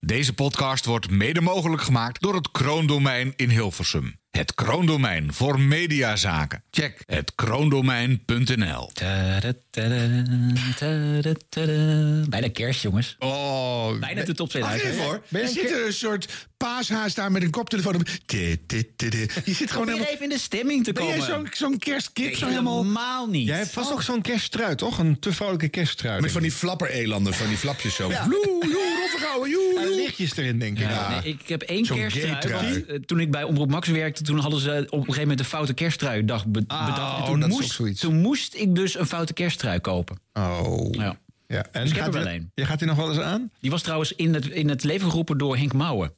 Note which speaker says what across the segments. Speaker 1: Deze podcast wordt mede mogelijk gemaakt door het Kroondomein in Hilversum. Het Kroondomein voor mediazaken. Check het kroondomein.nl.
Speaker 2: Tada, tada, tada, tada. Bijna kerst, jongens.
Speaker 1: Oh,
Speaker 2: Bijna de top 2000.
Speaker 3: Even hoor.
Speaker 2: Ben
Speaker 3: Er
Speaker 2: je een
Speaker 3: zit een soort paashaas daar met een koptelefoon op. Ti, ti, ti, ti. Je zit gewoon
Speaker 2: keer-
Speaker 3: helemaal...
Speaker 2: even in de stemming te
Speaker 3: Ben
Speaker 2: komen.
Speaker 3: jij zo'n zo'n kerstkip? Zo helemaal...
Speaker 2: Helemaal niet. Oh.
Speaker 4: Jij hebt vast ook zo'n kersttrui, toch? Een te vrolijke kersttrui.
Speaker 3: Met van die
Speaker 1: flapperelanden van die flapjes zo.
Speaker 3: Bloe, joe, roffegouwen, joe,
Speaker 4: die
Speaker 3: joe.
Speaker 4: lichtjes erin, denk ik.
Speaker 2: Ja, nee, ik heb één
Speaker 3: Zo'n
Speaker 2: kersttrui.
Speaker 3: gay-trui.
Speaker 2: want, eh, toen ik bij Omroep Max werkte, toen hadden ze op een gegeven moment de foute kersttrui-dag be- bedacht. En
Speaker 4: oh,
Speaker 2: toen,
Speaker 4: dat is ook
Speaker 2: moest,
Speaker 4: zoiets.
Speaker 2: toen moest ik dus een foute kersttrui kopen.
Speaker 4: Oh.
Speaker 2: Ja.
Speaker 4: Ja. En
Speaker 2: ik heb
Speaker 4: gaat
Speaker 2: er wel
Speaker 4: die-
Speaker 2: een.
Speaker 4: Je gaat die nog wel eens aan?
Speaker 2: Die was trouwens in het, in het leven geroepen door Henk Mouwen.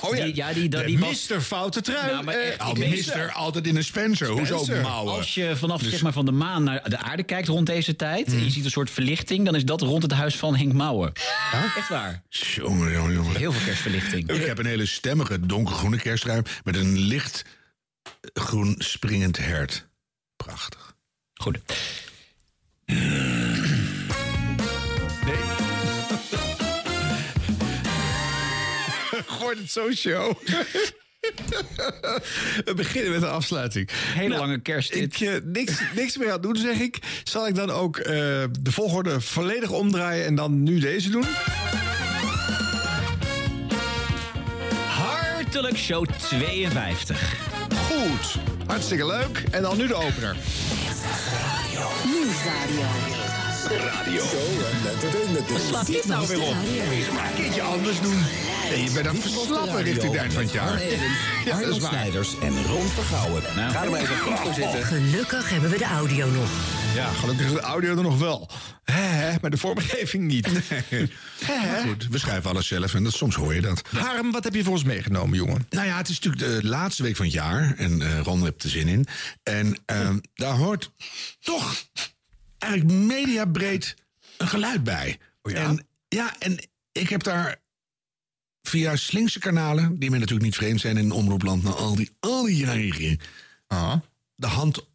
Speaker 3: Oh ja.
Speaker 2: Die, ja, die, dat-
Speaker 4: De
Speaker 2: die was...
Speaker 4: Mr. Foute Trui.
Speaker 2: Nou, maar
Speaker 4: Eh,
Speaker 2: echt,
Speaker 4: oh,
Speaker 2: ik
Speaker 3: Al
Speaker 2: weet-
Speaker 3: mister altijd in een Spencer. Hoezo Dus-
Speaker 4: Spencer.
Speaker 3: mouwen?
Speaker 2: Als je vanaf zeg maar, van de maan naar de aarde kijkt rond deze tijd...
Speaker 3: Hmm.
Speaker 2: en je ziet een soort verlichting, dan is dat rond het huis van Henk Mouwen. Echt waar.
Speaker 3: Jongen, jongen, jongen.
Speaker 2: Heel veel kerstverlichting.
Speaker 3: Ik heb een hele stemmige donkergroene kerstruim met een licht groen springend hert. Prachtig.
Speaker 2: Goed.
Speaker 4: Gooi het zo show. We beginnen met de afsluiting. Nou,
Speaker 2: Hele lange kerst.
Speaker 4: Ik eh, niks, niks meer aan doen, zeg ik. Zal ik dan ook eh, de volgorde volledig omdraaien en dan nu deze doen?
Speaker 2: Hartelijk show 52.
Speaker 4: Goed. Hartstikke leuk. En dan nu de opener.
Speaker 5: Nieuwsradio.
Speaker 2: Slaat dit nou weer op?
Speaker 3: Een keertje anders doen. Nee, je bent aan het verslappen richting het eind van het jaar. Ja, dat is waar.
Speaker 6: Snijders en Ron Vergouwen.
Speaker 7: Nou.
Speaker 6: Ga er maar even goed voor zitten.
Speaker 5: Gelukkig hebben we de audio nog.
Speaker 4: Ja, gelukkig is de audio er nog wel. Hè, hè, maar de vormgeving niet.
Speaker 3: Goed, we schrijven alles zelf en dat, soms hoor je dat.
Speaker 4: Harm, wat heb je voor ons meegenomen, jongen?
Speaker 3: Nou ja, het is natuurlijk de laatste week van het jaar. En eh, Ron heeft er zin in. En ehm, daar hoort toch eigenlijk mediabreed een geluid bij.
Speaker 4: ja?
Speaker 3: En, Oh ja, en ik heb daar via slinkse kanalen... die mij natuurlijk niet vreemd zijn in omroepland... na al die, al die jaren hier, Ah. de hand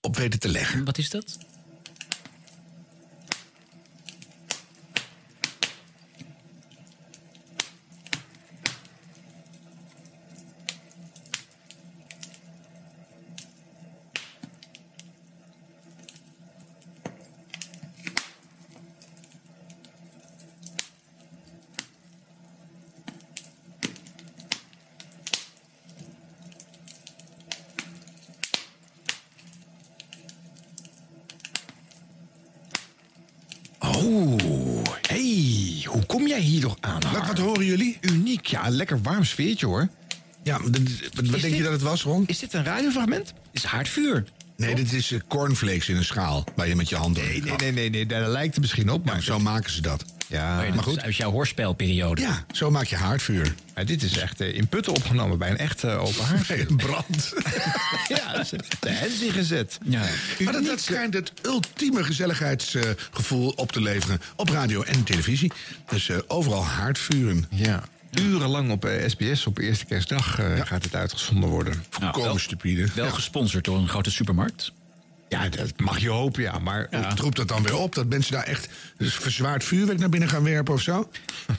Speaker 3: op weten te leggen.
Speaker 2: Wat is dat?
Speaker 4: Oh, hey, hoe kom jij hier toch aan?
Speaker 3: Wat,
Speaker 4: Harm?
Speaker 3: wat horen jullie?
Speaker 4: uniek, ja, een lekker warm sfeertje hoor.
Speaker 3: Ja, maar dit- wat, wat denk je
Speaker 4: dit-
Speaker 3: dat het was, Ron?
Speaker 4: Is dit een radiofragment?
Speaker 2: Het is haardvuur.
Speaker 3: Nee, dit is eh, cornflakes in een schaal waar je met je hand doorheen
Speaker 4: Nee,
Speaker 3: krabt.
Speaker 4: nee, nee, nee, daar lijkt het misschien op,
Speaker 3: Nou,
Speaker 4: maar
Speaker 3: zo maken ze dat.
Speaker 4: Ja.
Speaker 2: Maar
Speaker 3: maar
Speaker 2: goed.
Speaker 3: goed.
Speaker 2: Uit jouw hoorspelperiode.
Speaker 3: Ja, zo maak je haardvuur.
Speaker 4: Maar dit is echt eh, in putten opgenomen bij een echte eh, open
Speaker 3: Nee,
Speaker 4: haard.
Speaker 3: brand.
Speaker 4: ja, ze- de hens ingezet.
Speaker 2: Ja.
Speaker 3: maar dat, dat schijnt het ultieme gezelligheidsgevoel op te leveren op radio en televisie. Dus eh, overal haardvuren.
Speaker 4: Ja. Urenlang op eh, SBS op eerste kerstdag eh, gaat het uitgezonden worden.
Speaker 3: Volkomen
Speaker 2: wel-
Speaker 3: stupide.
Speaker 2: Wel gesponsord door een grote supermarkt.
Speaker 4: Ja, dat mag je hopen, ja. Maar
Speaker 3: Hoe roept dat dan weer op? Dat mensen daar echt verzwaard vuurwerk naar binnen gaan werpen of zo?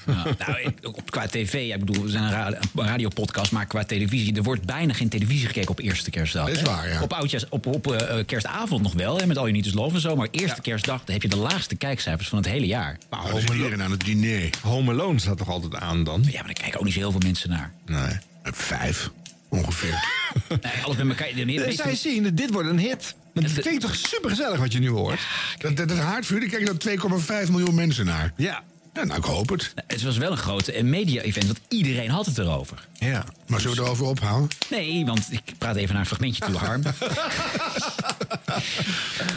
Speaker 2: Ja, nou, ik- op- qua tv, ja, ik bedoel, we zijn een, ra- een radiopodcast, maar qua televisie, er wordt bijna geen televisie gekeken op eerste kerstdag.
Speaker 3: Dat is
Speaker 2: hè?
Speaker 3: waar, ja.
Speaker 2: Op, oudjaars, op, op eh, eh, kerstavond nog wel, hè, met al je niet is lof en zo, maar eerste kerstdag dan heb je de laagste kijkcijfers van het hele jaar.
Speaker 3: Oh, dan zit iedereen aan het diner.
Speaker 4: dus Home Alone staat toch altijd aan dan?
Speaker 2: Ja, maar daar kijken ook niet zo heel veel mensen naar.
Speaker 3: Nee. Vijf, ongeveer.
Speaker 2: Nee, alles bij elkaar. De meeste-
Speaker 4: Eh, Zij zien, dit wordt een hit. Want het klinkt toch supergezellig wat je nu hoort?
Speaker 3: Dat, dat, dat haardvuur, daar kijken dan 2,5 miljoen mensen naar.
Speaker 4: Ja.
Speaker 3: Ja, nou, ik hoop het.
Speaker 2: het was wel een grote eh, media-event, want iedereen had het erover. Dus-
Speaker 4: Ja.
Speaker 3: Maar zullen we erover ophouden?
Speaker 2: Nee, want ik praat even naar een fragmentje toe, Harm.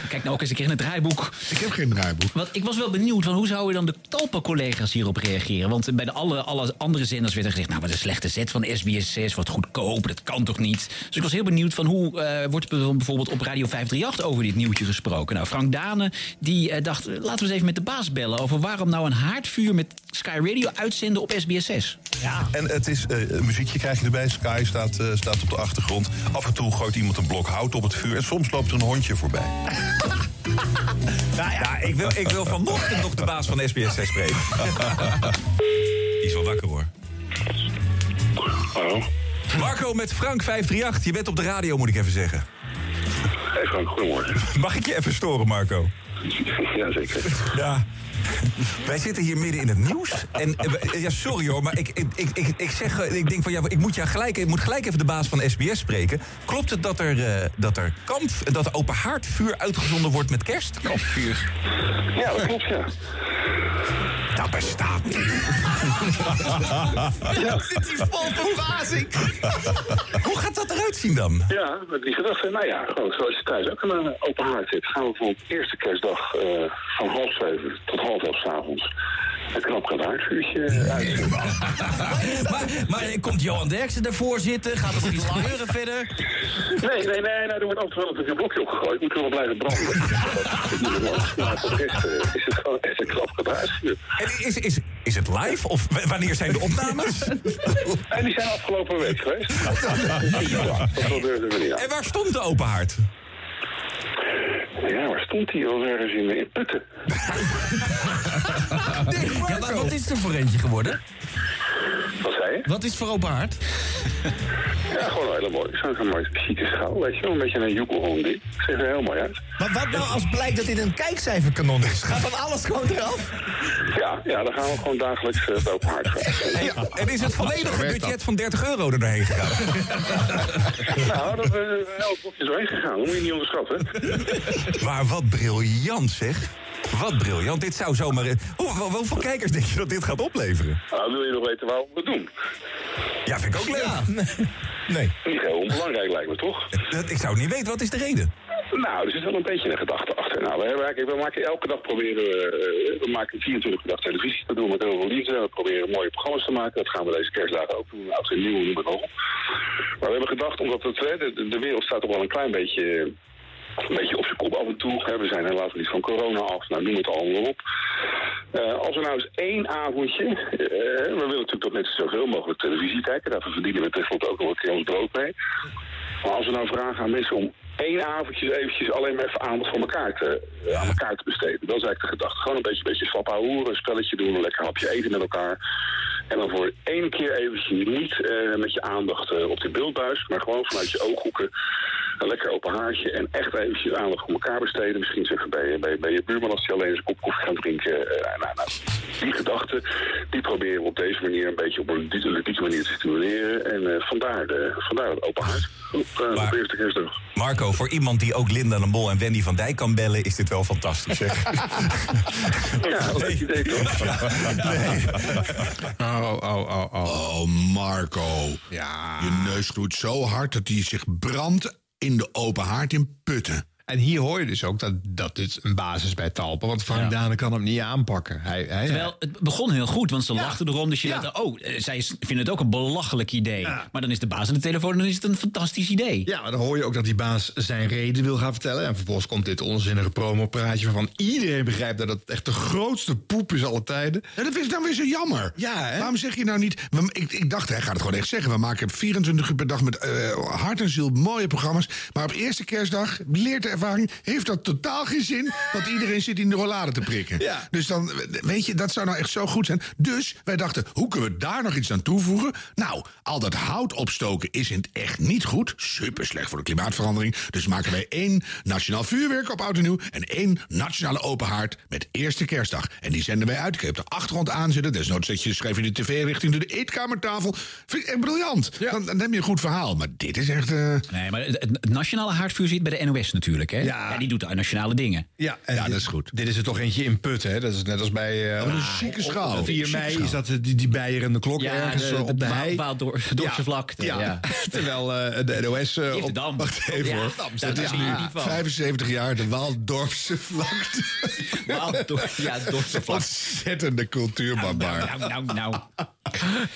Speaker 2: Kijk nou ook eens een keer in het draaiboek.
Speaker 3: Ik heb geen draaiboek.
Speaker 2: Want ik was wel benieuwd van hoe zouden dan de Talpa-collega's hierop reageren? Want bij de alle, alle andere zenders werd er gezegd... nou, wat een slechte zet van SBS6, wat goedkoop, dat kan toch niet? Dus ik was heel benieuwd van hoe eh, wordt er bijvoorbeeld op Radio 538 over dit nieuwtje gesproken? Nou, Frank Dane die eh, dacht, laten we eens even met de baas bellen... over waarom nou een haardvuur met Sky Radio uitzenden op SBS6.
Speaker 8: En het is eh, een muziekje krijg je erbij. Sky staat, eh, staat op de achtergrond. Af en toe gooit iemand een blok hout op het vuur. En soms loopt er een hondje voorbij.
Speaker 6: Nou ja, ik wil, ik wil vanochtend nog de baas van SBS 6 spreken.
Speaker 7: is wel wakker hoor.
Speaker 9: Hallo.
Speaker 7: Marco met Frank 538. Je bent op de radio, moet ik even zeggen.
Speaker 9: Hey Frank, goedemorgen.
Speaker 7: Mag ik je even storen, Marco?
Speaker 9: Jazeker.
Speaker 7: Ja. Wij zitten hier midden in het nieuws. En, eh, we- eh, ja, sorry hoor, maar ik, ik, ik, ik, ik zeg, eh, ik denk van ja, ik moet, ja gelijk, ik moet gelijk even de baas van SBS spreken. Klopt het dat er, eh, dat er kamp, dat er open haardvuur uitgezonden wordt met kerst? Kampvuur.
Speaker 9: Ja, dat klopt, ja.
Speaker 7: Dat bestaat niet.
Speaker 5: Zit hier vol verbazing.
Speaker 7: Hoe gaat dat eruit zien dan?
Speaker 9: Ja, met die gedachte. Nou ja, gewoon zoals je thuis ook een eh, open haard zit. Gaan we voor de eerste kerstdag eh, van half zeven tot half elf 's avonds een knap haardvuurtje uit.
Speaker 5: Maar, maar komt Johan Derksen daarvoor zitten? Gaat er nog iets gebeuren verder?
Speaker 9: Nee, nee, nee, nee, er wordt altijd wel een blokje opgegooid. Moet er wel blijven branden. Dat is niet normaal. Maar voor de rest eh, is het gewoon echt een knap haardvuur.
Speaker 7: En is, is, is het live of w- wanneer zijn de opnames?
Speaker 9: En die zijn afgelopen week geweest. Ja, dat gebeurde er niet aan.
Speaker 7: En waar stond de open haard?
Speaker 9: Ja, waar stond hij? al ergens in, in Putten.
Speaker 5: Ja, maar wat is er voor eentje geworden?
Speaker 9: Wat zei je?
Speaker 5: Wat is voor open haard?
Speaker 9: Ja, gewoon heel mooi. Zo'n mooi chique schaal, weet je wel. Een beetje een joekelhond ding. Ziet er heel mooi uit.
Speaker 5: Maar wat nou als blijkt dat dit een kijkcijferkanon is? Gaat dan alles gewoon eraf?
Speaker 9: Ja, ja, dan gaan we gewoon dagelijks eh, het open haard gaan.
Speaker 7: En is het volledige
Speaker 10: werkt
Speaker 7: budget van 30 euro er doorheen gegaan?
Speaker 9: Nou, dat we uh, elk blokje doorheen gegaan. Dat moet je niet onderschatten.
Speaker 7: Maar wat briljant zeg. Wat briljant. Dit zou zomaar... Hoe, hoe- hoeveel kijkers denk je dat dit gaat opleveren?
Speaker 9: Nou, wil je nog weten waarom we het doen?
Speaker 7: Ja, vind ik ook leuk. Nee.
Speaker 9: Niet heel onbelangrijk lijkt me, toch?
Speaker 7: Dat, ik zou het niet weten. Wat is de reden?
Speaker 9: Nou, er zit wel een beetje een gedachte achter. Nou, we, hebben eigenlijk, we maken elke dag proberen we, eh, we maken 24 uur dag televisie te doen met heel veel liefde. We proberen mooie programma's te maken. Dat gaan we deze kerstdagen ook doen. Oud en nieuw, noem het maar op. Maar we hebben gedacht, omdat het, eh, de, de wereld staat toch wel een klein beetje... eh, Een beetje op zijn kop af en toe. hè. We zijn helaas niet van corona af. Nou, noem het allemaal op. Eh, als we nou eens één avondje... eh, we willen natuurlijk dat mensen zoveel mogelijk televisie kijken. Daarvoor verdienen we tenslotte ook nog een keer ons brood mee. Maar als we nou vragen aan mensen om één avondje eventjes alleen maar even aandacht voor elkaar te, eh, aan elkaar te besteden. Dat is eigenlijk de gedachte. Gewoon een beetje, een beetje slappa hoeren, een spelletje doen, een lekker hapje eten met elkaar. En dan voor één keer eventjes niet eh, met je aandacht eh, op de beeldbuis, maar gewoon vanuit je ooghoeken. Een lekker open haartje en echt eventjes aandacht voor elkaar besteden. Misschien eens even bij, bij, bij je buurman als hij alleen eens een kop koffie gaat drinken. Eh, nou, nou, nou, die gedachten, die proberen we op deze manier een beetje op een ludieke manier te stimuleren. En eh, vandaar, de, vandaar het open haard op, eh,
Speaker 7: Maar-
Speaker 9: op eerste kerstdag.
Speaker 7: Marco, voor iemand die ook Linda de Mol en Wendy van Dijk kan bellen... is dit wel fantastisch, zeg.
Speaker 9: Ja, dat idee toch?
Speaker 10: Oh, oh, oh, oh.
Speaker 3: Oh, Marco.
Speaker 10: Ja.
Speaker 3: Je neus gloeit zo hard dat hij zich brandt in de open haard in putten.
Speaker 5: En hier hoor je dus
Speaker 4: ook dat, dat dit een basis bij Talpa. Want Frank Dane kan hem niet aanpakken. Hij, hij,
Speaker 2: Terwijl het begon heel goed, want ze lachten erom. Dus je dacht, oh, eh, zij is- vinden het ook een belachelijk idee. Maar dan is de baas aan de telefoon en dan is het een fantastisch idee.
Speaker 4: Ja, maar Ah, dan hoor je ook dat die baas zijn reden wil gaan vertellen. En vervolgens komt dit onzinnige promopraatje waarvan iedereen begrijpt dat het echt de grootste poep is alle tijden.
Speaker 3: Ja, dat vind ik dan weer zo jammer.
Speaker 4: Ja, hè?
Speaker 3: Waarom zeg je nou niet... we- ik, ik dacht, hij gaat het gewoon echt zeggen. We maken 24 uur per dag met eh, hart en ziel mooie programma's. Maar op eerste kerstdag, leert de ervaring... heeft dat totaal geen zin, want iedereen zit in de rollade te prikken.
Speaker 4: Ja.
Speaker 3: Dus dan, weet je, dat zou nou echt zo goed zijn. Dus wij dachten, hoe kunnen we daar nog iets aan toevoegen? Nou, al dat hout opstoken is in het echt niet goed. Super slecht voor de klimaatverandering. Dus maken wij één nationaal vuurwerk op Oud en Nieuw... en één nationale open haard met eerste kerstdag. En die zenden wij uit. Ik heb de achtergrond aanzetten. Desnoods zet je, schrijf je de tv richting de eetkamertafel. Vind ik echt briljant. Dan, dan heb je een goed verhaal. Maar dit is echt... eh,
Speaker 2: Nee, maar het, het nationale haardvuur zit bij de NOS natuurlijk. Hè?
Speaker 4: Ja.
Speaker 2: die doet de nationale dingen.
Speaker 4: Ja, en
Speaker 3: Ja,
Speaker 4: dit-
Speaker 3: dat is goed.
Speaker 4: Dit is er toch eentje in put, hè? Dat is net als bij... eh
Speaker 3: wat een zieke
Speaker 4: op- op
Speaker 3: schaal.
Speaker 4: 4
Speaker 3: Zieke
Speaker 4: mei
Speaker 3: schaal.
Speaker 4: is dat eh, die, die beieren klok
Speaker 2: Ja,
Speaker 4: ergens
Speaker 2: de-
Speaker 4: eh, op de
Speaker 2: de
Speaker 4: hei.
Speaker 2: Waal- Waal- Dorpse vlakte, ja.
Speaker 4: Terwijl eh, de NOS... eh, op-
Speaker 2: Amsterdam.
Speaker 4: Wacht even,
Speaker 2: Ja,
Speaker 4: hoor.
Speaker 2: Amsterdam,
Speaker 4: Dat is
Speaker 2: ja.
Speaker 4: nu-
Speaker 2: Ja. Van.
Speaker 3: 75 jaar, de Waaldorpse vlakte.
Speaker 2: Waal door, ja, door zijn vlak.
Speaker 3: Ontzettende cultuurbarbaar.
Speaker 2: Nou, nou, nou.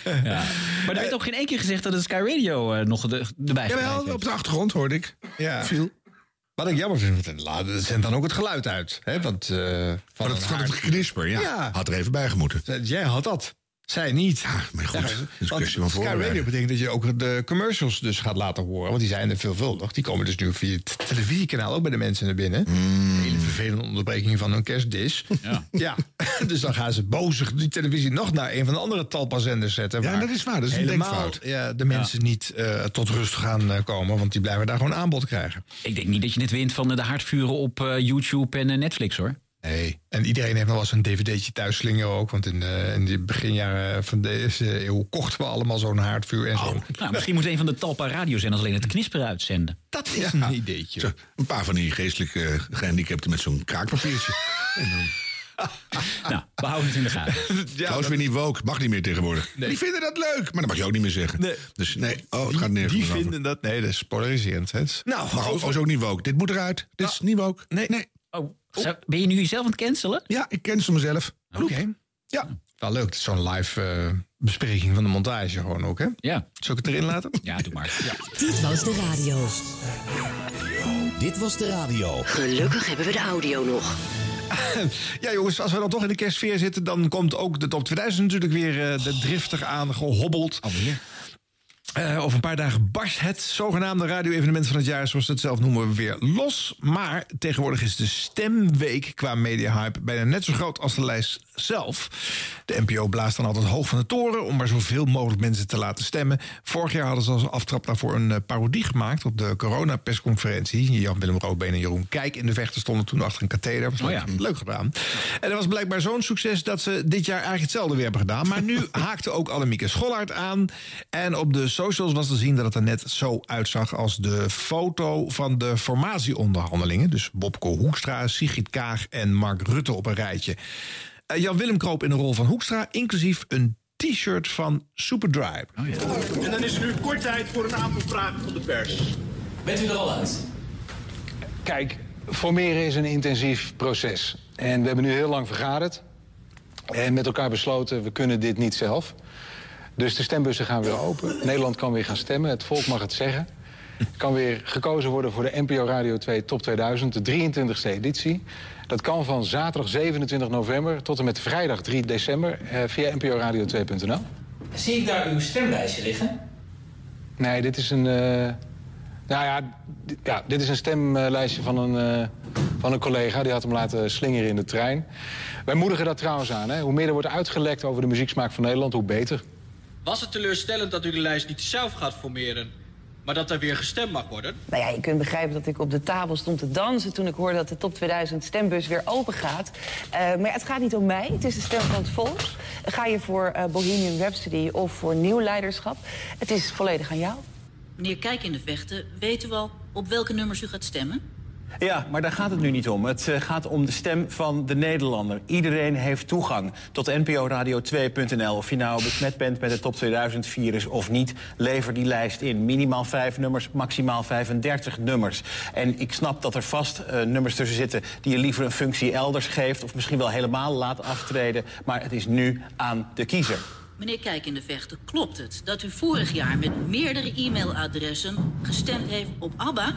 Speaker 2: Ja. Maar er werd ook geen één keer gezegd dat het Sky Radio eh, nog de, erbij gedraaid
Speaker 3: Jawel,
Speaker 2: heeft.
Speaker 3: op de achtergrond hoorde ik.
Speaker 4: Ja. Wat ik jammer vind, want laat- zend dan ook het geluid uit. Hè? Want, eh, van
Speaker 3: Maar dat
Speaker 4: een
Speaker 3: gaat
Speaker 4: haard-
Speaker 3: het geknisper, ja.
Speaker 4: Ja.
Speaker 3: Had er even bij gemoeten.
Speaker 4: Jij had dat. Zij niet.
Speaker 3: maar goed, dat is een
Speaker 4: want
Speaker 3: kwestie van
Speaker 4: Sky
Speaker 3: voorwaarden.
Speaker 4: Radio betekent dat je ook de commercials dus gaat laten horen. Want die zijn er veelvuldig. Die komen dus nu via het televisiekanaal ook bij de mensen naar binnen.
Speaker 3: Hmm.
Speaker 4: Hele vervelende onderbreking van hun kerstdis. Ja. dus dan gaan ze bozig die televisie nog naar een van de andere talpazenders zetten.
Speaker 3: Ja,
Speaker 4: waar
Speaker 3: dat is waar. Dat is een
Speaker 4: helemaal,
Speaker 3: denkfout.
Speaker 4: Ja, de mensen niet eh, tot rust gaan eh, komen. Want die blijven daar gewoon aanbod krijgen.
Speaker 2: Ik denk niet dat je het wint van eh, de haardvuren op eh, YouTube en eh, Netflix, hoor.
Speaker 4: Nee. En iedereen heeft nog wel eens een dvd'tje thuis slingeren ook. Want in, eh, in de beginjaren van deze eeuw kochten we allemaal zo'n haardvuur en zo.
Speaker 2: Nou, misschien moet een van de Talpa radiozenders alleen het knisperen uitzenden.
Speaker 4: Dat is een ideetje.
Speaker 3: Zo, een paar van die geestelijke eh, gehandicapten met zo'n kraakpapiertje. en dan,
Speaker 2: Nou, we houden het in de gaten.
Speaker 3: trouwens weer niet woke, mag niet meer tegenwoordig. Die vinden dat leuk, maar dat mag je ook niet meer zeggen.
Speaker 4: Nee.
Speaker 3: Dus nee, oh, het gaat nergens
Speaker 4: Die
Speaker 3: meer over.
Speaker 4: vinden dat... Nee, dat is polariserend. Hè? Nou,
Speaker 3: Maar ook, is ook niet woke. Dit moet eruit. Dit is niet woke. Ah. Nee.
Speaker 2: Oh, zou- ben je nu jezelf aan het cancelen?
Speaker 3: Ja, ik ken ze mezelf.
Speaker 4: Oké. Ja. Wel leuk, zo'n live eh, bespreking van de montage gewoon ook, hè?
Speaker 2: Ja.
Speaker 4: Zal ik het erin laten?
Speaker 2: Ja, doe maar. Ja.
Speaker 11: Dit was de radio.
Speaker 5: Dit was de radio.
Speaker 11: Gelukkig hebben we de audio nog.
Speaker 4: Ja, jongens, als we dan toch in de kerstsfeer zitten... dan komt ook de top 2000 natuurlijk weer eh, de driftig aan gehobbeld.
Speaker 2: Oh,
Speaker 4: Alweer. Eh, over een paar dagen barst het zogenaamde radio-evenement van het jaar... zoals ze het zelf noemen, weer los. Maar tegenwoordig is de stemweek qua media-hype... bijna net zo groot als de lijst zelf. De NPO blaast dan altijd hoog van de toren... om maar zoveel mogelijk mensen te laten stemmen. Vorig jaar hadden ze als aftrap daarvoor een eh, parodie gemaakt... op de coronapersconferentie. Jan-Willem Roodbeen en Jeroen Kijk in de vechten stonden toen achter een katheder. Was leuk,
Speaker 2: Oh
Speaker 4: leuk gedaan. En dat was blijkbaar zo'n succes dat ze dit jaar eigenlijk hetzelfde weer hebben gedaan. Maar nu haakte ook Annemieke Schollaert aan. En op de socials was te zien dat het er net zo uitzag... als de foto van de formatieonderhandelingen. Dus Bobke Hoekstra, Sigrid Kaag en Mark Rutte op een rijtje. Eh, Jan-Willem Kroop in de rol van Hoekstra, inclusief een t-shirt van Superdry.
Speaker 2: Oh
Speaker 7: En dan is er nu kort tijd voor een aantal vragen van de pers.
Speaker 12: Bent u er al uit?
Speaker 13: Kijk, formeren is een intensief proces. En we hebben nu heel lang vergaderd. En met elkaar besloten, we kunnen dit niet zelf. Dus de stembussen gaan weer open. Nederland kan weer gaan stemmen. Het volk mag het zeggen. Er kan weer gekozen worden voor de NPO Radio 2 Top 2000, de 23e editie. Dat kan van zaterdag 27 november tot en met vrijdag 3 december eh, via nporadio2.nl.
Speaker 12: Zie ik daar uw stemlijstje liggen?
Speaker 13: Nee, dit is een. eh, nou ja, di- ja, dit is een stemlijstje van een, eh, van een collega. Die had hem laten slingeren in de trein. Wij moedigen dat trouwens aan. Hè? Hoe meer er wordt uitgelekt over de muzieksmaak van Nederland, hoe beter.
Speaker 7: Was het teleurstellend dat u de lijst niet zelf gaat formeren, maar dat er weer gestemd mag worden?
Speaker 14: Nou ja, je kunt begrijpen dat ik op de tafel stond te dansen... toen ik hoorde dat de top 2000 stembus weer open gaat. Eh, maar ja, het gaat niet om mij, het is de stem van het volk. Ga je voor eh, Bohemian Rhapsody of voor nieuw leiderschap? Het is volledig aan jou.
Speaker 15: Meneer Kijk in de Vechten, weet u al op welke nummers u gaat stemmen?
Speaker 16: Ja, maar daar gaat het nu niet om. Het eh, gaat om de stem van de Nederlander. Iedereen heeft toegang tot nporadio2.nl. Of je nou besmet bent met het top 2000 virus of niet, lever die lijst in. Minimaal vijf nummers, maximaal 35 nummers. En ik snap dat er vast eh, nummers tussen zitten die je liever een functie elders geeft... of misschien wel helemaal laat aftreden. Maar het is nu aan de kiezer.
Speaker 15: Meneer Kijk in de Vechten, klopt het dat u vorig jaar met meerdere e-mailadressen gestemd heeft op ABBA?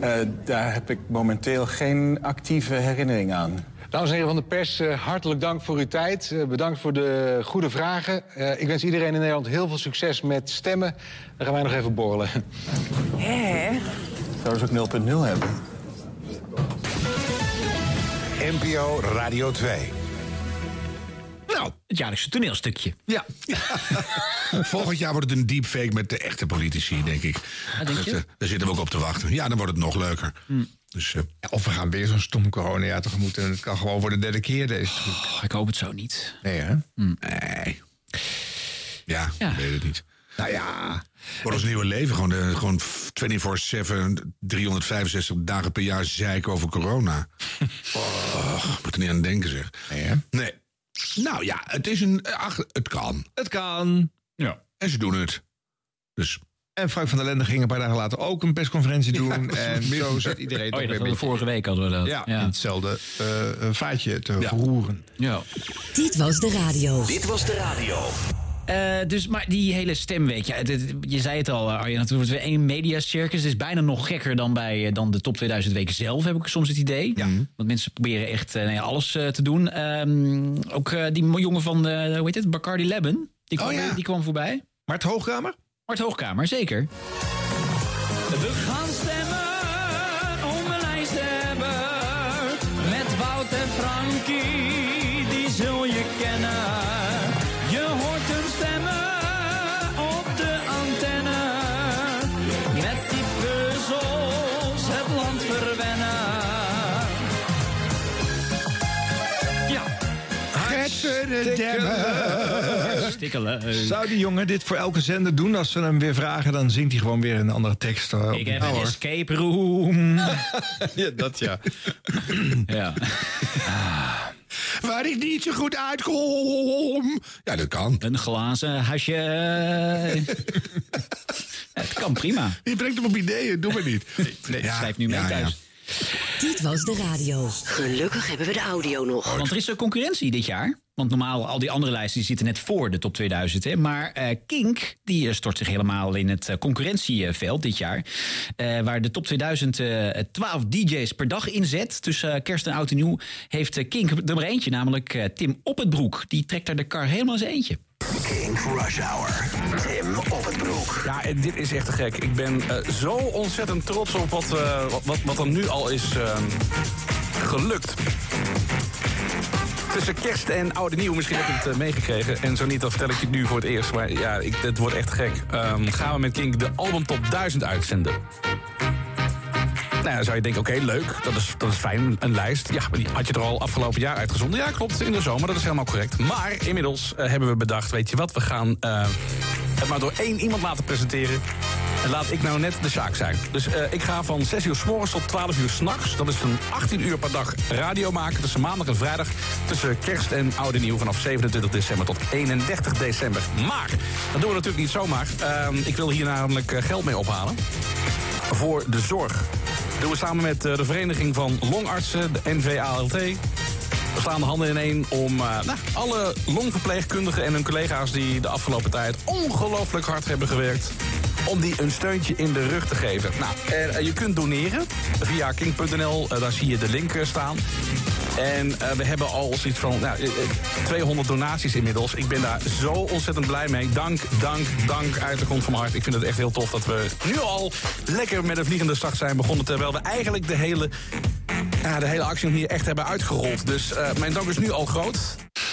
Speaker 16: Eh, daar heb ik momenteel geen actieve herinnering aan.
Speaker 13: Dames en heren van de pers, eh, hartelijk dank voor uw tijd. Eh, bedankt voor de goede vragen. Eh, ik wens iedereen in Nederland heel veel succes met stemmen. Dan gaan wij nog even borrelen.
Speaker 14: Hé,
Speaker 16: Zouden ze ook 0.0 hebben?
Speaker 5: NPO Radio 2.
Speaker 2: Nou, het jaarlijkse toneelstukje.
Speaker 4: Ja.
Speaker 3: Volgend jaar wordt het een deepfake met de echte politici, denk ik.
Speaker 2: Ah, denk je?
Speaker 3: eh, daar zitten we ook op te wachten. Ja, dan wordt het nog leuker. Dus eh,
Speaker 4: Ja, Of we gaan weer zo'n stom coronajaar tegemoet. En het kan gewoon voor de derde keer deze.
Speaker 2: Oh, ik hoop het zo niet.
Speaker 4: Nee, hè?
Speaker 3: nee. Ja,
Speaker 2: Ja.
Speaker 3: ik weet het niet.
Speaker 4: Nou ja,
Speaker 3: Wordt ons nieuwe leven gewoon, de- gewoon 24-7, 365 dagen per jaar zeiken over corona. Oh, moet er niet aan denken, zeg.
Speaker 4: Nee, hè?
Speaker 3: Nee. Nou ja, het is een. Ach, het kan.
Speaker 4: het kan.
Speaker 3: En ze doen het. Dus
Speaker 4: En Frank van der Lende ging een paar dagen later ook een persconferentie doen. en zo zit iedereen
Speaker 2: Oh
Speaker 4: toch
Speaker 2: ja, dat hadden
Speaker 4: weer een
Speaker 2: we
Speaker 4: beetje
Speaker 2: vorige week hadden we dat.
Speaker 4: ja, in
Speaker 2: ja.
Speaker 4: hetzelfde eh, eh, vaatje te verroeren.
Speaker 2: Ja.
Speaker 11: Dit was de radio.
Speaker 5: Dit was de radio.
Speaker 2: Eh, dus, maar die hele stemweek, ja, het- het- je zei het al, eh, Arjan, het wordt weer één mediacircus. Het is bijna nog gekker dan bij eh, dan de top 2000 week zelf, heb ik soms het idee. Mm-hmm. Want mensen proberen echt eh, nou ja, alles eh, te doen. Ehm, ook eh, die mo- jongen van, eh, hoe heet het, Bacardi Lebben, die
Speaker 4: Oh,
Speaker 2: kwam, die kwam voorbij.
Speaker 4: Mart Hoogkamer?
Speaker 2: Mart Hoogkamer, zeker.
Speaker 17: We gaan stemmen om een lijsthebber. Met Wout en Frankie, die zul je kennen. Je hoort hun stemmen op de antenne. Met die puzzels het land verwennen.
Speaker 4: Ja.
Speaker 2: Stikkelen.
Speaker 4: Zou die jongen dit voor elke zender doen? Als ze hem weer vragen, dan zingt hij gewoon weer een andere tekst. eh,
Speaker 2: Ik
Speaker 4: opnieuw,
Speaker 2: heb een
Speaker 4: hoor.
Speaker 2: escape room.
Speaker 4: ja, dat ja.
Speaker 2: ja.
Speaker 3: Waar ik niet zo goed uitkom. Ja, dat kan.
Speaker 2: Een glazen hasje. het kan prima.
Speaker 3: Je brengt hem op ideeën, doe maar niet.
Speaker 2: Nee, schrijf nu mee thuis.
Speaker 5: Dit was de radio. Gelukkig hebben we de audio nog.
Speaker 2: Want er is er concurrentie dit jaar. Want normaal, al die andere lijsten die zitten net voor de top 2000. Hè. Maar eh, Kink, die eh, stort zich helemaal in het eh, concurrentieveld dit jaar. Eh, waar de top 2000 eh 12 DJ's per dag inzet. Tussen eh, kerst en oud en nieuw heeft eh, Kink nummer eentje, namelijk eh, Tim Op het Broek. Die trekt daar de kar helemaal in zijn eentje.
Speaker 6: Kink Rush Hour. Tim op het broek.
Speaker 8: Ja, en dit is echt te gek. Ik ben eh, zo ontzettend trots op wat, eh, wat- wat, wat er nu al is eh, gelukt. Tussen kerst en oude nieuw, misschien heb je het eh, meegekregen. En zo niet, dan vertel ik je het nu voor het eerst. Maar ja, ik, het wordt echt gek. Ehm, gaan we met Kink de album top 1000 uitzenden? Nou, dan zou je denken, oké, leuk, dat is, dat is fijn, een lijst. Ja, maar die had je er al afgelopen jaar uitgezonden. Ja, klopt, in de zomer, dat is helemaal correct. Maar inmiddels eh, hebben we bedacht, weet je wat, we gaan eh, het maar door één iemand laten presenteren. En laat ik nou net de zaak zijn. Dus eh, ik ga van 6 uur s morgens tot 12 uur s'nachts, dat is van 18 uur per dag radio maken. Tussen maandag en vrijdag, tussen kerst en oud en nieuw, vanaf 27 december tot 31 december. Maar, dat doen we natuurlijk niet zomaar. Ehm, ik wil hier namelijk eh, geld mee ophalen voor de zorg. Dat doen we samen met eh, de Vereniging van Longartsen, de NVALT. We slaan de handen in één om eh, nou, alle longverpleegkundigen en hun collega's... die de afgelopen tijd ongelooflijk hard hebben gewerkt... om die een steuntje in de rug te geven. Nou, eh, je kunt doneren via king.nl. eh, daar zie je de link eh, staan. En eh, we hebben al zoiets van nou, eh, eh, 200 donaties inmiddels. Ik ben daar zo ontzettend blij mee. Dank, dank, dank uit de grond van mijn hart. Ik vind het echt heel tof dat we nu al lekker met een vliegende start zijn begonnen. Terwijl we eigenlijk de hele, ja, de hele actie nog niet echt hebben uitgerold. Dus eh, mijn dank is nu al groot.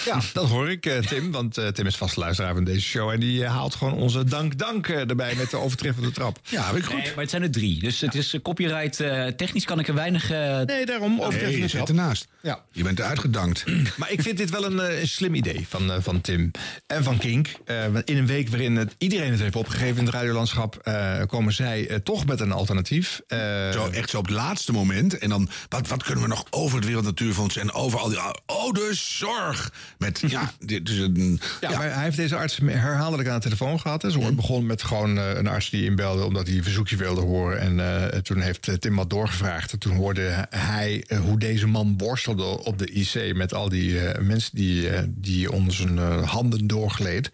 Speaker 4: Ja, dat hoor ik, eh, Tim. Want eh, Tim is vast luisteraar van deze show. En die eh, haalt gewoon onze dank-dank eh, erbij met de overtreffende trap. Ja, heb ik goed.
Speaker 2: maar het zijn er drie. Dus het is eh, copyright. eh, technisch kan ik er weinig. eh,
Speaker 4: nee, daarom.
Speaker 3: Nee, je zit ernaast.
Speaker 4: Ja.
Speaker 3: Je bent uitgedankt.
Speaker 4: Maar ik vind dit wel een, eh, een slim idee van, eh, van Tim en van Kink. Eh, want in een week waarin het, iedereen het heeft opgegeven in het radiolandschap... eh, komen zij eh, toch met een alternatief. Eh,
Speaker 3: zo, echt zo op het laatste moment. En dan, wat, wat kunnen we nog over het Wereld Natuurfonds en over al die... Oh, de zorg! Met, ja, dit is een...
Speaker 4: Ja, maar hij heeft deze arts herhaaldelijk aan de telefoon gehad. hè. Zo het begon met gewoon eh, een arts die inbelde omdat hij een verzoekje wilde horen. En eh, toen heeft eh, Tim wat doorgevraagd. En toen hoorde hij eh, hoe deze man worstelde op de IC met al die eh, mensen die, eh, die onder zijn eh, handen doorgleed.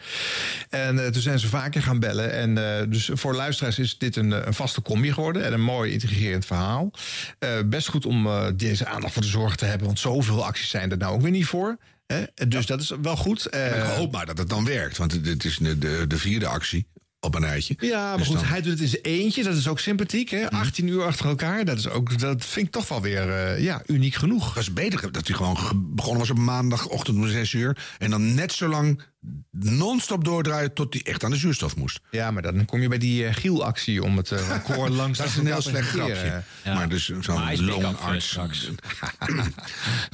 Speaker 4: En eh, toen zijn ze vaker gaan bellen. En eh, dus voor luisteraars is dit een, eh, een vaste combi geworden. En een mooi intrigerend verhaal. Eh, best goed om eh, deze aandacht voor de zorg te hebben. Want zoveel acties zijn er nou ook weer niet voor. hè. Dus dat is wel goed. Eh,
Speaker 3: Maar ik hoop maar dat het dan werkt, want dit is de, de, de vierde actie op een rijtje.
Speaker 4: Ja, maar
Speaker 3: Dus
Speaker 4: goed,
Speaker 3: dan- Mhm.
Speaker 4: hij doet het in zijn eentje. Dat is ook sympathiek, hè? 18 uur achter elkaar. Dat, is ook, dat vind ik toch wel weer eh, ja, uniek genoeg.
Speaker 3: was beter dat hij gewoon ge- begonnen was op maandagochtend om 6 uur. En dan net zo lang non-stop doordraaien tot hij echt aan de zuurstof moest.
Speaker 4: Ja, maar dan kom je bij die eh, Giel-actie om het eh, record langs
Speaker 3: Dat is
Speaker 4: te
Speaker 3: een heel slecht
Speaker 4: capaciteren.
Speaker 3: grapje.
Speaker 4: Ja.
Speaker 3: Maar dus
Speaker 4: Maar hij is
Speaker 3: zo'n
Speaker 4: pick-up,
Speaker 3: longarts.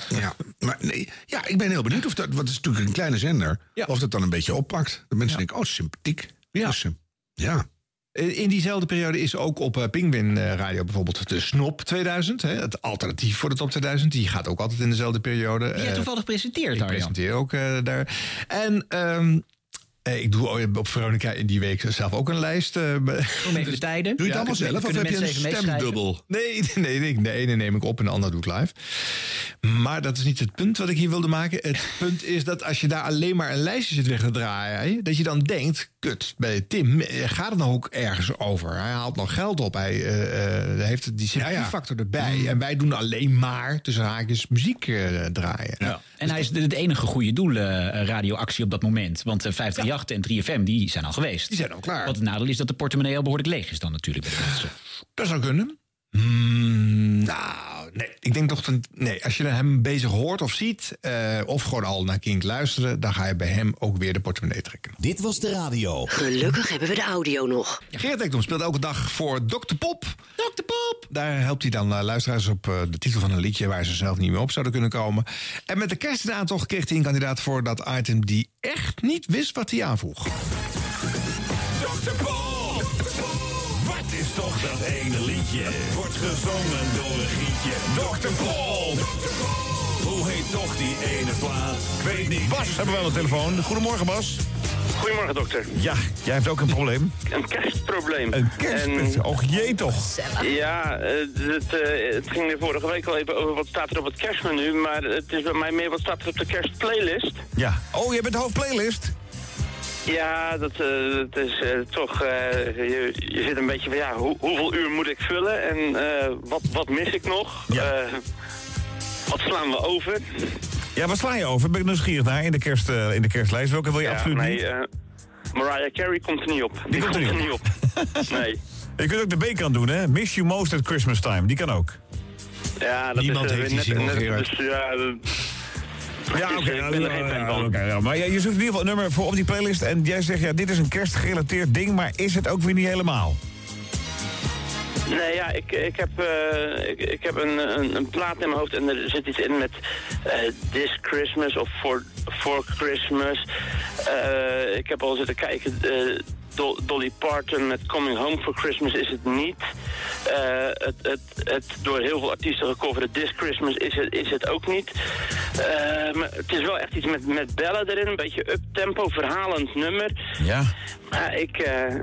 Speaker 3: ja, maar nee, ja, ik ben heel benieuwd of dat, want het is natuurlijk een kleine zender, of dat dan een beetje oppakt. Dat mensen denken, oh, sympathiek. Ja. Dus, eh, ja.
Speaker 4: Eh, In diezelfde periode is ook op eh, Penguin eh, Radio bijvoorbeeld de Snop 2000. Hè, het alternatief voor de top 2000. Die gaat ook altijd in dezelfde periode.
Speaker 2: Die jij
Speaker 4: Eh,
Speaker 2: toevallig presenteert,
Speaker 4: Ik
Speaker 2: Arjan.
Speaker 4: presenteer ook eh, daar. En ehm, Eh, Ik doe op Veronica in die week zelf ook een lijst. eh, be-
Speaker 2: Noem even de tijden.
Speaker 4: Doe je het
Speaker 2: Ja,
Speaker 4: allemaal
Speaker 2: kunnen-
Speaker 4: zelf of
Speaker 2: kunnen
Speaker 4: heb je een
Speaker 2: mensen even meeschrijven?
Speaker 4: stemdubbel? Nee, nee, nee, de ene neem ik op en de ander doe ik live. Maar dat is niet het punt wat ik hier wilde maken. Het punt is dat als je daar alleen maar een lijstje zit weg te draaien... dat je dan denkt, kut, bij Tim eh, gaat het nou ook ergens over? Hij haalt nog geld op, hij eh, eh, heeft die sympathiefactor erbij. En wij doen alleen maar, tussen haakjes, muziek eh, draaien.
Speaker 2: En hij is de, de enige goede doelradioactie op dat moment. Want eh, 538 en 3FM die zijn al geweest. Die
Speaker 4: zijn al klaar.
Speaker 2: Wat het nadeel is dat de portemonnee al behoorlijk leeg is dan natuurlijk. Bij de mensen.
Speaker 4: Dat zou kunnen. Hmm, nou, nee. Ik denk toch, dat- nee, als je hem bezig hoort of ziet... eh, of gewoon al naar Kink luisteren... dan ga je bij hem ook weer de portemonnee trekken.
Speaker 5: Dit was de radio. Gelukkig hebben we de audio nog.
Speaker 4: Geert Ekdom speelt elke dag voor Dr. Pop. Dr. Pop! Daar helpt hij dan eh, luisteraars op eh, de titel van een liedje... waar ze zelf niet meer op zouden kunnen komen. En met de kerstaantocht kreeg hij een kandidaat voor dat item... die echt niet wist wat hij aanvoeg.
Speaker 18: Dr. Pop! Wat is toch dat ene liedje? Wordt gezongen door een gietje. Dr. Pop! Hoe heet toch die ene plaat? Ik weet niet.
Speaker 19: Bas hebben we aan de telefoon. Goedemorgen, Bas.
Speaker 18: Goedemorgen, dokter.
Speaker 19: Ja, jij hebt ook een probleem.
Speaker 18: Een kerstprobleem.
Speaker 19: Een kerstpunt.
Speaker 18: En-
Speaker 19: Och jee toch.
Speaker 18: Ja, eh, het, eh, het ging er vorige week al even over wat staat er op het kerstmenu. Maar het is bij mij meer wat staat er op de kerstplaylist.
Speaker 19: Ja. Oh, jij bent hoofdplaylist?
Speaker 18: Ja, dat, eh, dat is eh, toch... eh, je, je zit een beetje van, ja, hoe- hoeveel uur moet ik vullen? En eh, wat, wat mis ik nog? Eh, wat slaan we over?
Speaker 19: Ja, waar sla je over? Ben ik nieuwsgierig naar in de, kerst, eh, in de kerstlijst. Welke wil je
Speaker 18: Ja,
Speaker 19: absoluut
Speaker 18: nee,
Speaker 19: niet?
Speaker 18: eh, Mariah Carey komt er niet op. Die,
Speaker 19: komt er niet
Speaker 18: op. eh, nee.
Speaker 19: Je kunt ook de B-kant doen, hè? Miss You Most at Christmas Time. Die kan ook.
Speaker 18: Ja, dat
Speaker 19: Niemand
Speaker 18: is, eh,
Speaker 19: heeft die single, Gerard.
Speaker 18: dus, ja, dat-
Speaker 19: Ja, oké.
Speaker 18: ik ben er geen fan
Speaker 19: ja,
Speaker 18: van.
Speaker 19: oké, ja, maar ja, je zoekt in ieder geval een nummer voor op die playlist. En jij zegt, ja, dit is een kerstgerelateerd ding, maar is het ook weer niet helemaal?
Speaker 18: Nee, ja, ik, ik heb, eh, ik, ik heb een, een, een plaat in mijn hoofd en er zit iets in met eh, This Christmas of For, for Christmas. Eh, ik heb al zitten kijken, eh, Do- Dolly Parton met Coming Home for Christmas is het niet. Eh, het, het, het door heel veel artiesten gecoverde This Christmas is het, is het ook niet. Eh, maar het is wel echt iets met, met bellen erin, een beetje uptempo, verhalend nummer.
Speaker 19: Ja.
Speaker 18: Maar ik, eh,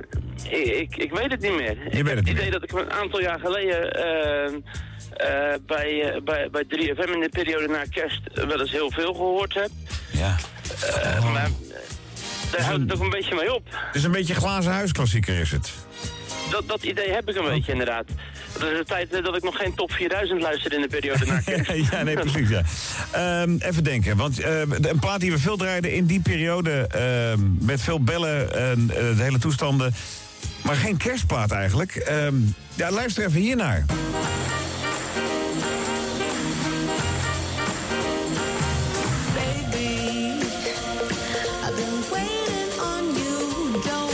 Speaker 18: ik, ik, ik weet het niet meer. ik heb het idee dat ik een aantal jaar geleden eh, eh, bij, eh, bij, bij 3FM in de periode na kerst wel eens heel veel gehoord heb.
Speaker 19: Ja.
Speaker 18: Maar eh, daar houdt het ook een beetje mee op.
Speaker 19: Oh. Het is een beetje glazen huisklassieker is het.
Speaker 18: Dat, dat idee heb ik een beetje
Speaker 19: Oh.
Speaker 18: inderdaad. Dat is de tijd eh, dat ik nog geen top 4000 luisterde in de periode na kerst.
Speaker 19: ja, nee, precies, ja. Ehm, even denken, want ehm, de- een plaat die we veel draaiden in die periode... ehm, met veel bellen en eh, de hele toestanden... maar geen kerstplaat eigenlijk. Ehm, ja, luister even hiernaar.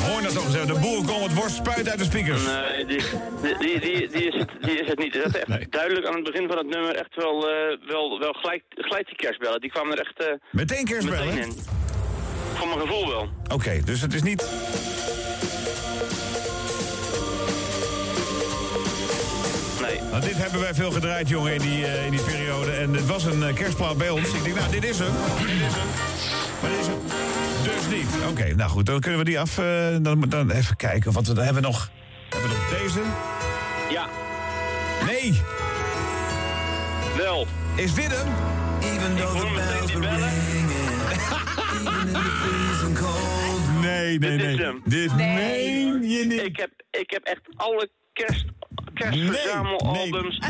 Speaker 19: Hoor dat dan, de boer komt het worst spuit uit de speakers.
Speaker 18: Nee, die, die, die, die, is het, die is het niet. Dat is echt duidelijk aan het begin van het nummer echt wel, eh, wel, wel gelijk, gelijk die kerstbellen. Die kwamen er echt eh,
Speaker 19: Meteen kerstbellen?
Speaker 18: meteen in. Voor mijn gevoel wel.
Speaker 19: Oké, dus het is niet...
Speaker 18: Nee.
Speaker 19: Nou, dit hebben wij veel gedraaid, jongen, in die, eh, in die periode. En het was een eh, kerstplaat bij ons. Ik denk, nou, dit is hem. Dit is hem. Maar dit is hem. Dus niet. Oké, nou goed, dan kunnen we die af. eh, dan, dan even kijken, want we dan hebben we nog... Hebben we nog deze?
Speaker 18: Ja.
Speaker 19: Nee!
Speaker 18: Wel.
Speaker 19: Is dit hem?
Speaker 18: Even though the bells were
Speaker 19: Nee, nee, nee. Dit meen je niet.
Speaker 18: Ik heb, ik heb echt alle kerst, kerstverzamelalbums. Ik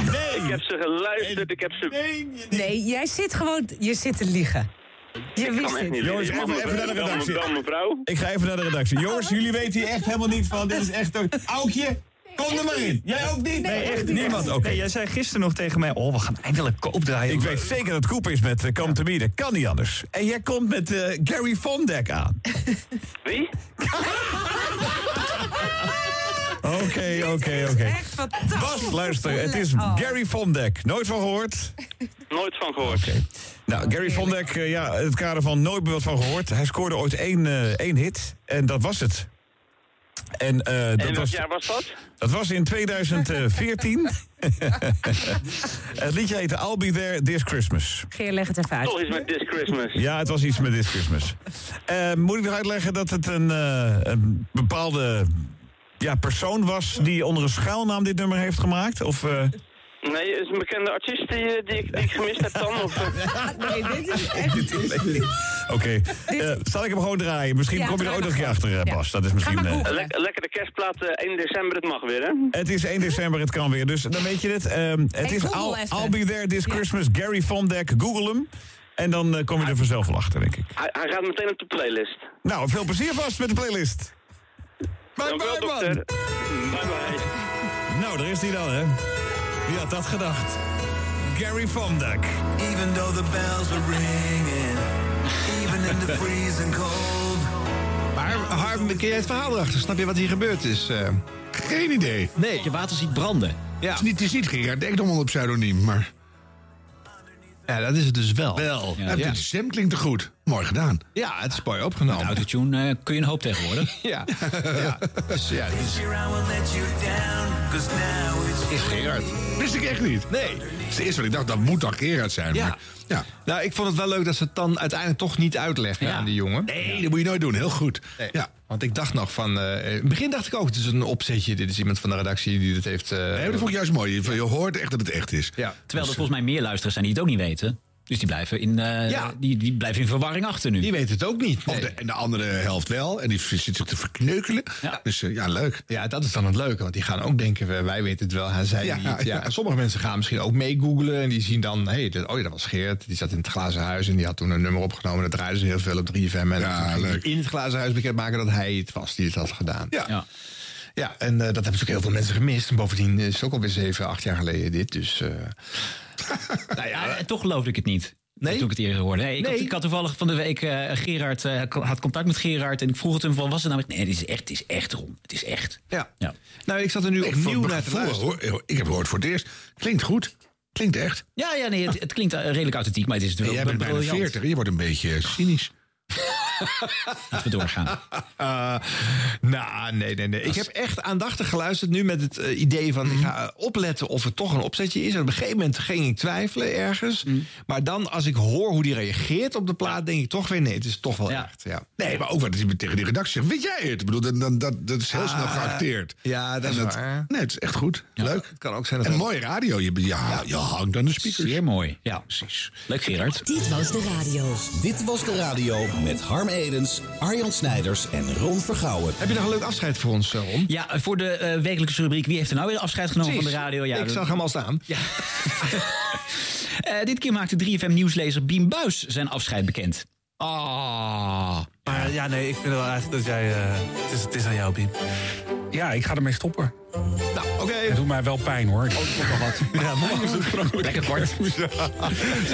Speaker 18: heb ze geluisterd. Ik heb ze...
Speaker 14: Nee, jij zit gewoon, je zit te liegen. Je
Speaker 18: kan
Speaker 14: wist
Speaker 18: echt niet
Speaker 14: het.
Speaker 19: Jongens,
Speaker 18: Dan
Speaker 19: even, even naar de
Speaker 18: mevrouw,
Speaker 19: redactie.
Speaker 18: dan
Speaker 19: Ik ga even naar de redactie. Jongens, jullie weten hier echt helemaal niet van. Dit is echt een aukje. Kom er maar in. Jij ook niet?
Speaker 20: Nee, echt niet.
Speaker 19: Niemand. Oké.
Speaker 20: Nee, jij zei gisteren nog tegen mij, oh, we gaan eindelijk koop draaien.
Speaker 19: Ik weet zeker dat het koep is met eh, Come to Me. Dat kan niet anders. En jij komt met eh, Gary Vondek aan.
Speaker 18: Wie?
Speaker 19: Oké, oké, oké.
Speaker 14: Echt fantastisch.
Speaker 19: Bas, luister, het is
Speaker 14: Oh.
Speaker 19: Gary Vondek. Nooit van gehoord?
Speaker 18: Nooit van gehoord.
Speaker 19: Nou, Gary Vondek, eh, ja, in het kader van nooit meer wat van gehoord. Hij scoorde ooit één, eh, één hit en dat was het. En, eh, dat
Speaker 18: en welk
Speaker 19: was,
Speaker 18: jaar was dat?
Speaker 19: dat was in 2014. het liedje heette I'll Be There This Christmas.
Speaker 14: Geer, leg het even uit.
Speaker 18: Toch iets met This Christmas.
Speaker 19: Ja, het was iets met This Christmas. Eh, moet ik nog uitleggen dat het een, eh, een bepaalde ja, persoon was... die onder een schuilnaam dit nummer heeft gemaakt? Of, eh,
Speaker 18: Nee, is een bekende artiest die, eh, die, ik, die ik gemist heb dan? Of... eh?
Speaker 14: Nee, dit is echt...
Speaker 19: Oké, eh, zal ik hem gewoon draaien? Misschien
Speaker 18: Ja,
Speaker 19: kom je er
Speaker 18: draai
Speaker 19: ook nog een keer
Speaker 18: maar
Speaker 19: achter, eh, Bas. Dat is misschien... eh,
Speaker 18: Lek- lekker de kerstplaat eh, 1 december, het mag weer, hè?
Speaker 19: Het is 1 december, het kan weer. Dus dan weet je het. Ehm, het
Speaker 18: Hey,
Speaker 19: is
Speaker 18: Google
Speaker 19: I'll,
Speaker 18: even.
Speaker 19: I'll Be There This Christmas, Gary Vondek. Google hem. En dan eh, kom je er vanzelf wel achter, denk ik.
Speaker 18: Hij, hij gaat meteen op de playlist.
Speaker 19: Nou, veel plezier vast met de playlist. Bye
Speaker 18: Dank u wel,
Speaker 19: bye, man.
Speaker 18: dokter. Bye bye.
Speaker 19: Nou, daar is hij dan, hè. Wie had dat gedacht? Gary Vondek.
Speaker 6: Even though the bells were ringing, even in the freezing cold.
Speaker 4: Maar Harm, ken jij het verhaal erachter? Snap je wat hier gebeurd is?
Speaker 3: eh? Geen idee.
Speaker 4: Nee. Je water ziet branden. Ja.
Speaker 3: Het is niet, het is niet Gerard Ekdom op pseudoniem, maar...
Speaker 4: Ja, dat is het dus wel.
Speaker 3: Wel.
Speaker 4: Ja.
Speaker 3: Ja,
Speaker 4: Ja.
Speaker 3: De stem klinkt te goed. Mooi gedaan.
Speaker 4: Ja, het is mooi opgenomen.
Speaker 2: Met autotune eh, kun je een hoop tegenwoordig.
Speaker 4: ja. ja. Dus, ja, dit is-
Speaker 3: Is Gerard. Wist ik echt niet.
Speaker 4: Nee.
Speaker 3: Dat is het eerste wat ik dacht, dat moet dan Gerard zijn.
Speaker 4: Ja.
Speaker 3: Maar, ja.
Speaker 4: Nou, ik vond het wel leuk dat ze het dan uiteindelijk toch niet uitleggen aan die jongen.
Speaker 3: Nee, dat moet je nooit doen. Heel goed.
Speaker 4: Ja. Want ik dacht nog van... eh, in het begin dacht ik ook, het is een opzetje. Dit is iemand van de redactie die dit heeft... eh,
Speaker 3: Nee, dat vond ik juist mooi. Je, je hoort echt dat het echt is. Dus
Speaker 4: Ja.
Speaker 2: Terwijl er volgens mij meer luisteraars zijn die het ook niet weten. Dus die blijven in, eh,
Speaker 3: Ja.
Speaker 2: die, die blijven in verwarring achter nu.
Speaker 4: Die weet het ook niet.
Speaker 3: Of de, en de andere helft wel. En die zit zich te verkneukelen. Dus eh, ja, leuk.
Speaker 4: Ja, dat is dan het leuke. Want die gaan ook denken, we- wij weten het wel, hij zei
Speaker 3: Ja,
Speaker 4: niet. Ja,
Speaker 3: ja.
Speaker 4: En sommige mensen gaan misschien ook mee googlen. En die zien dan, hey, dat, oh ja, dat was Geert. Die zat in het glazen huis en die had toen een nummer opgenomen. Dat draaiden ze heel veel op 3FM. En toen ging die in het glazen huis bekendmaken dat hij het was die het had gedaan.
Speaker 3: Ja.
Speaker 2: Ja.
Speaker 4: Ja, en eh, dat hebben natuurlijk heel veel mensen gemist. En bovendien is het ook alweer 7, 8 jaar geleden dit. Dus eh,
Speaker 2: Nou ja, toch geloofde ik het niet. Nee? Toen ik het eerder hoorde. Nee, ik, Had, ik had toevallig van de week eh, Gerard, eh, ko- had contact met Gerard. En ik vroeg het hem van, was het nou... Nee, het is echt, het is echt, Ron. Het is echt.
Speaker 4: Ja.
Speaker 2: ja.
Speaker 4: Nou, ik zat er nu
Speaker 3: Ik vond het gevoel, hoor. ik heb gehoord voor het eerst. Klinkt goed. Klinkt echt.
Speaker 2: Ja, ja, nee, het, het klinkt eh, redelijk authentiek, maar het is
Speaker 3: En
Speaker 2: natuurlijk
Speaker 3: jij
Speaker 2: wel
Speaker 3: bent bijna
Speaker 2: briljant.
Speaker 3: 40. Je wordt een beetje cynisch.
Speaker 2: Laten we doorgaan.
Speaker 4: Eh, nou, nee, nee, nee. Ik heb echt aandachtig geluisterd nu met het eh, idee van...
Speaker 3: Mhm.
Speaker 4: ik ga eh, opletten of het toch een opzetje is. En op een gegeven moment ging ik twijfelen ergens.
Speaker 2: Mhm.
Speaker 4: Maar dan, als ik hoor hoe die reageert op de plaat... denk ik toch weer, nee, het is toch wel echt. Ja.
Speaker 3: Nee, maar ook wat hij tegen die redactie zegt. Weet jij het? Ik bedoel, dat, dat, dat, dat is heel snel
Speaker 4: Ah,
Speaker 3: geacteerd.
Speaker 4: ja, dat
Speaker 3: En
Speaker 4: is waar.
Speaker 3: Nee, het is echt goed. Leuk.
Speaker 4: Het kan ook zijn dat...
Speaker 3: En mooie radio. Je, je, ja, je hangt aan de speakers.
Speaker 2: Zeer mooi. Ja,
Speaker 3: precies.
Speaker 2: Leuk, Gerard.
Speaker 5: Dit was de radio.
Speaker 21: Dit was de radio met Harm Edens, Arjan Snijders en Ron Vergouwen.
Speaker 4: Heb je nog een leuk afscheid voor ons, eh, Ron?
Speaker 2: Ja, eh, voor de eh, wekelijkse rubriek. Wie heeft er nou weer afscheid genomen van de
Speaker 4: Precies.
Speaker 2: radio? Ja,
Speaker 4: ik
Speaker 2: dat-
Speaker 4: zag hem al staan.
Speaker 2: Eh, dit keer maakte 3FM nieuwslezer Biem Buis zijn afscheid bekend. Ah.
Speaker 20: Maar ja, nee, ik vind wel eigenlijk dat jij... eh, het, is, het is aan jou, Piem. Ja, ik ga ermee stoppen.
Speaker 4: Nou, oké.
Speaker 20: Het doet mij wel pijn, hoor. Oh, Ik vond wel wat. Ja, morgen is het vrolijk.
Speaker 2: Lekker kort.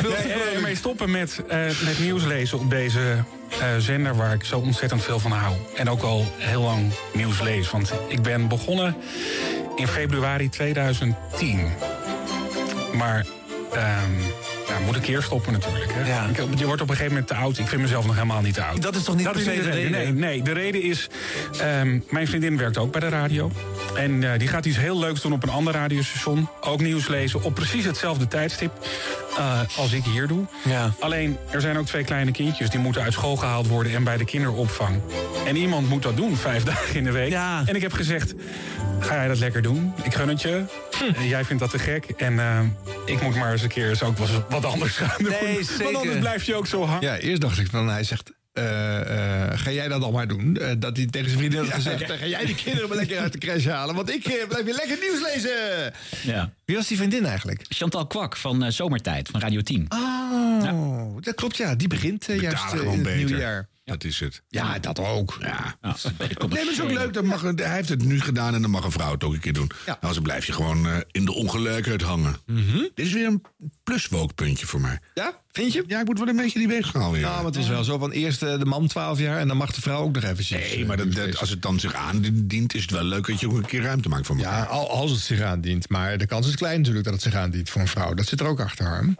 Speaker 20: Nee, eh, ermee stoppen met, eh, met nieuws lezen op deze eh, zender... waar ik zo ontzettend veel van hou. En ook al heel lang nieuws lees. Want ik ben begonnen in februari 2010. Maar ehm, ja, moet ik eerst stoppen natuurlijk. Hè? Ik- je wordt op een gegeven moment te oud. Ik vind mezelf nog helemaal eh, niet te oud.
Speaker 19: Dat is toch niet per se
Speaker 20: de
Speaker 19: de
Speaker 20: reden? Nee,
Speaker 19: reden?
Speaker 20: nee, de reden is... ehm, mijn vriendin werkt ook bij de radio. En eh, die gaat iets heel leuks doen op een ander radiostation. Ook nieuws lezen op precies hetzelfde tijdstip eh, als ik hier doe. Alleen, er zijn ook twee kleine kindjes. Die moeten uit school gehaald worden en bij de kinderopvang. En iemand moet dat doen, vijf dagen in de week. En ik heb gezegd, ga jij dat lekker doen? Ik gun het je.
Speaker 19: Hm.
Speaker 20: Eh, Jij vindt dat te gek. En eh, ik moet maar eens een keer eens ook wat, wat anders gaan doen. Want anders blijf je ook zo hangen.
Speaker 4: Ja, eerst dacht ik van, hij zegt... eh, eh, ga jij dat al maar doen? Eh, dat hij tegen zijn vriendin had gezegd...
Speaker 3: ja.
Speaker 4: eh, ga jij die kinderen maar lekker uit de crash halen... want ik eh, blijf hier lekker nieuws lezen!
Speaker 2: Ja.
Speaker 4: Wie was die vriendin eigenlijk?
Speaker 2: Chantal Kwak van eh, Zomertijd, van Radio 10.
Speaker 4: Oh, dat klopt ja. Die begint eh,
Speaker 3: Betaal
Speaker 4: juist eh,
Speaker 3: Ah, gewoon
Speaker 4: in het
Speaker 3: beter.
Speaker 4: nieuwjaar.
Speaker 3: Dat is het.
Speaker 4: Ja, dat ook.
Speaker 3: Ja.
Speaker 2: Ja, dat komt
Speaker 3: Nee, maar het is ook
Speaker 2: zo.
Speaker 3: leuk. Dat mag, een- hij heeft het nu gedaan en dan mag een vrouw het ook een keer doen.
Speaker 4: Ja.
Speaker 3: Anders blijf je gewoon eh, in de ongelijkheid hangen.
Speaker 20: Mhm.
Speaker 3: Dit is weer een pluswookpuntje voor mij.
Speaker 4: Ja, vind je?
Speaker 3: Ja, ik moet wel een beetje die weg gaan weer.
Speaker 4: Nou, maar het is wel zo van eerst eh, de man 12 jaar... en dan mag de vrouw ook nog eventjes. eh,
Speaker 3: Nee, maar dat, dat- als het dan zich aandient, is het wel leuk dat je ook een keer ruimte maakt voor elkaar.
Speaker 4: Ja, al- als het zich aandient. Maar de kans is klein natuurlijk dat het zich
Speaker 3: Hm.
Speaker 4: aandient voor een vrouw. Dat zit er ook achter, Harm.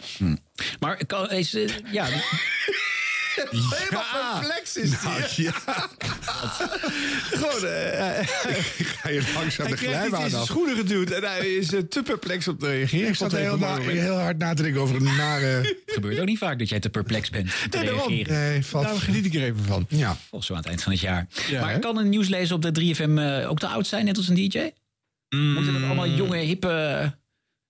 Speaker 2: Maar kan- is, eh, ja,
Speaker 4: Helemaal perplex is die.
Speaker 3: Nou, ja.
Speaker 4: Gewoon, eh,
Speaker 3: Ga je langzaam
Speaker 4: hij
Speaker 3: de
Speaker 4: kreeg niet
Speaker 3: glijbaan
Speaker 4: in zijn
Speaker 3: af.
Speaker 4: schoenen geduwd en hij is eh, te perplex op te reageren.
Speaker 3: Ik zat
Speaker 4: Op
Speaker 3: heel,
Speaker 4: een
Speaker 3: na-
Speaker 4: moment.
Speaker 3: heel hard na te denken over een nare...
Speaker 2: Het gebeurt ook niet vaak dat jij te perplex bent te
Speaker 4: Nee, daarom.
Speaker 2: reageren.
Speaker 3: Nee, valt-
Speaker 7: Nou,
Speaker 4: Daarom geniet ik er even van.
Speaker 3: Ja.
Speaker 2: Of zo aan het eind van het jaar.
Speaker 4: Ja,
Speaker 2: maar
Speaker 4: hè?
Speaker 2: kan een nieuwslezer op de 3FM eh, ook te oud zijn, net als een DJ?
Speaker 4: Mm.
Speaker 2: Moeten
Speaker 3: Mm.
Speaker 2: dat allemaal jonge, hippe eh,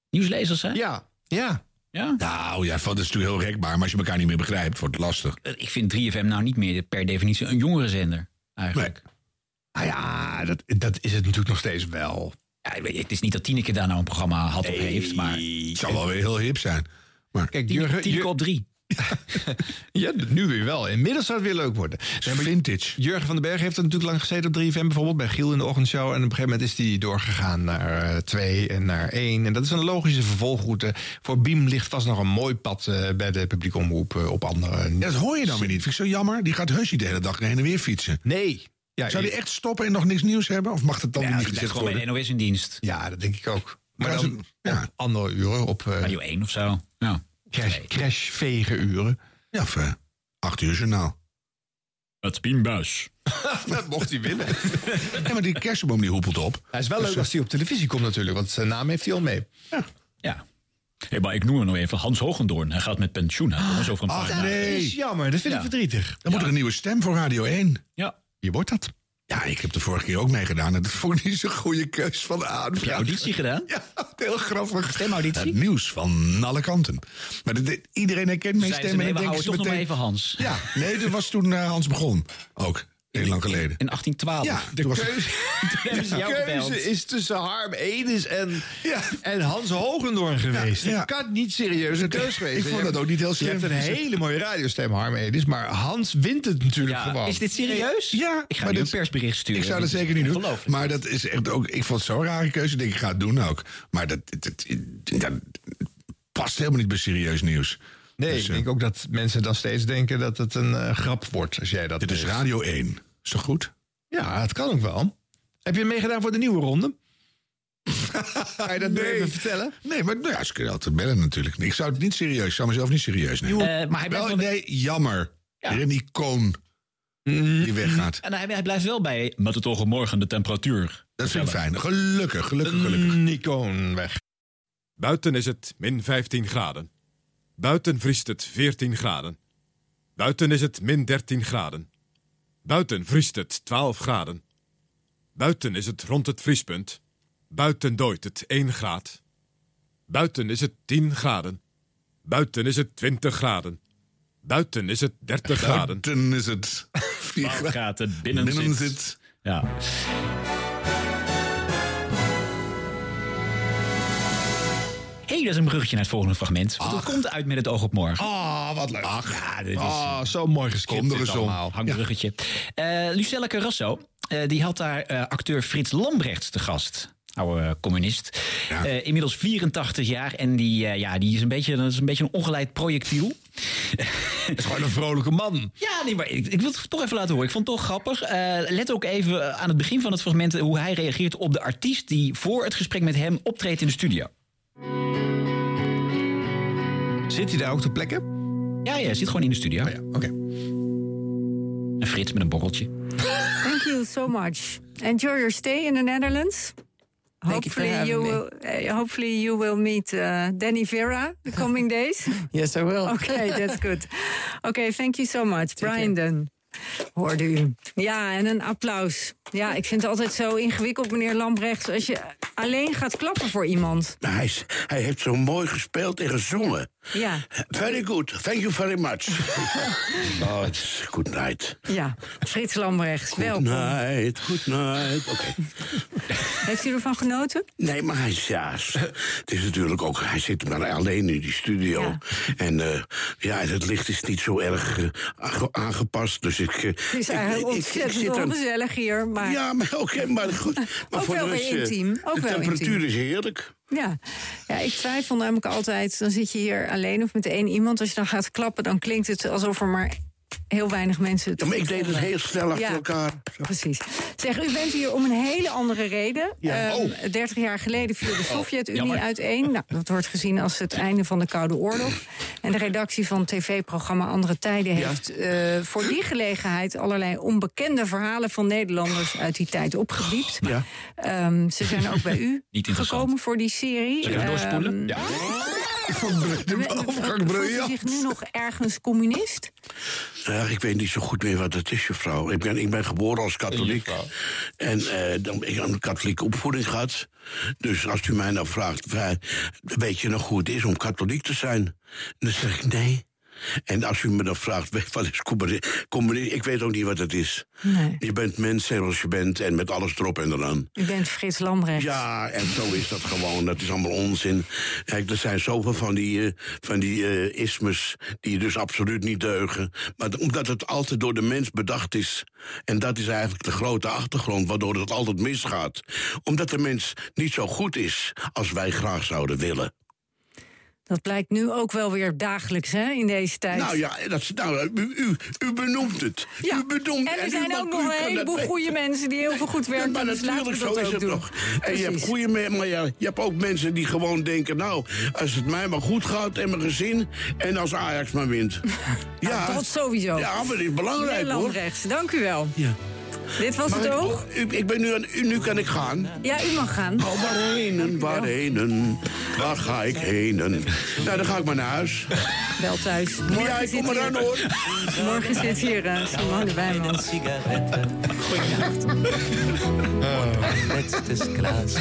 Speaker 2: nieuwslezers zijn?
Speaker 4: Ja. Ja.
Speaker 2: Ja?
Speaker 3: Nou ja, van, dat is natuurlijk heel rekbaar. Maar als je elkaar niet meer begrijpt, wordt het lastig.
Speaker 2: Eh, Ik vind 3FM nou niet meer per definitie een jongere zender, eigenlijk.
Speaker 4: Nou ja, dat, dat is het natuurlijk nog steeds wel.
Speaker 2: Ja, ik weet- het is niet dat Tineke daar nou een programma had of heeft, maar...
Speaker 3: Het zal wel weer heel hip zijn. Maar
Speaker 4: Kijk,
Speaker 2: Tineke,
Speaker 4: Jurgen-
Speaker 2: Tineke op drie.
Speaker 4: Ja, nu weer wel. Inmiddels zou het weer leuk worden. vintage. Jurgen van den Berg heeft er natuurlijk lang gezeten op 3FM bijvoorbeeld. Bij Giel in de ochtendshow. En op een gegeven moment is die doorgegaan naar eh, 2 en naar 1. En dat is een logische vervolgroute. Voor Biem ligt vast nog een mooi pad eh, bij de publieke omroep eh, op andere...
Speaker 3: Ja, dat hoor je dan weer niet. Vind ik zo jammer. Die gaat heus niet de hele dag heen en weer fietsen.
Speaker 4: Nee. Ja,
Speaker 3: Zou die
Speaker 4: ik-
Speaker 3: echt stoppen en nog niks nieuws hebben? Of mag dat dan
Speaker 2: Ja,
Speaker 3: niet
Speaker 2: die blijft
Speaker 3: gezegd
Speaker 2: Nou, gewoon bij
Speaker 3: worden?
Speaker 2: de NOS in dienst.
Speaker 4: Ja, dat denk ik ook. Maar
Speaker 3: Gaan
Speaker 4: dan ja. andere uren op eh,
Speaker 2: Radio 1 of zo. Ja.
Speaker 4: crash, crashvege uren.
Speaker 3: Ja, of eh, acht uur journaal.
Speaker 2: Het Pienbuis.
Speaker 4: dat mocht hij willen.
Speaker 3: Ja, maar die kersenboom die hoepelt op.
Speaker 4: Hij is wel
Speaker 3: Dus,
Speaker 4: leuk
Speaker 3: eh,
Speaker 4: als hij op televisie komt natuurlijk. Want zijn naam heeft hij al mee.
Speaker 2: Ja. Hé, maar ik noem hem nog even Hans Hogendoorn. Hij gaat met pensioen. Hij komt over een paar
Speaker 3: Ach
Speaker 2: jaar.
Speaker 4: Dat is
Speaker 3: nee,
Speaker 4: jammer. Dat vind ik
Speaker 2: Ja.
Speaker 4: verdrietig.
Speaker 3: dan moet er een nieuwe stem voor Radio 1.
Speaker 2: Ja.
Speaker 4: Je wordt dat.
Speaker 3: Ja, ik heb de vorige keer ook meegedaan. En dat vond ik niet zo'n goede keus van de
Speaker 2: Heb je
Speaker 3: aanvraag.
Speaker 2: auditie gedaan?
Speaker 3: Ja, heel grappig.
Speaker 2: Stemauditie?
Speaker 3: Het nieuws van alle kanten. Maar dit- dit- iedereen herkent mijn
Speaker 2: Zeiden ze,
Speaker 3: stem.
Speaker 2: nee,
Speaker 3: En dan
Speaker 2: we houden
Speaker 3: denken ze
Speaker 2: toch nog maar
Speaker 3: meteen...
Speaker 2: even Hans.
Speaker 3: Ja, nee, dat was toen eh, Hans begon. Ook, heel lang geleden.
Speaker 2: In 1812.
Speaker 3: Ah, Ja, toen was het-
Speaker 2: hebben ze
Speaker 4: De
Speaker 2: jou gebeld.
Speaker 4: keuze is tussen Harm Edens en,
Speaker 3: Ja.
Speaker 4: en Hans Hogendoorn geweest.
Speaker 3: ja.
Speaker 4: Dat kan niet serieus een keuze geweest
Speaker 3: ik
Speaker 4: zijn.
Speaker 3: vond
Speaker 4: Je
Speaker 3: dat
Speaker 4: hebt-
Speaker 3: ook niet heel
Speaker 4: Je
Speaker 3: slim.
Speaker 4: hebt een hele mooie radiostem, Harm Edens. Maar Hans wint het natuurlijk
Speaker 2: Ja,
Speaker 4: gewoon.
Speaker 2: Is dit serieus?
Speaker 3: Ja,
Speaker 2: Ik ga
Speaker 3: maar
Speaker 2: nu een
Speaker 3: dit-
Speaker 2: persbericht sturen.
Speaker 3: Ik zou dat
Speaker 2: Dit is
Speaker 3: zeker niet doen.
Speaker 2: ongelooflijk.
Speaker 3: Maar dat is echt ook. Ik vond het zo'n rare keuze. Ik denk, ik ga het doen ook. Maar dat, dat, dat- dat past helemaal niet bij serieus nieuws.
Speaker 4: nee,
Speaker 3: Dus,
Speaker 4: ik
Speaker 3: eh,
Speaker 4: denk ook dat mensen dan steeds denken dat het een eh, grap wordt als jij dat
Speaker 3: Dit is
Speaker 4: leest.
Speaker 3: Radio 1. Is toch goed?
Speaker 4: Ja, het kan ook wel. Heb je meegedaan voor de nieuwe ronde? Ga je dat nu even vertellen?
Speaker 3: Nee, maar nou ja, ze kunnen altijd bellen natuurlijk. Ik zou het niet serieus, ik zou mezelf niet serieus nemen.
Speaker 2: Eh, maar hij blijft,
Speaker 3: Wel,
Speaker 2: wel,
Speaker 3: nee, jammer.
Speaker 2: Ja. Mhm.
Speaker 3: Weer een icoon die weggaat.
Speaker 2: en hij, hij blijft wel bij... Met het ogen morgen de temperatuur.
Speaker 3: Dat vind ik fijn. Gelukkig, gelukkig, gelukkig.
Speaker 4: Een icoon weg.
Speaker 10: Buiten is het min 15 graden. Buiten vriest het 14 graden. Buiten is het min 13 graden. Buiten vriest het 12 graden. Buiten is het rond het vriespunt. Buiten dooit het 1 graad. Buiten is het 10 graden. Buiten is het 20 graden. Buiten is het 30 graden.
Speaker 3: Buiten is het. Vier graden.
Speaker 2: gaat het binnen,
Speaker 3: Binnen
Speaker 2: zit.
Speaker 3: zit.
Speaker 2: Ja. Hé, hey, dat is een bruggetje naar het volgende fragment. Want het komt uit met het oog op morgen.
Speaker 3: Ah, wat leuk.
Speaker 2: ja, dit is
Speaker 4: Ah, zo mooi geskipt.
Speaker 3: Kom er
Speaker 4: dit
Speaker 3: eens om.
Speaker 4: allemaal.
Speaker 2: een bruggetje. Eh, Lucella Carrasso, eh, die had daar eh, acteur Frits Lambrechts te gast. Oude eh, communist. Eh, inmiddels 84 jaar. En die, eh, ja, die is, een beetje, dat is een beetje een ongeleid projectiel.
Speaker 4: Het is gewoon een vrolijke man.
Speaker 2: Ja, nee, maar ik, ik wil het toch even laten horen. Ik vond het toch grappig. Eh, let ook even eh, aan het begin van het fragment hoe hij reageert op de artiest die voor het gesprek met hem optreedt in de studio.
Speaker 4: Zit hij daar ook ter plekke?
Speaker 2: Ja, ja, zit gewoon in de studio.
Speaker 4: Oh ja, oké.
Speaker 2: En Frits met een borreltje.
Speaker 11: Thank you so much. Enjoy your stay in the Netherlands.
Speaker 7: Thank you for
Speaker 11: Hopefully you,
Speaker 7: having me.
Speaker 11: will, eh, hopefully you will meet uh, Danny Vera the coming days.
Speaker 7: Yes, I will.
Speaker 11: Okay, that's good. Okay, thank you so much. Brian Dunn. Hoorde u. Ja, en een applaus. Ja, ik vind het altijd zo ingewikkeld, meneer Lambrechts... als je alleen gaat klappen voor iemand.
Speaker 22: Nou, hij, is- hij heeft zo mooi gespeeld en gezongen.
Speaker 11: Ja,
Speaker 22: Very good. Thank you very much. oh, het is good night.
Speaker 11: ja. Frits Lambrechts,
Speaker 22: Good
Speaker 11: welkom.
Speaker 22: night, good night. Oké.
Speaker 11: Heeft u ervan genoten?
Speaker 22: Nee, maar hij is ja, s- Het is natuurlijk ook. Hij zit maar alleen in die studio.
Speaker 11: Ja.
Speaker 22: En eh, ja, en het licht is niet zo erg eh, aange- aangepast. Dus ik. eh,
Speaker 11: Het is
Speaker 22: ik-
Speaker 11: eigenlijk
Speaker 22: ik- ik- ik
Speaker 11: ontzettend
Speaker 22: zit aan-
Speaker 11: ongezellig hier, maar...
Speaker 22: Ja, maar oké, maar goed. Maar
Speaker 11: Ook
Speaker 22: voor
Speaker 11: wel
Speaker 22: de
Speaker 11: weer
Speaker 22: rest, eh,
Speaker 11: intiem, ook
Speaker 22: de
Speaker 11: wel
Speaker 22: temperatuur
Speaker 11: intiem.
Speaker 22: is heerlijk.
Speaker 11: Ja. ja, ik twijfel namelijk altijd. Dan zit je hier alleen of met één iemand. Als je dan gaat klappen, dan klinkt het alsof er maar heel weinig mensen het
Speaker 22: Ja, maar ik deed het
Speaker 11: vonden.
Speaker 22: heel snel achter
Speaker 11: Ja.
Speaker 22: elkaar.
Speaker 11: Precies. Zeg, u bent hier om een hele andere reden.
Speaker 22: Ja.
Speaker 11: Ehm,
Speaker 22: Oh.
Speaker 11: 30 jaar geleden viel de
Speaker 22: Oh,
Speaker 11: Sovjet-Unie
Speaker 22: jammer.
Speaker 11: uiteen. Nou, dat wordt gezien als het einde van de Koude Oorlog. En de redactie van tv-programma Andere Tijden
Speaker 23: Ja.
Speaker 11: heeft eh, voor die gelegenheid allerlei onbekende verhalen van Nederlanders uit die tijd opgediept.
Speaker 23: Ja.
Speaker 11: Ehm, ze zijn ook bij u
Speaker 23: Niet interessant.
Speaker 11: gekomen voor die serie.
Speaker 23: Zullen we even doorspoelen?
Speaker 11: Ehm,
Speaker 23: Ja.
Speaker 22: Ik vond de overgang
Speaker 11: Voelt u
Speaker 22: briljant.
Speaker 11: zich nu nog ergens communist?
Speaker 22: Ja, ik weet niet zo goed meer wat het is, juffrouw. Ik ben, ik ben geboren als katholiek. En eh, dan, ik heb een katholieke opvoeding gehad. Dus als u mij nou vraagt, wa- weet je nog hoe het is om katholiek te zijn? Dan zeg ik nee. En als u me dan vraagt, weet- wat is communisme? Ik weet ook niet wat het is.
Speaker 11: Nee.
Speaker 22: Je bent mens zoals je bent en met alles erop en eraan.
Speaker 11: U bent Frits Lambrecht.
Speaker 22: Ja,
Speaker 3: Ah,
Speaker 22: en zo is dat gewoon. Dat is allemaal onzin. Kijk, er zijn zoveel van die, eh, van die eh, ismes die dus absoluut niet deugen. Maar d- omdat het altijd door de mens bedacht is. En dat is eigenlijk de grote achtergrond waardoor het altijd misgaat. Omdat de mens niet zo goed is als wij graag zouden willen.
Speaker 11: Dat blijkt nu ook wel weer dagelijks hè, in deze tijd.
Speaker 22: Nou ja, dat, is- nou, u, u, u benoemt het.
Speaker 11: Ja,
Speaker 22: U benoemt
Speaker 11: en er
Speaker 22: u
Speaker 11: zijn
Speaker 22: mag-
Speaker 11: ook
Speaker 22: u
Speaker 11: nog
Speaker 22: kan
Speaker 11: een
Speaker 22: dat
Speaker 11: heleboel
Speaker 22: weten.
Speaker 11: goede mensen die heel veel goed
Speaker 22: Ja,
Speaker 11: werken.
Speaker 22: maar
Speaker 11: dus laten
Speaker 22: natuurlijk,
Speaker 11: we
Speaker 22: zo
Speaker 11: dat
Speaker 22: is
Speaker 11: ook
Speaker 22: het
Speaker 11: doen.
Speaker 22: nog. En je hebt
Speaker 11: Precies.
Speaker 22: goede mensen, maar ja, je hebt ook mensen die gewoon denken... nou, als het mij maar goed gaat en mijn gezin... en als Ajax maar wint. ja,
Speaker 11: Nou, Dat sowieso.
Speaker 22: ja, maar dit is belangrijk,
Speaker 11: Meneer
Speaker 22: hoor.
Speaker 11: Lambrechts, dank u wel. Dit was
Speaker 22: Mag
Speaker 11: het
Speaker 22: ik-
Speaker 11: oog.
Speaker 22: u- ik ben nu, aan, u, nu kan ik gaan.
Speaker 11: Ja, u mag gaan.
Speaker 22: Oh, waarheen, waarheen, waar ga ik heen? Nou, dan ga ik maar naar huis.
Speaker 11: Wel thuis. Morgen
Speaker 22: Ja, ik kom
Speaker 11: zit
Speaker 22: eraan,
Speaker 11: hier-
Speaker 22: hoor.
Speaker 11: Morgen zit hier eh, Simone Wijmans.
Speaker 1: Goeienacht. Und letztes Glas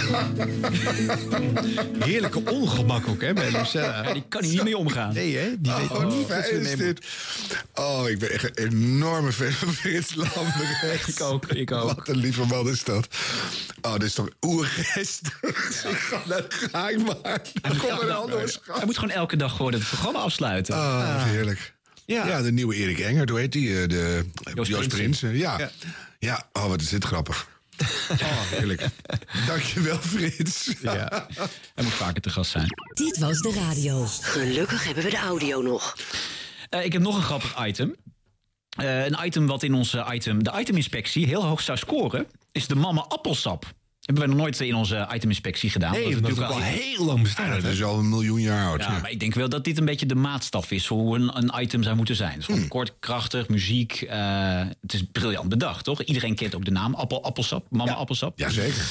Speaker 4: Heerlijke ongemak ook, hè, bij Lucella.
Speaker 2: Ja, die kan hier niet mee omgaan.
Speaker 4: Nee, hè? Die weet
Speaker 2: Oh,
Speaker 4: niet wat ze
Speaker 2: fijn is
Speaker 4: mee
Speaker 2: dit.
Speaker 4: Oh, ik ben echt een enorme fan van Frits Lambrecht. Ik ook, ik ook. Wat een lieve man is dat. Oh, dit is toch oergestig. Ik ga naar de maar. Dan komt er een andere schat.
Speaker 2: Hij moet gewoon elke dag gewoon het programma afsluiten.
Speaker 4: Ah, dat is heerlijk. Ja. de nieuwe Erik Engert, hoe heet die? eh, De, Joost, Prins. eh, Ja. ja. oh, wat is dit grappig. Oh, heerlijk. Dankjewel, Frits.
Speaker 2: Ja. Hij moet vaker te gast zijn.
Speaker 24: Dit was de radio. Gelukkig hebben we de audio nog.
Speaker 2: Eh, ik heb nog een grappig item. Eh, een item wat in onze item, de iteminspectie heel hoog zou scoren, is de mama appelsap. Hebben wij nog nooit in onze iteminspectie gedaan.
Speaker 4: Nee,
Speaker 2: omdat het
Speaker 4: omdat het
Speaker 2: natuurlijk
Speaker 4: al heel lang bestaat,
Speaker 2: Ja,
Speaker 4: Dat is al een miljoen jaar oud.
Speaker 2: Ja, maar ik denk wel dat dit een beetje de maatstaf is voor hoe een, een item zou moeten zijn. Dus
Speaker 3: Hmm.
Speaker 2: gewoon kort, krachtig, muziek. eh, het is briljant bedacht, toch? Iedereen kent ook de naam Appel, Appelsap, Mama Appelsap. Ehm,
Speaker 4: Jazeker.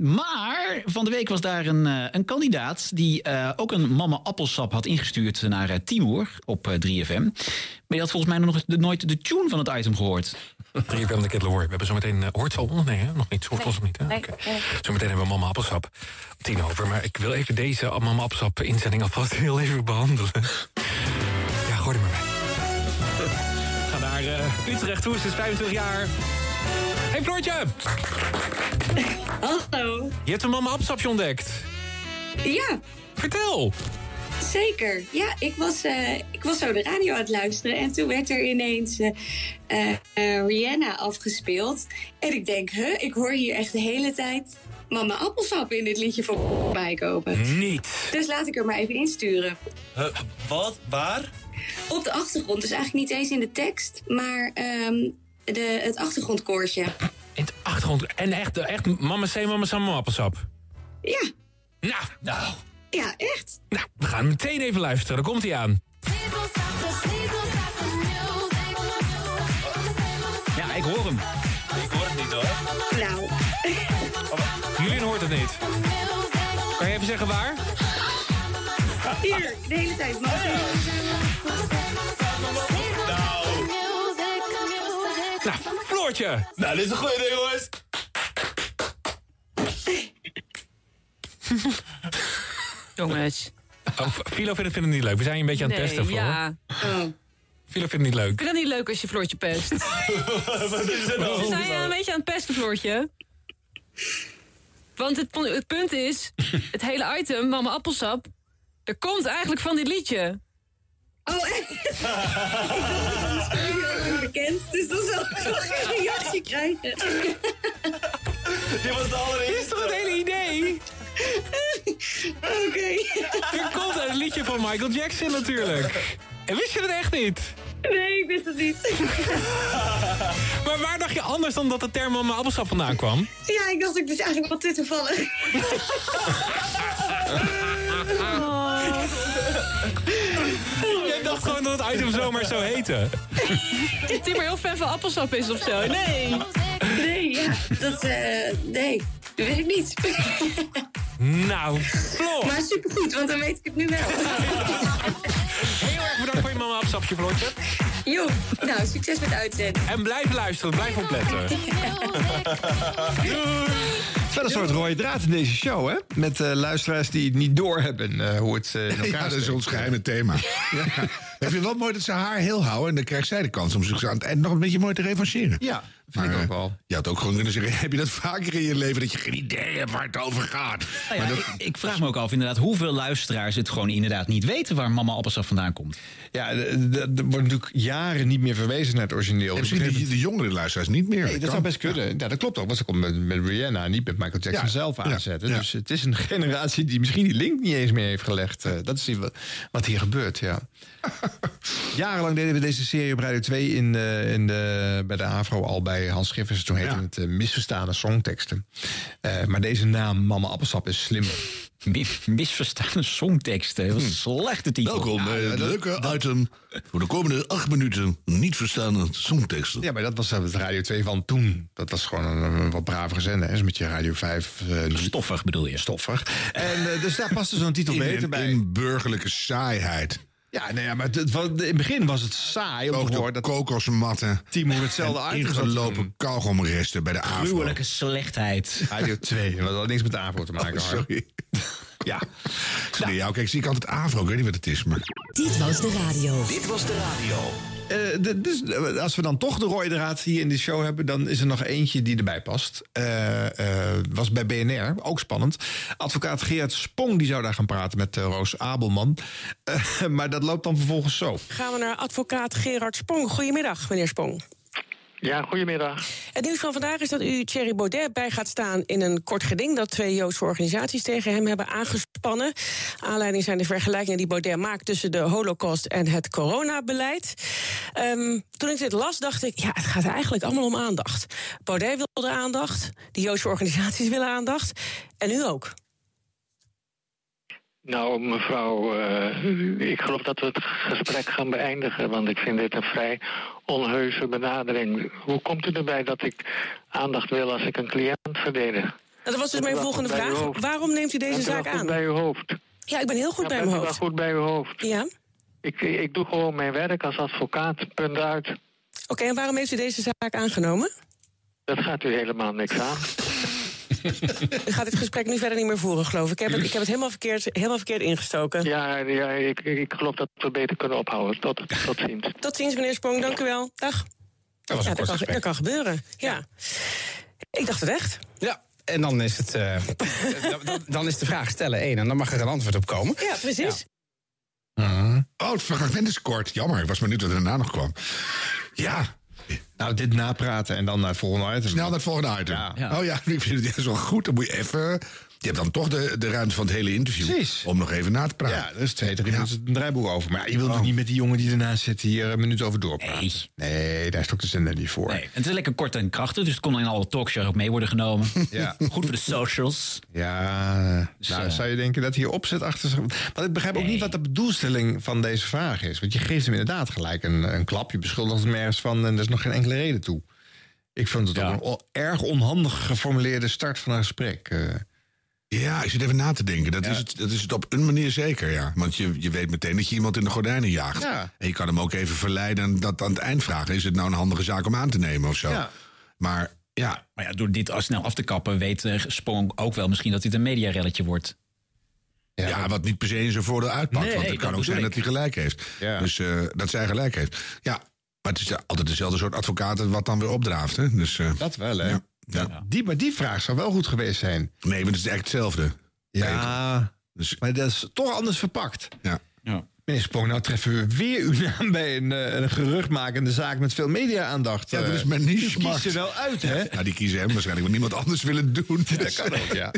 Speaker 2: maar van de week was daar een, eh, een kandidaat die eh, ook een Mama Appelsap had ingestuurd naar eh, Timur op eh, 3FM. Maar die had volgens mij nog de- nooit de tune van het item gehoord.
Speaker 7: 3FM de Kettle Hoor. We hebben zometeen... eh, hoort het al ons? Nee, hè? nog niet. Hoort ons nog niet, hè? Oké. Zometeen hebben we Mama Appelsap. om Tien over. Maar ik wil even deze Mama Appelsap inzending alvast heel even behandelen. Ja, gooi er maar bij. Ga naar eh, Utrecht. Hoe is het? 25 jaar. Hey Floortje!
Speaker 25: Hallo.
Speaker 7: Je hebt een Mama Appelsapje ontdekt.
Speaker 25: Ja,
Speaker 7: Vertel!
Speaker 25: zeker. Ja, ik was, eh, ik was zo de radio aan het luisteren. En toen werd er ineens eh, eh, eh, Rihanna afgespeeld. En ik denk, huh, ik hoor hier echt de hele tijd Mama Appelsap in dit liedje voorbij komen.
Speaker 7: Niet.
Speaker 25: Dus laat ik er maar even insturen.
Speaker 7: wat? Waar?
Speaker 25: Op de achtergrond, dus eigenlijk niet eens in de tekst, maar ehm, de, het achtergrondkoortje.
Speaker 7: Achtergrond. En echt, eh, echt Mama C, Mama Sam, Mama Appelsap.
Speaker 25: Ja,
Speaker 7: Nou, nou.
Speaker 25: ja, echt.
Speaker 7: We gaan meteen even luisteren. Daar komt hij aan.
Speaker 2: Ja, ik hoor hem.
Speaker 7: Ik hoor het niet hoor.
Speaker 25: Nou,
Speaker 7: Jullie hoort het niet. Kan je even zeggen waar?
Speaker 25: hier, de hele tijd. Mama
Speaker 7: Nou, Floortje. Nou, dit is een goeie ding, jongens.
Speaker 25: Jongens.
Speaker 7: Oh, Philo vindt het, vindt het niet leuk. We zijn je een beetje aan het
Speaker 5: Nee,
Speaker 7: testen, Floor.
Speaker 5: ja.
Speaker 25: Oh.
Speaker 7: Philo vindt het niet
Speaker 5: Ik
Speaker 7: leuk.
Speaker 5: vind het niet leuk als je Floortje pest.
Speaker 7: Wat is er nou?
Speaker 5: We zijn een beetje aan het pesten, Floortje. Want het, pon- het punt is, het hele item, Mama Appelsap... dat komt eigenlijk van dit liedje.
Speaker 25: Oh, echt? heel onbekend, dus dat zal ik nog geen reactie krijgen.
Speaker 7: Dit was de allereerste. Is toch het hele idee?
Speaker 25: Oké.
Speaker 7: Dit komt uit het liedje van Michael Jackson Oh, natuurlijk.
Speaker 20: En wist je dat echt niet?
Speaker 5: Nee, ik wist het niet.
Speaker 20: Maar waar dacht je anders dan dat de term mama appelsap vandaan kwam?
Speaker 5: ja, ik dacht, ik wist eigenlijk wat dit toevallig.
Speaker 20: Jij dacht gewoon dat het item zomaar zou heten.
Speaker 26: Dat Timmer heel fan van appelsap is of zo. Nee.
Speaker 5: Nee, ja, dat, eh, nee, dat weet ik niet.
Speaker 20: Nou, Floor.
Speaker 5: Maar supergoed, want dan weet ik het nu wel.
Speaker 20: Heel erg bedankt voor je mama appelsapje, Floortje.
Speaker 5: Jo, nou, succes met uitzenden.
Speaker 20: En blijf luisteren, blijf opletten.
Speaker 4: Wel een soort rode draad in deze show, hè? Met eh, luisteraars die het niet doorhebben eh, hoe het eh in elkaar
Speaker 3: Ja, dat is
Speaker 4: steekt.
Speaker 3: ons geheime thema. Ja. Ik vind het wel mooi dat ze haar heel houden. En dan krijgt zij de kans om zich aan het eind nog een beetje mooi te revancheren.
Speaker 4: Ja,
Speaker 3: vind ik ook wel. Je had ook gewoon kunnen zeggen, heb je dat vaker in je leven... dat je geen idee hebt waar het over gaat?
Speaker 2: Nou ja, ik, ik vraag me ook af inderdaad hoeveel luisteraars het gewoon inderdaad niet weten waar mama appelsap vandaan komt.
Speaker 4: Ja, d- d- er wordt natuurlijk jaren niet meer verwezen naar het origineel. Dus
Speaker 3: misschien de- jongere luisteraars niet meer.
Speaker 4: Nee, dat zou best kunnen. Ja, dat klopt ook. Want ze komt met, met Rihanna, niet met Michael Jackson
Speaker 3: Ja,
Speaker 4: zelf
Speaker 3: ja,
Speaker 4: aanzetten.
Speaker 3: ja.
Speaker 4: Dus het is een generatie die misschien die link niet eens meer heeft gelegd. Eh, dat is die wa- wat hier gebeurt, ja. Jarenlang deden we deze serie op Radio 2 in, eh, in de, bij de AVRO al bij Hans Schiffers. Toen heette het eh, Misverstaande Songteksten. Eh, maar deze naam, Mama Appelsap, is slimmer. Hmm.
Speaker 2: Misverstaande songteksten. Dat is een slechte titel.
Speaker 3: Welkom bij het leuke item eh, voor de komende acht minuten niet verstaande songteksten.
Speaker 4: Ja, maar dat was eh, het Radio 2 van toen. Dat was gewoon een, een wat bravere zender. Is met je Radio 5.
Speaker 2: stoffig bedoel je?
Speaker 4: Stoffig. En eh, dus daar past dus een titel
Speaker 3: In
Speaker 4: beter
Speaker 3: een
Speaker 4: bij.
Speaker 3: burgerlijke saaiheid.
Speaker 4: Ja, nee, ja, maar het, wa- in het begin was het saai om te horen dat...
Speaker 3: kokosmatten.
Speaker 4: Timo hetzelfde
Speaker 3: En
Speaker 4: item zat te
Speaker 3: ingelopen kauwgomresten bij de avond.
Speaker 2: Gruwelijke slechtheid.
Speaker 4: Radio 2. Dat had niks met de AVRO te maken.
Speaker 3: Oh, sorry.
Speaker 4: ja.
Speaker 3: Nee, ja, kijk, zie ik altijd AVRO. Ik weet niet wat het is, maar...
Speaker 27: Dit was de radio.
Speaker 28: Dit was de radio.
Speaker 4: Eh, de- dus, eh, als we dan toch de rode draad hier in de show hebben, dan is er nog eentje die erbij past. Eh, eh, was bij BNR, ook spannend. Advocaat Gerard Spong die zou daar gaan praten met eh, Roos Abelman. Eh, maar dat loopt dan vervolgens zo.
Speaker 17: Gaan we naar advocaat Gerard Spong. Goedemiddag, meneer Spong.
Speaker 29: Ja, goedemiddag.
Speaker 17: Het nieuws van vandaag is dat u Thierry Baudet bij gaat staan in een kort geding dat twee Joodse organisaties tegen hem hebben aangespannen. Aanleiding zijn de vergelijkingen die Baudet maakt tussen de holocaust en het coronabeleid. Ehm, toen ik dit las, dacht ik, ja, het gaat eigenlijk allemaal om aandacht. Baudet wilde aandacht, de Joodse organisaties willen aandacht. En u ook.
Speaker 29: Nou, mevrouw, eh, ik geloof dat we het gesprek gaan beëindigen, want ik vind dit een vrij onheuse benadering. Hoe komt u erbij dat ik aandacht wil als ik een cliënt verdedig?
Speaker 17: Nou, dat was dus
Speaker 29: Bent u
Speaker 17: mijn
Speaker 29: wel
Speaker 17: volgende
Speaker 29: goed bij uw
Speaker 17: vraag.
Speaker 29: hoofd?
Speaker 17: Waarom neemt u deze
Speaker 29: Bent u wel
Speaker 17: zaak
Speaker 29: goed
Speaker 17: aan?
Speaker 29: bij uw hoofd?
Speaker 17: Ja, ik ben heel goed
Speaker 29: Ja,
Speaker 17: bij
Speaker 29: bent
Speaker 17: mijn
Speaker 29: u
Speaker 17: hoofd.
Speaker 29: wel goed bij uw hoofd.
Speaker 17: Ja.
Speaker 29: Ik, ik doe gewoon mijn werk als advocaat, punt uit.
Speaker 17: Oké, en waarom heeft u deze zaak aangenomen?
Speaker 29: Dat gaat u helemaal niks aan.
Speaker 17: U gaat dit gesprek nu verder niet meer voeren, geloof ik. Ik heb het, ik heb het helemaal, verkeerd, helemaal verkeerd ingestoken.
Speaker 29: Ja, ja ik, ik geloof dat we beter kunnen ophouden. Tot, tot ziens.
Speaker 17: Tot ziens, meneer Sprong. Dank u wel. Dag.
Speaker 29: was een
Speaker 17: ja,
Speaker 29: kort
Speaker 17: dat, kan,
Speaker 29: gesprek.
Speaker 17: dat kan gebeuren. Ja. Ik dacht het echt.
Speaker 7: Ja, en dan is het. eh, dan- dan, dan is de vraag stellen één en dan mag er een antwoord op komen.
Speaker 17: Ja, precies.
Speaker 3: Oh, het fragment is kort. Jammer, ik was benieuwd wat er daarna nog kwam. Ja.
Speaker 4: Nou, dit napraten en dan naar het volgende item.
Speaker 3: Snel naar het volgende item. Oh ja, ik vind het juist wel goed. Dan moet je even... Je hebt dan toch de, de ruimte van het hele interview. Om nog even na te praten.
Speaker 4: Ja, dus twee, drie minuten een draaiboek over. Maar ja, je wilt toch niet met die jongen die ernaast zit hier een minuut over doorpraten? Nee, daar is ook de zender niet voor.
Speaker 2: En het is lekker kort en krachtig, dus het kon in alle talkshows ook mee worden genomen.
Speaker 4: Ja.
Speaker 2: Goed voor de socials.
Speaker 4: Ja, nou
Speaker 2: eh,
Speaker 4: zou je denken dat hij opzet achter zich... Want ik begrijp ook niet wat de bedoelstelling van deze vraag is. Want je geeft hem inderdaad gelijk een, een klap. Je beschuldigt hem ergens van en er is nog geen enkele reden toe. Ik vond het ook een o- erg onhandig geformuleerde start van een gesprek. eh.
Speaker 3: Ja, ik zit even na te denken. Dat, is, het, dat is het op een manier zeker, ja. Want je, je weet meteen dat je iemand in de gordijnen jaagt.
Speaker 4: Ja.
Speaker 3: En je kan hem ook even verleiden en dat aan het eind vragen. Is het nou een handige zaak om aan te nemen of zo? Maar ja.
Speaker 2: Maar ja, door dit al snel af te kappen weet eh, Sprong ook wel misschien dat dit een mediarelletje wordt.
Speaker 3: Ja, wat niet per se in zijn voordeel uitpakt.
Speaker 2: Nee,
Speaker 3: want het
Speaker 2: dat
Speaker 3: kan ook
Speaker 2: bedoel
Speaker 3: zijn
Speaker 2: ik.
Speaker 3: dat hij gelijk heeft. Dus eh, dat zij gelijk heeft. Ja, maar het is altijd dezelfde soort advocaten wat dan weer opdraaft. Hè? Dus,
Speaker 4: dat wel, hè?
Speaker 3: Ja.
Speaker 4: Die, maar die vraag zou wel goed geweest zijn.
Speaker 3: Nee, want het is echt hetzelfde. Dus-
Speaker 4: Ja, maar dat is toch anders verpakt.
Speaker 3: Ja.
Speaker 4: Meneer Sprong, nou treffen we weer uw naam bij een, eh, een geruchtmakende zaak met veel media-aandacht.
Speaker 3: Ja, dat
Speaker 4: Eh,
Speaker 3: is mijn niche,
Speaker 4: u kiest
Speaker 3: Mart.
Speaker 4: er wel uit, hè?
Speaker 3: Ja, nou, die kiezen hem waarschijnlijk, want niemand anders wil het doen.
Speaker 4: dat kan ook, ja.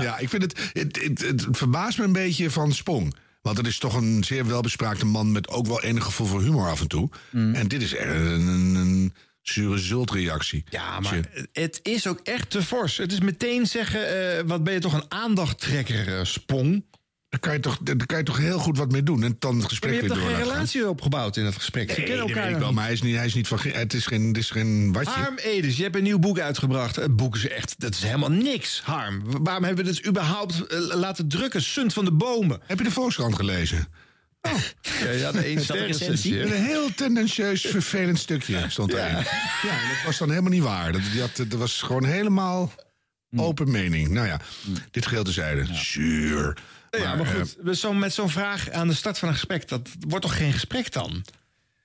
Speaker 3: Ja, ik vind het het, het. het verbaast me een beetje van Spong. Want het is toch een zeer welbespraakte man met ook wel enig gevoel voor humor af en toe.
Speaker 4: Mm.
Speaker 3: En dit is echt een, een, een zure zultreactie.
Speaker 4: Ja, maar het is ook echt te fors. Het is meteen zeggen, eh, wat ben je toch een aandachttrekker, eh, Spong.
Speaker 3: Daar kan, je toch, daar kan je toch heel goed wat mee doen. En dan het gesprek
Speaker 4: je hebt
Speaker 3: weer
Speaker 4: toch
Speaker 3: door
Speaker 4: geen
Speaker 3: laten gaan.
Speaker 4: relatie opgebouwd in dat gesprek? Ze
Speaker 3: Nee,
Speaker 4: kennen
Speaker 3: dat
Speaker 4: elkaar
Speaker 3: weet ik wel,
Speaker 4: nog niet.
Speaker 3: maar hij is niet, hij is niet van... ge- Het is geen, het is geen watje.
Speaker 4: Harm Edens, je hebt een nieuw boek uitgebracht. Het boek is echt, dat is helemaal niks, Harm. Wa- Waarom hebben we dit überhaupt eh, laten drukken? Sunt van de bomen.
Speaker 3: Heb je de Volkskrant gelezen?
Speaker 4: Ja, ja, de ene sterrencensie.
Speaker 3: Een heel tendentieus, vervelend stukje stond erin. Ja, en dat was dan helemaal niet waar. Dat, die had, dat was gewoon helemaal
Speaker 4: Hmm.
Speaker 3: open mening. Nou ja, dit geheel tezijde. Zuur. eh,
Speaker 4: Ja, maar, goed, we zo, met zo'n vraag aan de start van een gesprek, dat wordt toch geen gesprek dan?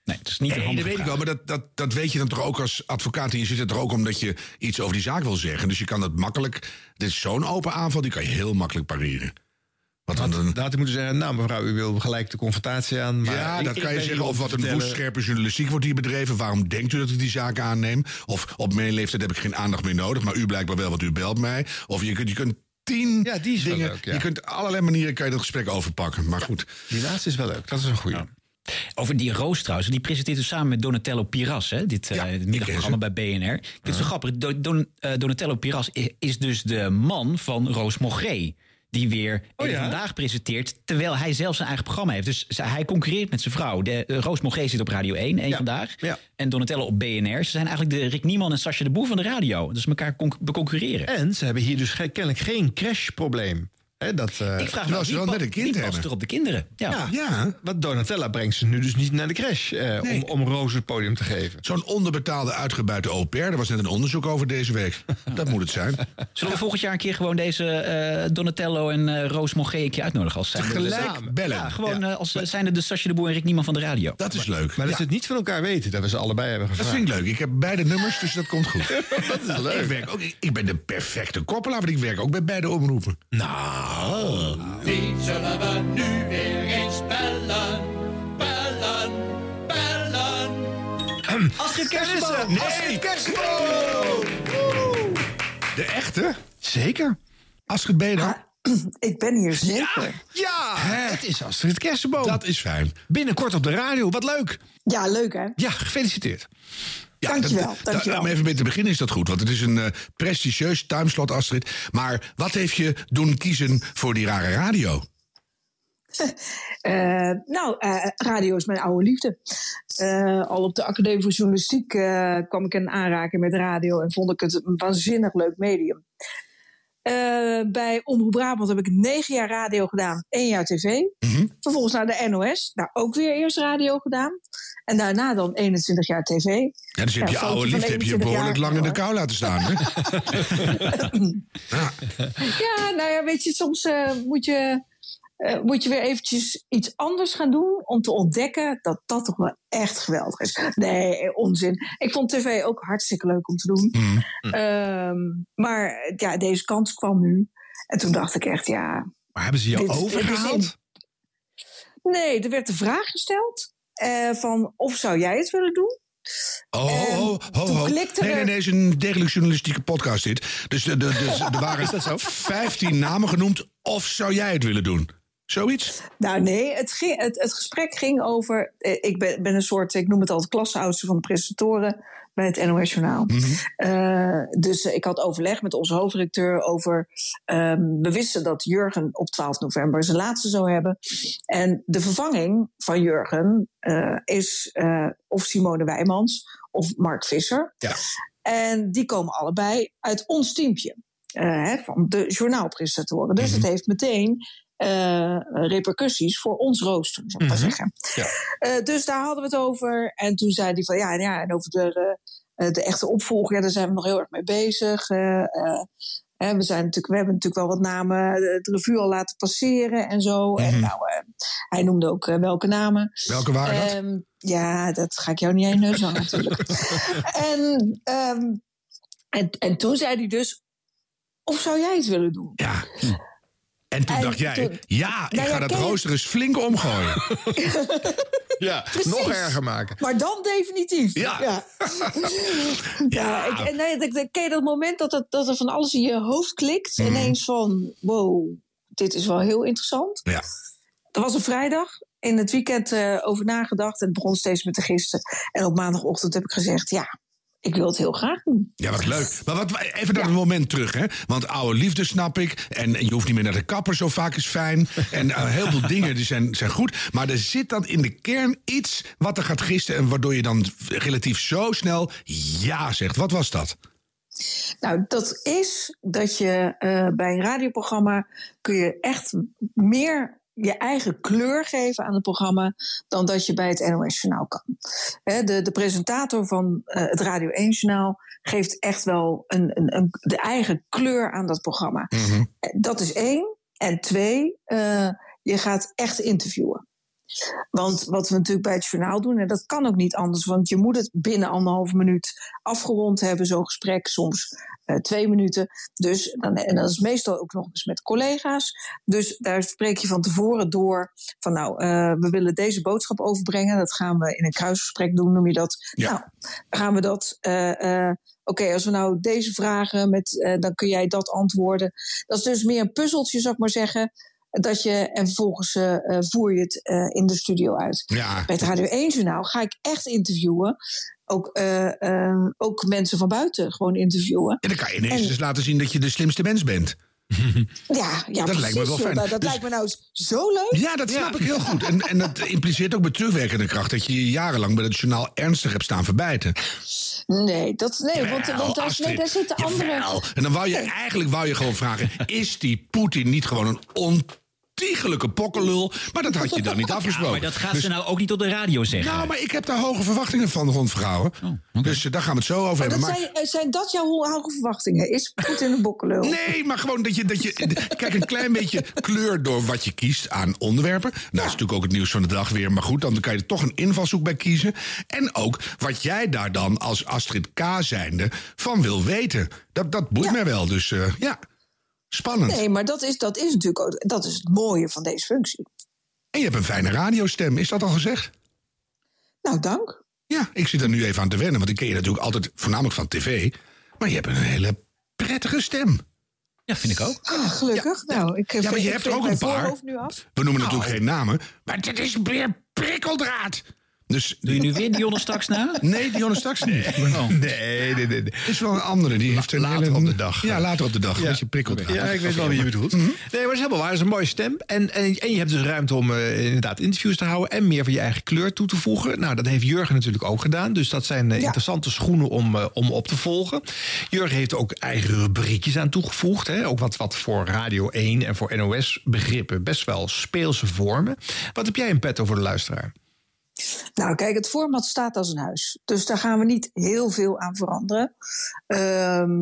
Speaker 2: Nee, het is
Speaker 4: niet
Speaker 3: Nee,
Speaker 4: een
Speaker 3: dat
Speaker 4: handige
Speaker 3: weet ik
Speaker 4: vraag.
Speaker 3: wel, maar dat, dat, dat weet je dan toch ook als advocaat. En je zit er toch ook omdat je iets over die zaak wil zeggen. Dus je kan dat makkelijk. Dit is zo'n open aanval, die kan je heel makkelijk pareren. Want dan,
Speaker 4: Dan had hij moeten zeggen, nou mevrouw, u wil gelijk de confrontatie aan. Maar
Speaker 3: ja,
Speaker 4: ik-
Speaker 3: dat
Speaker 4: ik
Speaker 3: kan je
Speaker 4: ben
Speaker 3: zeggen.
Speaker 4: hier
Speaker 3: Of
Speaker 4: om
Speaker 3: wat
Speaker 4: te
Speaker 3: een
Speaker 4: vertellen-
Speaker 3: woestscherpe journalistiek wordt hier bedreven. Waarom denkt u dat ik die zaak aanneem? Of op mijn leeftijd heb ik geen aandacht meer nodig. Maar u blijkbaar wel, want u belt mij. Of je kunt, je kunt tien dingen.
Speaker 2: leuk, ja.
Speaker 3: Je kunt allerlei manieren kan je dat gesprek overpakken. Maar goed.
Speaker 4: Die laatste is wel leuk. Dat is een goede.
Speaker 2: Over die Roos trouwens, die presenteert dus samen met Donatello Piras, hè, dit, eh, dit middagprogramma bij BNR. Ik vind het zo grappig. Do- Don- eh, Donatello Piras i- is dus de man van Roos Mogré. Die
Speaker 4: Oh
Speaker 2: weer Eén vandaag presenteert, terwijl hij zelf zijn eigen programma heeft. Dus ze- hij concurreert met zijn vrouw. De, eh, Roos Mogré zit op Radio 1, één vandaag. En Donatello op BNR. Ze zijn eigenlijk de Rick Nieman en Sascha de Boer van de radio. Dus elkaar conc- beconcurreren.
Speaker 4: En ze hebben hier dus ge- kennelijk geen crashprobleem. Hè, dat, eh,
Speaker 2: Ik vraag me af, wie pa- wie past er op de kinderen? Ja.
Speaker 4: Want Donatella brengt ze nu dus niet naar de crash eh, om, om Roos het podium te geven.
Speaker 3: Zo'n onderbetaalde, uitgebuite au pair. Er was net een onderzoek over deze week. Dat moet het zijn.
Speaker 2: Zullen we volgend jaar een keer gewoon deze eh, Donatello en eh, Roos Mogré een keer uitnodigen? Als zijn
Speaker 3: Tegelijk bellen.
Speaker 2: Ja, gewoon eh, als eh, zijnde de Sasje de Boer en Rick Niemand van de radio.
Speaker 3: Dat is leuk.
Speaker 4: Maar dat
Speaker 2: Ja.
Speaker 4: ze het niet van elkaar weten, dat we ze allebei hebben
Speaker 3: Dat
Speaker 4: gevraagd.
Speaker 3: vind ik leuk. Ik heb beide nummers, dus dat komt goed.
Speaker 4: dat is leuk.
Speaker 3: Ik, werk ook, ik ben de perfecte koppelaar, want ik werk ook bij beide omroepen. Nou.
Speaker 8: Die zullen we nu weer eens bellen, bellen, bellen.
Speaker 4: Astrid
Speaker 8: Kersenboom!
Speaker 3: eh,
Speaker 8: Astrid
Speaker 4: Kersenboom!
Speaker 3: De echte?
Speaker 4: Zeker.
Speaker 3: Astrid, ben je daar?
Speaker 30: Ik ben hier zeker.
Speaker 4: Ja, het is Astrid Kersenboom. Dat
Speaker 3: is fijn.
Speaker 4: Binnenkort op de radio, wat leuk.
Speaker 30: Ja, leuk hè?
Speaker 4: Ja, gefeliciteerd.
Speaker 3: Ja,
Speaker 30: Dankjewel,
Speaker 3: dat- dat-
Speaker 30: dankjewel.
Speaker 3: Om even mee te beginnen is dat goed, want het is een eh, prestigieus timeslot, Astrid. Maar wat heeft je doen kiezen voor die rare radio?
Speaker 30: Eh, nou, eh, radio is mijn oude liefde. Eh, al op de Academie voor Journalistiek eh, kwam ik in aanraking met radio en vond ik het een waanzinnig leuk medium. Eh, bij Omroep Brabant heb ik negen jaar radio gedaan, één jaar tv.
Speaker 3: Mhm.
Speaker 30: Vervolgens naar de NOS, daar ook weer eerst radio gedaan. En daarna dan 21 jaar tv.
Speaker 3: Ja, dus je hebt je
Speaker 30: een foto van
Speaker 3: oude liefde heb je
Speaker 30: 21
Speaker 3: behoorlijk
Speaker 30: jaar.
Speaker 3: lang in de kou laten staan. Hè?
Speaker 30: Ja, nou ja, weet je, soms eh, moet, je, eh, moet je weer eventjes iets anders gaan doen om te ontdekken dat dat toch wel echt geweldig is. Nee, eh, onzin. Ik vond tv ook hartstikke leuk om te doen. Ehm, maar eh, ja, deze kans kwam nu. En toen dacht ik echt, ja.
Speaker 4: Maar hebben ze je
Speaker 30: dit- dit is
Speaker 4: overgehaald?
Speaker 30: in- Nee, er werd de vraag gesteld eh, van of zou jij het willen doen?
Speaker 3: Oh, ho, ho,
Speaker 30: Ehm, toen
Speaker 3: ho. Nee,
Speaker 30: klikte
Speaker 3: nee,
Speaker 30: er-
Speaker 3: nee, het is een degelijk journalistieke podcast dit. Dus de, de, de, er waren 15 namen genoemd. Of zou jij het willen doen? Zoiets?
Speaker 30: Nou nee, het, ging, het, het gesprek ging over. eh, Ik ben, ben een soort, ik noem het altijd klasseoudste van de presentatoren bij het NOS Journaal. Eh, dus eh, ik had overleg met onze hoofdredacteur over. ehm, we wisten dat Jurgen op 12 november zijn laatste zou hebben. En de vervanging van Jurgen eh, is eh, of Simone Wijmans of Mark Visser. En die komen allebei uit ons teampje. eh, hè, van de journaalpresentatoren. Dus het heeft meteen eh, repercussies voor ons rooster,
Speaker 15: Hm.
Speaker 30: zou ik maar zeggen. Eh, dus daar hadden we het over. En toen zei hij van ja, en ja en over de, eh, de echte opvolger, ja, daar zijn we nog heel erg mee bezig. Eh, eh, hè, we, zijn natuurlijk, we hebben natuurlijk wel wat namen eh, de revue al laten passeren en zo. En nou, eh, hij noemde ook eh, welke namen.
Speaker 3: Mhm. Welke waren dat?
Speaker 30: Ehm, ja, dat ga ik jou niet aan je neus hangen natuurlijk. En, ehm, en, en toen zei hij dus, of zou jij het willen doen?
Speaker 3: Ja. En toen
Speaker 30: En
Speaker 3: dacht jij,
Speaker 30: toen-
Speaker 3: ja, ik
Speaker 30: Nou ja,
Speaker 3: ga dat
Speaker 30: ken je-
Speaker 3: rooster eens flink omgooien.
Speaker 4: ja,
Speaker 30: Precies. nog erger
Speaker 4: maken.
Speaker 30: Maar dan definitief.
Speaker 4: Ja.
Speaker 30: ja. Ja, ik, en nee, dat- dat- ken je dat moment dat, het, dat er van alles in Mhm. je hoofd klikt? Ineens van, wow, dit is wel heel interessant.
Speaker 3: Ja.
Speaker 30: Dat was een vrijdag. In het weekend eh, over nagedacht. En het begon steeds met de gisten. En op maandagochtend heb ik gezegd: ja, ik wil het heel graag doen.
Speaker 3: Ja, wat leuk. Maar wat, even naar een moment terug, hè? Want oude liefde snap ik. En je hoeft niet meer naar de kapper, zo vaak is fijn. En eh, heel veel dingen die zijn, zijn goed. Maar er zit dan in de kern iets wat er gaat gisten. En waardoor je dan relatief zo snel ja zegt. Wat was dat?
Speaker 30: Nou, dat is dat je eh, bij een radioprogramma kun je echt meer je eigen kleur geven aan het programma dan dat je bij het NOS Journaal kan. Hè, de, de presentator van eh, het Radio 1 Journaal geeft echt wel een, een, een, de eigen kleur aan dat programma.
Speaker 1: Mm.
Speaker 3: Mhm.
Speaker 30: Eh, Dat is één. En twee, eh, je gaat echt interviewen. Want wat we natuurlijk bij het journaal doen, en dat kan ook niet anders, want je moet het binnen anderhalf minuut afgerond hebben, zo'n gesprek, soms eh, twee minuten. Dus, dan, en dat is meestal ook nog eens met collega's. Dus daar spreek je van tevoren door van nou, eh, we willen deze boodschap overbrengen, dat gaan we in een kruisgesprek doen, noem je dat. Nou, dan gaan we dat. eh, eh, Oké, als we nou deze vragen met, eh, dan kun jij dat antwoorden. Dat is dus meer een puzzeltje, zou ik maar zeggen. Dat je, en vervolgens eh, eh, voer je het eh, in de studio uit.
Speaker 3: Ja.
Speaker 30: Bij het Radio 1 Journaal ga ik echt interviewen. Ook, eh, eh, ook mensen van buiten gewoon interviewen.
Speaker 3: En dan kan je ineens eens laten zien dat je de slimste mens bent.
Speaker 30: Ja, ja
Speaker 3: dat
Speaker 30: precies,
Speaker 3: lijkt me wel
Speaker 30: joh.
Speaker 3: fijn.
Speaker 30: Dat, dat
Speaker 3: Dus-
Speaker 30: lijkt me nou eens zo leuk.
Speaker 3: Ja, dat snap ik heel goed. En, en dat impliceert ook met terugwerkende kracht dat je je jarenlang bij het journaal ernstig hebt staan verbijten.
Speaker 30: Nee, dat, nee want,
Speaker 3: Jawel, Oh,
Speaker 30: want daar,
Speaker 3: Astrid.
Speaker 30: nee, daar zitten andere...
Speaker 3: Jawel. En dan wou je eigenlijk wou je gewoon vragen: is die Poetin niet gewoon een ontiegelijke pokkelul? Maar dat had je dan niet afgesproken.
Speaker 2: maar dat gaat
Speaker 3: Dus-
Speaker 2: ze nou ook niet op de radio zeggen. Oh,
Speaker 3: Nou, maar ik heb daar hoge verwachtingen van rond vrouwen. Dus eh, daar gaan we het zo over
Speaker 30: Maar
Speaker 3: hebben.
Speaker 30: dat
Speaker 3: Maar,
Speaker 30: zijn, eh, zijn dat jouw ho- hoge verwachtingen? Is goed in een bokkelul?
Speaker 3: Nee, maar gewoon dat je, dat je. Kijk, een klein beetje kleur door wat je kiest aan onderwerpen. Nou, dat is natuurlijk ook het nieuws van de dag weer. Maar goed, dan kan je er toch een invalshoek bij kiezen. En ook wat jij daar dan als Astrid K. zijnde van wil weten. Dat, dat boeit mij wel. Dus eh, ja, spannend.
Speaker 30: Nee, maar dat is, dat is natuurlijk ook, dat is het mooie van deze functie.
Speaker 3: En je hebt een fijne radiostem, is dat al gezegd?
Speaker 30: Nou, dank.
Speaker 3: Ja, ik zit er nu even aan te wennen, want ik ken je natuurlijk altijd voornamelijk van tv. Maar je hebt een hele prettige stem.
Speaker 2: Ja, vind ik ook.
Speaker 30: Ah, gelukkig. nou, ik,
Speaker 3: Ja, maar je
Speaker 30: ik
Speaker 3: hebt
Speaker 30: veeg
Speaker 3: er ook
Speaker 30: mijn
Speaker 3: een paar.
Speaker 30: voorhoofd nu af.
Speaker 3: We noemen natuurlijk geen namen, maar dit is meer prikkeldraad. Dus, Doe je nu weer Dionne straks na? Nee, Dionne straks niet. Nee, nee, nee. Het is wel een andere, die heeft een later op de dag. Ja, later op de dag, een beetje prikkeldraad.
Speaker 4: Ja, ik weet wel wie je bedoelt.
Speaker 3: Mhm.
Speaker 4: Nee, maar het is helemaal waar. Het is een mooie stem. En, en, en je hebt dus ruimte om eh, inderdaad interviews te houden... en meer van je eigen kleur toe te voegen. Nou, dat heeft Jurgen natuurlijk ook gedaan. Dus dat zijn eh, interessante schoenen om, eh, om op te volgen. Jurgen heeft ook eigen rubriekjes aan toegevoegd. Hè? Ook wat, wat voor Radio 1 en voor NOS-begrippen best wel speelse vormen. Wat heb jij in petto voor de luisteraar?
Speaker 30: Nou, kijk, het format staat als een huis. Dus daar gaan we niet heel veel aan veranderen. Ehm,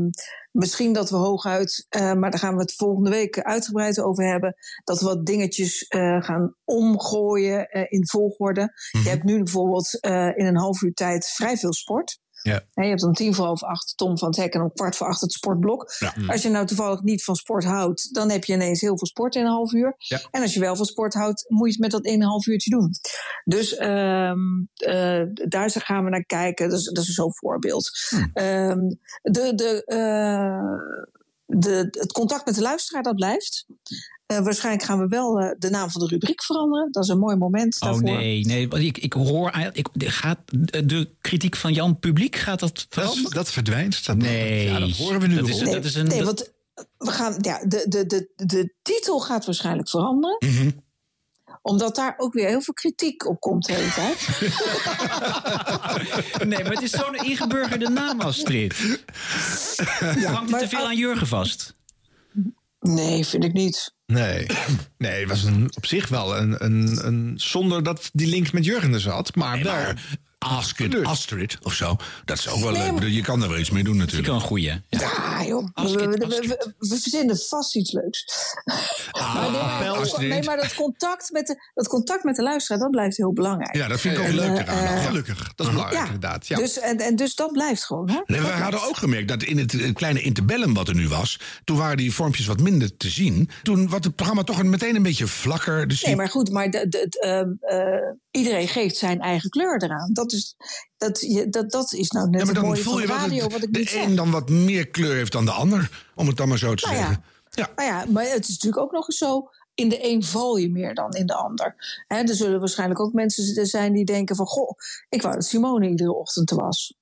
Speaker 30: misschien dat we hooguit, eh, maar daar gaan we het volgende week uitgebreid over hebben. Dat we wat dingetjes eh, gaan omgooien eh, in volgorde.
Speaker 3: Mhm.
Speaker 30: Je hebt nu bijvoorbeeld eh, in een half uur tijd vrij veel sport.
Speaker 4: Ja.
Speaker 30: Hè, je hebt om tien voor half acht Tom van het Hek en om kwart voor acht het sportblok.
Speaker 4: Ja.
Speaker 30: Als je nou toevallig niet van sport houdt, dan heb je ineens heel veel sport in een half uur.
Speaker 4: Ja.
Speaker 30: En als je wel van sport houdt, moet je het met dat een en een half uurtje doen. Dus ehm, eh, daar gaan we naar kijken. Dus, dat is zo'n voorbeeld.
Speaker 4: Hm.
Speaker 30: Ehm, de, de, eh, de, het contact met de luisteraar, dat blijft. Eh, waarschijnlijk gaan we wel eh, de naam van de rubriek veranderen. Dat is een mooi moment
Speaker 2: Oh
Speaker 30: daarvoor.
Speaker 2: nee, nee. want Ik, ik hoor. eigenlijk- Ik, de- gaat, de- de kritiek van Jan Publiek gaat dat veranderen?
Speaker 4: Dat verdwijnt.
Speaker 2: nee. Ja, dat
Speaker 4: horen we nu
Speaker 2: Dat is,
Speaker 30: nee,
Speaker 2: dat is een.
Speaker 30: nee,
Speaker 2: dat-
Speaker 30: want we gaan, ja, de, de, de, de titel gaat waarschijnlijk veranderen.
Speaker 3: Mhm.
Speaker 30: Omdat daar ook weer heel veel kritiek op komt de hele tijd.
Speaker 2: nee, maar het is zo'n ingeburgerde naam, Astrid. Hangt het te veel aan Jurgen vast?
Speaker 30: Nee, vind ik niet.
Speaker 4: Nee, nee het was een, op zich wel een, een, een... zonder dat die link met Jurgen er zat, maar wel...
Speaker 3: Ask it, Astrid of zo. Dat is ook wel leuk. Ik bedoel, Je kan er wel iets mee doen natuurlijk.
Speaker 2: Dat is een goeie.
Speaker 30: Ja, joh. We, we, we- we- we verzinnen vast iets leuks.
Speaker 3: Ah,
Speaker 30: maar nee, maar-
Speaker 3: Astrid.
Speaker 30: nee, maar dat contact, met de, dat contact met de luisteraar, dat blijft heel belangrijk.
Speaker 3: Ja, dat vind ik ook
Speaker 30: En, eh,
Speaker 3: leuk eraan.
Speaker 30: eh,
Speaker 3: Gelukkig. Dat is belangrijk inderdaad. Ja.
Speaker 30: Dus, en, en dus dat blijft gewoon. Hè?
Speaker 3: Nee, we hadden ook gemerkt dat in het eh, kleine interbellum wat er nu was... toen waren die vormpjes wat minder te zien. Toen was het programma toch een- meteen een beetje vlakker. Dus
Speaker 30: Nee, maar goed, maar de, de- het, ehm, eh, iedereen geeft zijn eigen kleur eraan. Dat is, dat, je- dat, dat is nou net
Speaker 3: ja, maar
Speaker 30: het
Speaker 3: dan
Speaker 30: mooie
Speaker 3: voel
Speaker 30: van
Speaker 3: je wel dat
Speaker 30: radio, wat ik niet
Speaker 3: de
Speaker 30: zeg.
Speaker 3: een dan wat meer kleur heeft dan de ander. Om het dan maar zo te
Speaker 30: Nou
Speaker 3: zeggen.
Speaker 30: ja.
Speaker 3: Ja.
Speaker 30: Nou ja, maar het is natuurlijk ook nog eens zo. in de een val je meer dan in de ander. Hè, er zullen waarschijnlijk ook mensen zijn die denken van... goh, ik wou dat Simone iedere ochtend er was.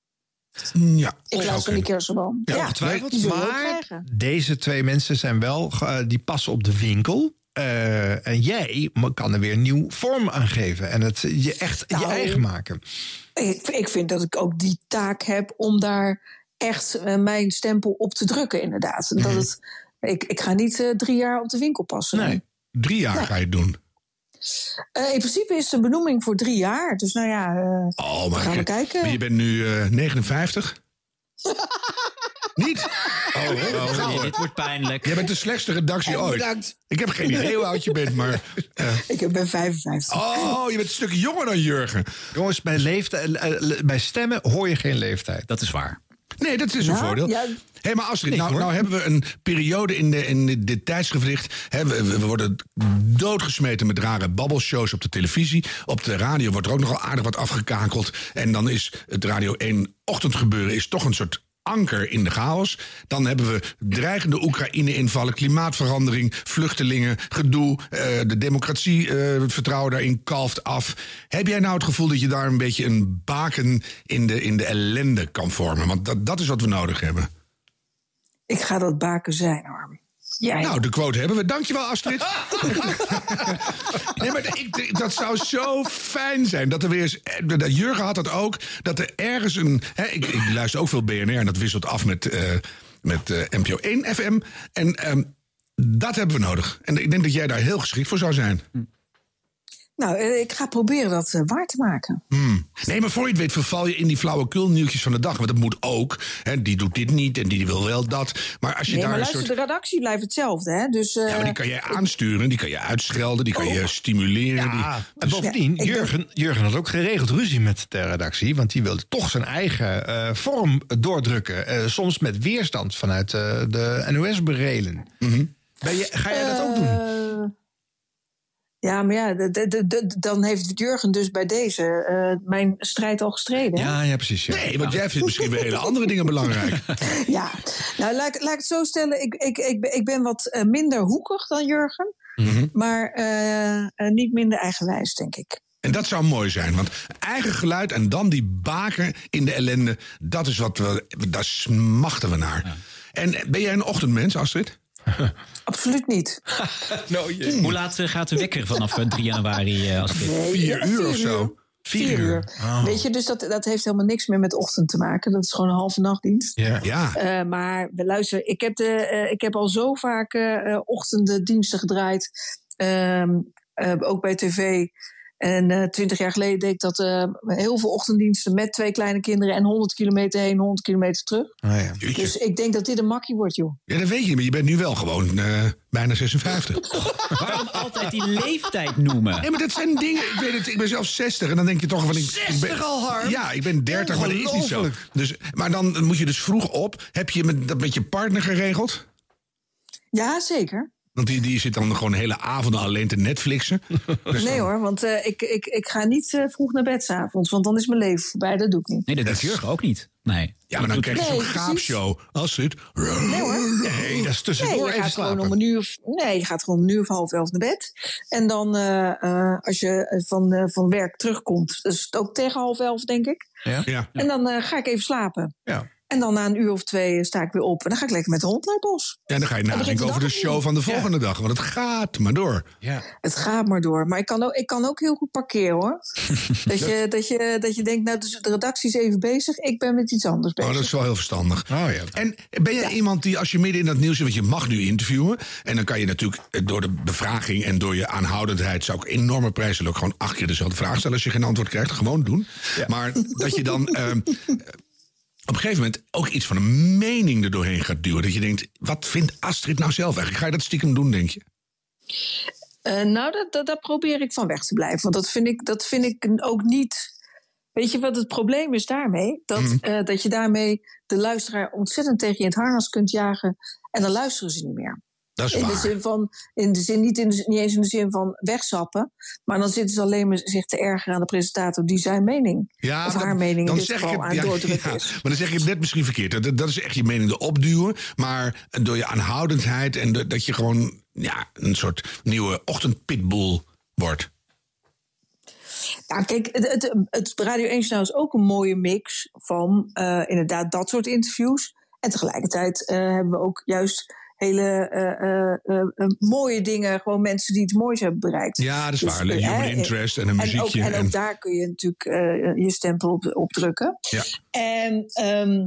Speaker 3: Ja,
Speaker 30: In plaats van die kersenboom.
Speaker 4: Ja,
Speaker 30: die
Speaker 4: ongetwijfeld.
Speaker 30: zul je ook
Speaker 4: Maar
Speaker 30: krijgen.
Speaker 4: deze twee mensen zijn wel, ge- eh, die passen op de winkel. Eh, en jij ma- kan er weer nieuw vorm aan geven. En het je echt je
Speaker 30: Nou.
Speaker 4: eigen maken.
Speaker 30: Ik, ik vind dat ik ook die taak heb om daar echt eh, mijn stempel op te drukken, inderdaad.
Speaker 3: Mhm.
Speaker 30: Dat het, ik, ik ga niet eh, drie jaar op de winkel passen.
Speaker 3: Nee. Drie jaar
Speaker 30: Nou.
Speaker 3: ga je het doen.
Speaker 30: Eh, in principe is de benoeming voor drie jaar. Dus nou ja, eh,
Speaker 3: Oh, maar,
Speaker 30: gaan we
Speaker 3: ik-
Speaker 30: kijken.
Speaker 3: maar je bent nu eh, 59. Niet? Oh,
Speaker 2: Oh,
Speaker 3: gauw,
Speaker 2: nee,
Speaker 3: hoor.
Speaker 2: dit wordt pijnlijk.
Speaker 3: Jij bent de slechtste redactie
Speaker 30: Oh,
Speaker 3: ooit.
Speaker 30: bedankt.
Speaker 3: Ik heb geen idee hoe oud je bent, maar... eh,
Speaker 30: Ik ben 55.
Speaker 3: oh, je bent een stuk jonger dan Jurgen.
Speaker 4: Jongens, bij, leeftijd, eh, eh, bij stemmen hoor je geen leeftijd.
Speaker 2: Dat is waar.
Speaker 3: Nee, dat is een
Speaker 4: Nou,
Speaker 3: voordeel.
Speaker 4: ja.
Speaker 3: hey, maar Astrid,
Speaker 4: Nee,
Speaker 3: nou,
Speaker 4: hoor.
Speaker 3: nou hebben we een periode in, de, in dit- dit tijdsgevricht. Hè, we, we worden doodgesmeten met rare babbelshows op de televisie. Op de radio wordt er ook nogal aardig wat afgekakeld. En dan is het Radio 1 ochtendgebeuren is toch een soort anker in de chaos. Dan hebben we dreigende Oekraïne-invallen, klimaatverandering, vluchtelingen, gedoe. eh, de democratie, eh, het vertrouwen daarin kalft af. Heb jij nou het gevoel dat je daar een beetje een baken in de, in de ellende kan vormen? Want dat, dat is wat we nodig hebben.
Speaker 30: Ik ga dat baken zijn, Arm. Jij.
Speaker 3: Nou, de quote hebben we. Dankjewel, Astrid. nee, maar ik, ik- dat zou zo fijn zijn. Dat er weer eens. eh, dat- Jurgen had dat ook. Dat er ergens een. Hè, ik, ik luister ook veel BNR en dat wisselt af met, eh, met eh, NPO 1 FM. En ehm, dat hebben we nodig. En ik denk dat jij daar heel geschikt voor zou zijn.
Speaker 30: Hm. Nou, eh, ik ga proberen dat eh, waar te maken.
Speaker 3: Hmm. Nee, maar voor je het weet verval je in die flauwekul nieuwtjes van de dag. Want dat moet ook. Hè, die doet dit niet en die wil wel dat. Maar als je
Speaker 30: Nee,
Speaker 3: daar
Speaker 30: maar
Speaker 3: een
Speaker 30: luister,
Speaker 3: soort.
Speaker 30: de redactie blijft hetzelfde, hè? Dus, eh,
Speaker 3: Ja, maar die kan je aansturen, die kan je uitschelden, die kan je stimuleren.
Speaker 4: Oh. Ja,
Speaker 3: die, Dus
Speaker 4: en bovendien,
Speaker 3: Ja, ik
Speaker 4: Jurgen, Jurgen had ook geregeld ruzie met de redactie. Want die wilde toch zijn eigen eh, vorm doordrukken. Eh, soms met weerstand vanuit eh, de NOS berelen.
Speaker 3: Mhm.
Speaker 4: Ben je, ga jij dat ook doen?
Speaker 30: Eh, Ja, maar ja, de- de- de- de- dan heeft Jurgen dus bij deze eh, mijn strijd al gestreden. hè?
Speaker 2: Ah,
Speaker 4: ja, precies.
Speaker 3: Nee, want jij vindt misschien weer hele andere dingen belangrijk.
Speaker 30: Ja, nou laat, ik- laat ik het zo stellen. Ik, ik, ik, ben- ik ben wat eh, minder hoekig dan Jurgen.
Speaker 2: Mhm.
Speaker 30: Maar eh, eh, niet minder eigenwijs, denk ik.
Speaker 3: En dat zou mooi zijn, want eigen geluid en dan die baken in de ellende, dat is wat we, daar smachten we naar. En ben jij een ochtendmens, Astrid?
Speaker 30: Absoluut niet.
Speaker 2: Hoe laat eh, gaat de wekker vanaf eh, 3 januari? eh, als dit?
Speaker 30: Nee, ja, Vier, uur.
Speaker 4: Oh.
Speaker 30: Weet je, dus dat, dat heeft helemaal niks meer met ochtend te maken. Dat is gewoon een halve nachtdienst.
Speaker 3: Ja.
Speaker 30: Eh, maar we luisteren, ik heb, de, eh, ik heb al zo vaak eh, eh, ochtenden diensten gedraaid. Ehm, eh, ook bij tv. En eh, twintig jaar geleden deed ik dat eh, heel veel ochtenddiensten met twee kleine kinderen en 100 kilometer heen, 100 kilometer terug.
Speaker 3: ja.
Speaker 30: Dus ik denk dat dit een makkie wordt, joh.
Speaker 3: ja, dat weet je, maar je bent nu wel gewoon eh, bijna 56.
Speaker 2: Waarom altijd die leeftijd noemen?
Speaker 3: Nee, maar dat zijn dingen. Ik weet het, ik ben zelf 60 en dan denk je toch van. Ik, ik
Speaker 2: 60
Speaker 3: ben,
Speaker 2: al, Harm?
Speaker 3: Ja, ik ben 30, maar dat is niet zo. Dus, maar dan moet je dus vroeg op. Heb je met, dat met je partner geregeld?
Speaker 30: Ja, zeker.
Speaker 3: Want die, die zit dan gewoon hele avonden alleen te Netflixen. Dus
Speaker 30: nee
Speaker 3: dan-
Speaker 30: hoor, want eh, ik, ik, ik ga niet eh, vroeg naar bed s'avonds, want dan is mijn leven voorbij. Dat doe ik niet.
Speaker 2: Nee, dat doet Jurgen ook niet. Nee.
Speaker 3: Ja, maar dan
Speaker 2: Dat doet-
Speaker 3: krijg je zo'n
Speaker 30: Nee, precies.
Speaker 3: gaapshow. Als het.
Speaker 30: Nee hoor.
Speaker 3: Nee, dat is
Speaker 30: nee,
Speaker 3: tussendoor
Speaker 30: je
Speaker 3: even
Speaker 30: gaat
Speaker 3: slapen.
Speaker 30: gewoon om een uur. of- Nee, je gaat gewoon om een uur of half elf naar bed. En dan eh, eh, als je eh, van, eh, van werk terugkomt, dus ook tegen half elf, denk ik.
Speaker 3: Ja. ja.
Speaker 30: En dan eh, ga ik even slapen.
Speaker 3: Ja.
Speaker 30: En dan na een uur of twee eh, sta ik weer op. En dan ga ik lekker met de hond naar het bos.
Speaker 3: En dan ga je
Speaker 30: Dan begint
Speaker 3: nadenken
Speaker 30: de
Speaker 3: over de
Speaker 30: dag
Speaker 3: show
Speaker 30: opnieuw.
Speaker 3: van de volgende dag. Want het gaat maar door.
Speaker 30: Het gaat maar door. Maar ik kan ook, ik kan ook heel goed parkeren hoor. dat, je, dat, je, dat je denkt, nou, dus de redactie is even bezig. Ik ben met iets anders bezig. Oh,
Speaker 3: Oh, dat is wel heel verstandig. En ben jij iemand die als je midden in dat nieuws zit, want je mag nu interviewen. En dan kan je natuurlijk eh, door de bevraging en door je aanhoudendheid zou ik enorme prijzen ook gewoon acht keer dezelfde vraag stellen als je geen antwoord krijgt. Gewoon doen. Maar dat je dan eh, op een gegeven moment ook iets van een mening er doorheen gaat duwen. Dat je denkt, wat vindt Astrid nou zelf eigenlijk? Ga je dat stiekem doen, denk je?
Speaker 30: Eh, nou, dat, dat, daar probeer ik van weg te blijven. Want dat vind ik, dat vind ik ook niet. Weet je wat het probleem is daarmee? Dat,
Speaker 3: Mhm.
Speaker 30: eh, dat je daarmee de luisteraar ontzettend tegen je in het harnas kunt jagen. En dan luisteren ze niet meer.
Speaker 3: Dat is
Speaker 30: in de
Speaker 3: waar.
Speaker 30: zin van, in de zin, niet, in de- niet eens in de zin van wegzappen. Maar dan zitten ze alleen maar zich te ergeren aan de presentator die zijn mening. of
Speaker 3: dan-
Speaker 30: haar mening
Speaker 3: dan
Speaker 30: in dit
Speaker 3: zeg
Speaker 30: geval
Speaker 3: je-
Speaker 30: aan
Speaker 3: ja,
Speaker 30: doordrukken
Speaker 3: ja,
Speaker 30: is.
Speaker 3: Maar dan zeg je het net misschien verkeerd. Dat, dat is echt je mening erop duwen. Maar door je aanhoudendheid en de- dat je gewoon ja, een soort nieuwe ochtendpitbull wordt.
Speaker 30: Ja, kijk, het, het, het Radio 1 Journaal is ook een mooie mix van eh, inderdaad dat soort interviews. En tegelijkertijd eh, hebben we ook juist hele eh, eh, eh, eh, mooie dingen. Gewoon mensen die het moois hebben bereikt.
Speaker 3: Ja, dat is waar.
Speaker 30: eh,
Speaker 3: Human
Speaker 30: eh,
Speaker 3: interest en een muziekje
Speaker 30: Ook, en,
Speaker 3: en-
Speaker 30: ook daar kun je natuurlijk eh, je stempel op, op drukken.
Speaker 3: Ja.
Speaker 30: En ehm,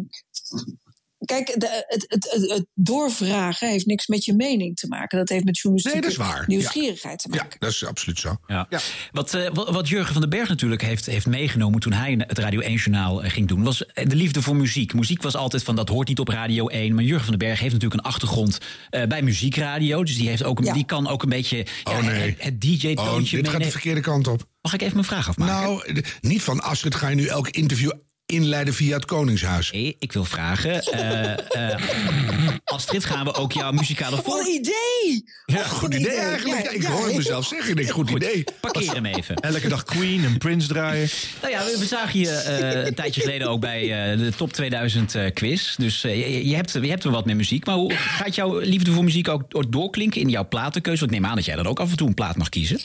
Speaker 30: kijk, de- het, het, het, het doorvragen heeft niks met je mening te maken. Dat heeft met journalistieke
Speaker 2: Nee, dat is waar.
Speaker 30: nieuwsgierigheid te maken.
Speaker 3: Ja, dat is absoluut zo.
Speaker 2: Ja. Wat, eh, wa- wat Jurgen van den Berg natuurlijk heeft, heeft meegenomen toen hij het Radio 1-journaal ging doen, was eh, de liefde voor muziek. Muziek was altijd van dat hoort niet op Radio 1. Maar Jurgen van den Berg heeft natuurlijk een achtergrond eh, bij muziekradio. Dus die, heeft ook een, die kan ook een beetje ja,
Speaker 3: Oh, nee.
Speaker 2: het, het DJ-toontje
Speaker 3: Oh, dit gaat de
Speaker 2: meenemen.
Speaker 3: verkeerde kant op.
Speaker 2: Mag ik even mijn vraag afmaken?
Speaker 3: Nou, d- niet van Astrid ga je nu elk interview inleiden via het Koningshuis.
Speaker 2: Nee, ik wil vragen. eh, eh, Astrid, gaan we ook jouw muzikale voor...
Speaker 30: Wat een idee!
Speaker 3: Ja,
Speaker 30: Wat een
Speaker 3: goed idee eigenlijk. Ja, ik hoor het mezelf zeggen. Ik denk, goed idee.
Speaker 2: Parkeer hem even.
Speaker 4: Elke dag Queen en Prince draaien.
Speaker 2: Nou ja, we, we zagen je eh, een tijdje geleden ook bij eh, de Top 2000 eh, quiz. Dus eh, je, je, hebt, je hebt wel wat met muziek. Maar hoe gaat jouw liefde voor muziek ook ook doorklinken in jouw platenkeuze? Want ik neem aan dat jij dan ook af en toe een plaat mag kiezen.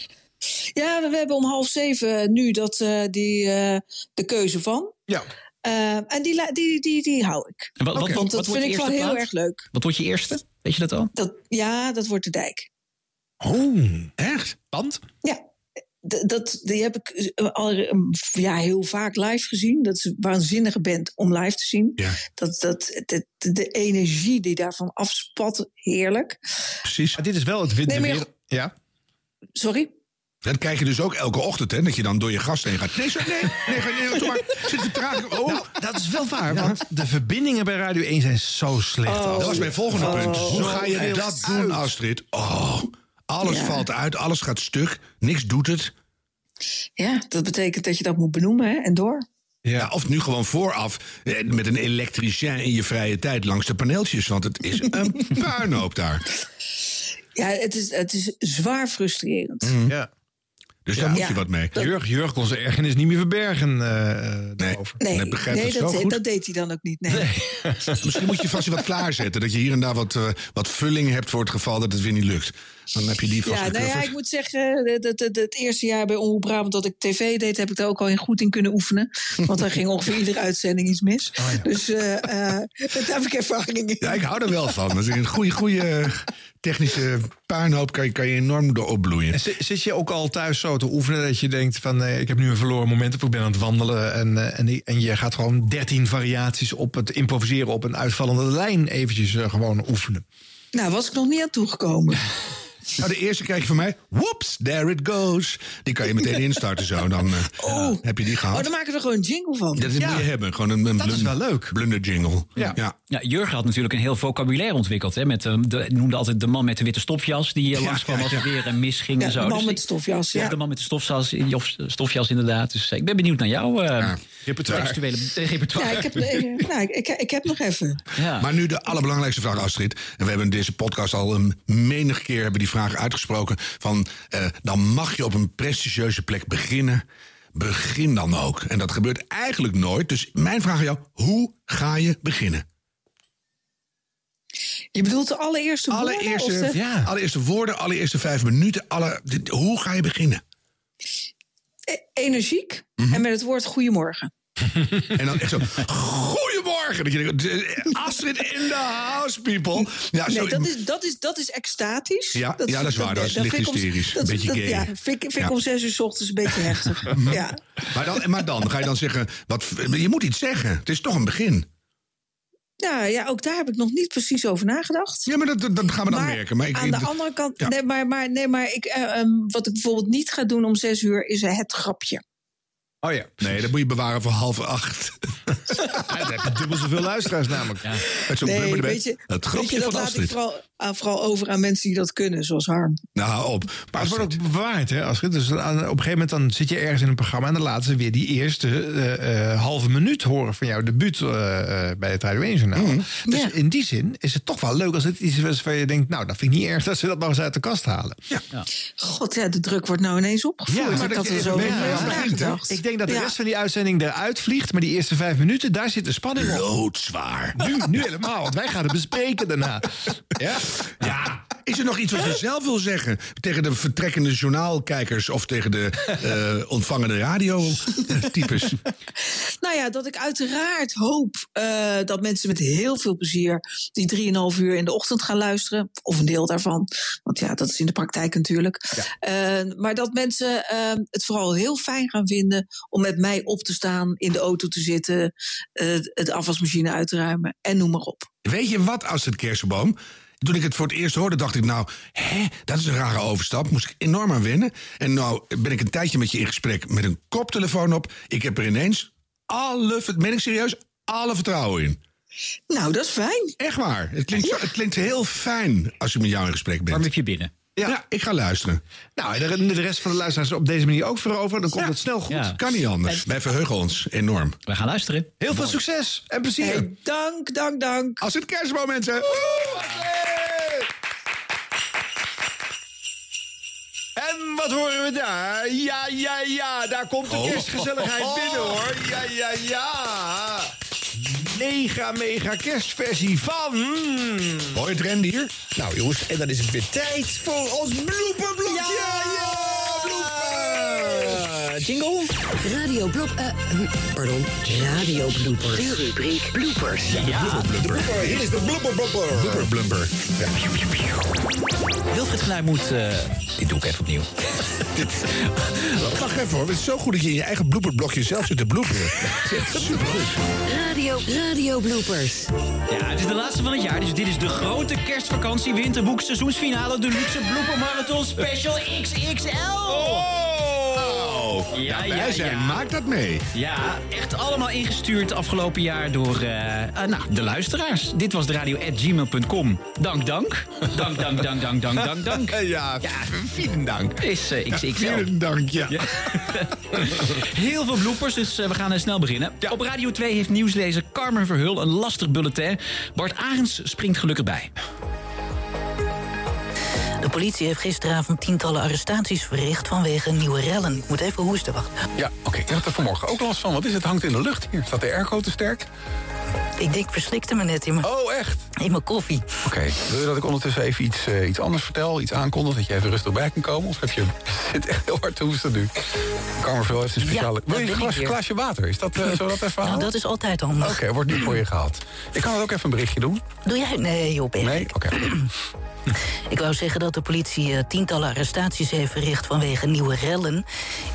Speaker 30: Ja, we we hebben om half zeven nu dat, eh, die, eh, de keuze van.
Speaker 4: Ja.
Speaker 30: Eh, en die, la- die, die, die hou ik.
Speaker 2: En wat, wat,
Speaker 30: Want
Speaker 2: wat,
Speaker 30: dat
Speaker 2: wat wordt
Speaker 30: vind
Speaker 2: je
Speaker 30: ik wel
Speaker 2: eerste
Speaker 30: heel
Speaker 2: plaat?
Speaker 30: erg leuk.
Speaker 2: Wat wordt je eerste? Weet je dat al?
Speaker 30: Dat, ja, dat wordt de dijk.
Speaker 3: Oh, echt? Band?
Speaker 30: Ja. D- Dat, die heb ik eh, al eh, ja, heel vaak live gezien. Dat is een waanzinnige band om live te zien. Dat, dat, de, de energie die daarvan afspat, heerlijk.
Speaker 3: Precies.
Speaker 4: dit is wel het
Speaker 30: witte Nee, maar- weer-
Speaker 4: Ja.
Speaker 30: Sorry?
Speaker 3: Dat krijg je dus ook elke ochtend, hè? Dat je dan door je gast heen gaat. Nee, zo, nee, nee, ga- nee, doe maar. Zit vertraging. Oh,
Speaker 31: Nou.
Speaker 4: dat is wel waar. Want de verbindingen bij Radio 1 zijn zo slecht.
Speaker 3: Oh.
Speaker 4: Astrid.
Speaker 3: Dat was mijn volgende
Speaker 4: Oh.
Speaker 3: punt. Hoe
Speaker 4: Zo
Speaker 3: ga je
Speaker 4: veel
Speaker 3: dat doen, Astrid? Oh, alles valt uit, alles gaat stuk, niks doet het.
Speaker 30: Ja, dat betekent dat je dat moet benoemen hè, en door.
Speaker 3: Ja. Nou, of nu gewoon vooraf eh, met een elektricien in je vrije tijd langs de paneeltjes. Want het is een puinhoop daar.
Speaker 30: Ja, het is, het is zwaar frustrerend.
Speaker 4: Ja.
Speaker 3: Dus
Speaker 30: daar Ja. moet je Ja. wat mee.
Speaker 4: Jurg, Jurg Mhm. kon zijn ergernis niet meer verbergen eh daarover.
Speaker 30: Nee, nee, dat, dat deed hij dan ook niet. Nee.
Speaker 3: Misschien moet je vast je wat klaarzetten. Dat je hier en daar wat, eh, wat vulling hebt voor het geval dat het weer niet lukt. Dan heb je die vast
Speaker 30: Ja, nou ja,
Speaker 3: gecoverd.
Speaker 30: ik moet zeggen, eh, dat, dat, dat het eerste jaar bij Omroep Brabant dat ik tv deed, heb ik daar ook al in goed in kunnen oefenen. Want daar ging ongeveer iedere uitzending iets mis. Dus eh, eh, daar heb ik ervaring in.
Speaker 3: Oh, Ja, ik hou er wel van. Dat is een eh, goede, goede technische puinhoop. Kan je, kan je enorm door opbloeien.
Speaker 4: En zi- zit je ook al thuis zo te oefenen dat je denkt van eh, ik heb nu een verloren moment of ik ben aan het wandelen en, eh, en, en je gaat gewoon 13 variaties op het improviseren op een uitvallende lijn eventjes eh, gewoon oefenen.
Speaker 30: Nou, was ik nog niet aan toegekomen.
Speaker 3: Nou, de eerste krijg je van mij. Whoops, there it goes. Die kan je meteen instarten zo. Dan eh, heb je die
Speaker 30: Oh,
Speaker 3: gehad.
Speaker 30: dan maken we er gewoon een jingle van.
Speaker 3: Dat moet je hebben. Gewoon een, dat is wel leuk. Blunder jingle. Ja.
Speaker 2: Ja, Jurgen had natuurlijk een heel vocabulaire ontwikkeld. Hè, met, eh, de, noemde altijd de man met de witte stofjas die eh, langskwam als er weer een mis ging.
Speaker 30: Ja,
Speaker 2: en zo.
Speaker 30: de man
Speaker 2: Dus
Speaker 30: met
Speaker 2: die-
Speaker 30: de stofjas, ja.
Speaker 2: De man met de stofjas, of stofjas inderdaad. Dus eh, ik ben benieuwd naar jouw eh
Speaker 3: repertoire.
Speaker 2: textuele eh, repertoire.
Speaker 30: Ja, ik heb, eh, nou, ik, ik, ik heb nog even.
Speaker 3: Maar nu de allerbelangrijkste vraag, Astrid. En we hebben deze podcast al een menig keer hebben die vraag uitgesproken. Van, eh, dan mag je op een prestigieuze plek beginnen. Begin dan ook. En dat gebeurt eigenlijk nooit. Dus mijn vraag aan jou, hoe ga je beginnen?
Speaker 30: Je bedoelt de allereerste woorden,
Speaker 3: Allereerste,
Speaker 30: of de-
Speaker 3: ja. allereerste woorden, allereerste vijf minuten. Alle, dit- hoe ga je beginnen?
Speaker 30: e-, Energiek
Speaker 3: Mhm.
Speaker 30: en met het woord goedemorgen.
Speaker 3: En dan echt zo, goedemorgen. Dat je denkt, eh, Astrid in the house, people. Ja, zo,
Speaker 30: nee, dat is, dat, is, dat is extatisch.
Speaker 3: Ja, ja, dat is waar. Dat is licht
Speaker 30: vind ik om-
Speaker 3: hysterisch.
Speaker 30: dat-
Speaker 3: Beetje
Speaker 30: dat-
Speaker 3: gay.
Speaker 30: Ja, vind, ik- vind
Speaker 3: Ja.
Speaker 30: ik om zes uur 's ochtends een beetje heftig. ja.
Speaker 3: maar, dan, maar dan ga je dan zeggen, wat, je moet iets zeggen. Het is toch een begin.
Speaker 30: Nou ja, ook daar heb ik nog niet precies over nagedacht.
Speaker 3: Ja, maar dat, gaan we dan merken. Maar ik-
Speaker 30: aan de andere kant, nee, maar, maar, nee, maar ik, eh, ehm, wat ik bijvoorbeeld niet ga doen om zes uur is eh, het grapje.
Speaker 4: Oh ja.
Speaker 3: Nee, dat moet je bewaren voor half acht.
Speaker 4: Dan heb je dubbel zoveel luisteraars namelijk.
Speaker 3: Met zo'n
Speaker 30: nee,
Speaker 3: blubber erbij.
Speaker 30: weet je,
Speaker 3: het
Speaker 30: weet je,
Speaker 3: grapje
Speaker 30: dat
Speaker 3: van
Speaker 30: laat ik
Speaker 3: Astrid.
Speaker 30: vooral, ah, vooral over aan mensen die dat kunnen, zoals Harm.
Speaker 3: Nou, hou op.
Speaker 4: Maar het wordt ook bewaard, hè, Astrid? Dus aan- op een gegeven moment dan zit je ergens in een programma... en dan laten ze weer die eerste eh, eh, halve minuut horen van jouw debuut eh, eh, bij het Radio 1-journaal.
Speaker 3: Mm,
Speaker 4: Dus in die zin is het toch wel leuk als het iets is waar je denkt... nou, dat vind ik niet erg dat ze dat nog eens uit de kast halen.
Speaker 30: God, ja, de druk wordt nou ineens opgevoerd.
Speaker 4: Ja,
Speaker 30: Ik
Speaker 4: maar
Speaker 30: had
Speaker 4: dat
Speaker 30: er
Speaker 4: je
Speaker 30: zo
Speaker 4: even
Speaker 30: over
Speaker 4: weet waar je
Speaker 30: nagedacht.
Speaker 4: begint, hè? Ik denk dat de
Speaker 30: Ja.
Speaker 4: rest van die uitzending eruit vliegt... maar die eerste vijf minuten, daar zit de spanning op.
Speaker 3: Loodzwaar.
Speaker 4: Nu, nu helemaal, want wij gaan het bespreken daarna.
Speaker 3: Ja? Ja, Is er nog iets wat je zelf wil zeggen tegen de vertrekkende journaalkijkers of tegen de eh, ontvangende radiotypes?
Speaker 30: Nou ja, dat ik uiteraard hoop eh, dat mensen met heel veel plezier die 3,5 uur in de ochtend gaan luisteren. Of een deel daarvan. Want ja, dat is in de praktijk natuurlijk. Eh, maar dat mensen eh, het vooral heel fijn gaan vinden om met mij op te staan, in de auto te zitten, eh, het afwasmachine uit te ruimen en noem maar op.
Speaker 3: Weet je wat, als het kersenboom? Toen ik het voor het eerst hoorde, dacht ik nou, hè, dat is een rare overstap. Moest ik enorm aan wennen. En nou ben ik een tijdje met je in gesprek met een koptelefoon op. Ik heb er ineens alle, ver- meen ik serieus, alle vertrouwen in.
Speaker 30: Nou, dat is fijn.
Speaker 3: Echt waar. Het klinkt, zo- het klinkt heel fijn als je met jou in gesprek bent. Waarom heb
Speaker 2: je binnen?
Speaker 3: Ja. ik ga luisteren.
Speaker 4: Nou, en de- de rest van de luisteraars op deze manier ook veroveren. Dan komt het snel goed.
Speaker 3: Ja. Kan niet anders. Wij verheugen ons enorm.
Speaker 2: We gaan luisteren.
Speaker 4: Heel veel succes en plezier.
Speaker 30: Hey, dank, dank, dank.
Speaker 3: Als het kerstboom, mensen.
Speaker 4: En wat horen we daar? Ja, ja, ja, daar komt de
Speaker 1: Oh.
Speaker 4: kerstgezelligheid binnen hoor. Ja, ja, ja. Mega, mega kerstversie van...
Speaker 3: Hoor je het rendier?
Speaker 31: Nou jongens, en dan is het weer tijd voor ons bloepenblokje. Ja, ja, bloepen. Jingle.
Speaker 5: Radio Blop... eh, hm, pardon, Radio Bloopers. De rubriek Bloopers. Ja,
Speaker 31: Blooper, Hier is de blooperblopper.
Speaker 3: Blubber, blubber.
Speaker 2: Wilfried Genuij moet... eh, dit doe ik even opnieuw.
Speaker 32: Wacht even hoor, het is zo goed dat je in je eigen blooperblokje zelf zit te
Speaker 3: Nou,
Speaker 32: bloeperen.
Speaker 5: Radio, Radio Bloopers.
Speaker 2: Ja, het is de laatste van het jaar, dus dit is de grote kerstvakantie winterboek seizoensfinale Deluxe Blooper Marathon Special XXL.
Speaker 3: Oh,
Speaker 2: ja,
Speaker 3: daarbij
Speaker 2: ja,
Speaker 3: zijn,
Speaker 2: ja.
Speaker 3: maak dat mee.
Speaker 2: Ja, echt allemaal ingestuurd afgelopen jaar door eh, eh, nou, de luisteraars. Dit was de radio at gmail.com. Dank, dank. Dank, dank, dank, dank, dank, dank, dank.
Speaker 4: Ja,
Speaker 3: vielen dank.
Speaker 2: Is eh,
Speaker 3: Ja,
Speaker 2: XXL.
Speaker 3: vielen dank, ja.
Speaker 2: Heel veel bloepers, dus eh, we gaan eh, snel beginnen. Op Radio 2 heeft nieuwslezer Carmen Verhul een lastig bulletin. Bart Arends springt gelukkig bij.
Speaker 15: De politie heeft gisteravond tientallen arrestaties verricht vanwege nieuwe rellen. Ik moet even hoesten, wacht.
Speaker 20: Ja, oké. Ik had er vanmorgen ook last van. Wat is het? Hangt in de lucht hier. Staat de airco te sterk?
Speaker 15: Ik denk, verslikte me net in mijn...
Speaker 20: Oh, echt?
Speaker 15: In mijn koffie.
Speaker 20: Oké. Wil je dat ik ondertussen even iets, eh, iets anders vertel? Iets aankondig? Dat je even rustig bij kan komen? Of heb je... zit echt heel hard te hoesten nu. Kamerveel heeft een speciale...
Speaker 15: dat
Speaker 20: Wil je
Speaker 15: ben
Speaker 20: een
Speaker 15: ik
Speaker 20: glas-
Speaker 15: weer.
Speaker 20: glaasje water? Is dat eh, zo dat even
Speaker 15: Nou, dat is altijd handig.
Speaker 20: Oké, wordt nu voor je gehaald. Ik kan het ook even een berichtje doen.
Speaker 15: Doe jij? Nee, Job, echt.
Speaker 20: Nee? Oké.
Speaker 15: Ik wou zeggen dat de politie eh, tientallen arrestaties heeft verricht vanwege nieuwe rellen.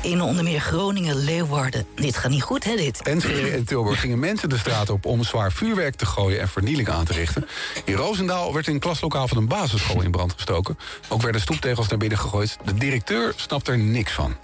Speaker 15: In onder meer Groningen, Leeuwarden. Dit gaat niet goed, hè, dit?
Speaker 20: Enschede en Tilburg gingen mensen de straat op om zwaar vuurwerk te gooien en vernieling aan te richten. In Roosendaal werd een klaslokaal van een basisschool in brand gestoken. Ook werden stoeptegels naar binnen gegooid. De directeur snapt er niks van.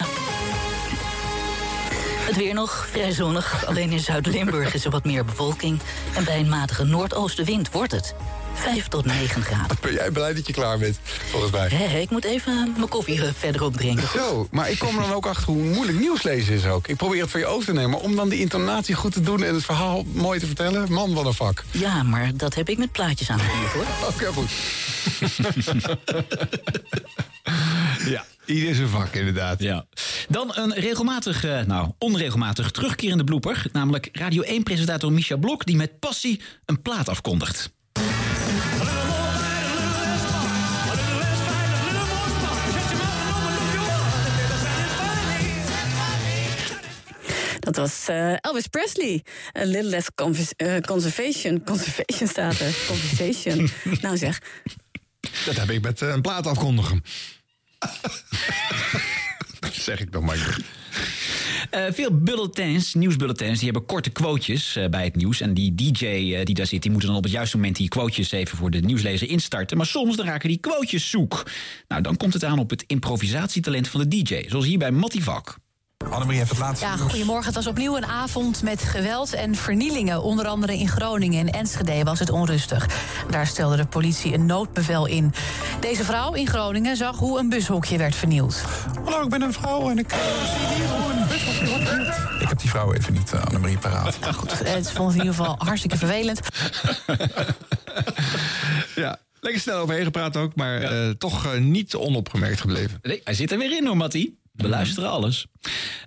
Speaker 15: Het weer nog vrij zonnig. Alleen in Zuid-Limburg is er wat meer bevolking. En bij een matige noordoostenwind wordt het 5 tot 9 graden.
Speaker 20: Ben jij blij dat je klaar bent, volgens mij.
Speaker 15: Hé, hé, ik moet even mijn koffie eh, verder opdrinken.
Speaker 20: Zo, maar ik kom er dan ook achter hoe moeilijk nieuws lezen is ook. Ik probeer het voor je over te nemen, maar om dan die intonatie goed te doen... en het verhaal mooi te vertellen, man, wat een vak.
Speaker 15: Ja, maar dat heb ik met plaatjes aangeleerd, hoor.
Speaker 20: Oké, goed.
Speaker 4: Ja.
Speaker 2: Ieder zijn vak, inderdaad. Ja. Dan een regelmatig, eh, nou, onregelmatig terugkerende blooper. Namelijk Radio 1-presentator Micha Blok... die met passie een plaat afkondigt.
Speaker 33: Dat was eh, Elvis Presley. A little less convis- eh, conservation. Conservation staat er. Conversation. nou zeg.
Speaker 4: Dat heb ik met eh, een plaat afkondigen. zeg ik dan maar.
Speaker 2: Eh, veel bulletins, nieuwsbulletins, die hebben korte quotejes eh, bij het nieuws. En die DJ eh, die daar zit, die moet dan op het juiste moment die quotejes even voor de nieuwslezer instarten. Maar soms dan raken die quotejes zoek. Nou, dan komt het aan op het improvisatietalent van de DJ. Zoals hier bij Matty Valk.
Speaker 34: Annemarie heeft het laatste.
Speaker 28: Ja, goedemorgen. Het was opnieuw een avond met geweld en vernielingen. Onder andere in Groningen en Enschede was het onrustig. Daar stelde de politie een noodbevel in. Deze vrouw in Groningen zag hoe een bushokje werd vernield.
Speaker 34: Hallo, ik ben een vrouw en ik eh, zit hier hoe een bus op wordt verhuurd.
Speaker 20: Ik heb die vrouw even niet, eh, Annemarie, paraat. Maar goed.
Speaker 28: Het vond het in ieder geval hartstikke vervelend.
Speaker 4: Ja, lekker snel overheen gepraat ook, maar eh, toch eh, niet onopgemerkt gebleven.
Speaker 2: Nee, hij zit er weer in hoor, Matty. We
Speaker 34: Mhm.
Speaker 2: luisteren alles.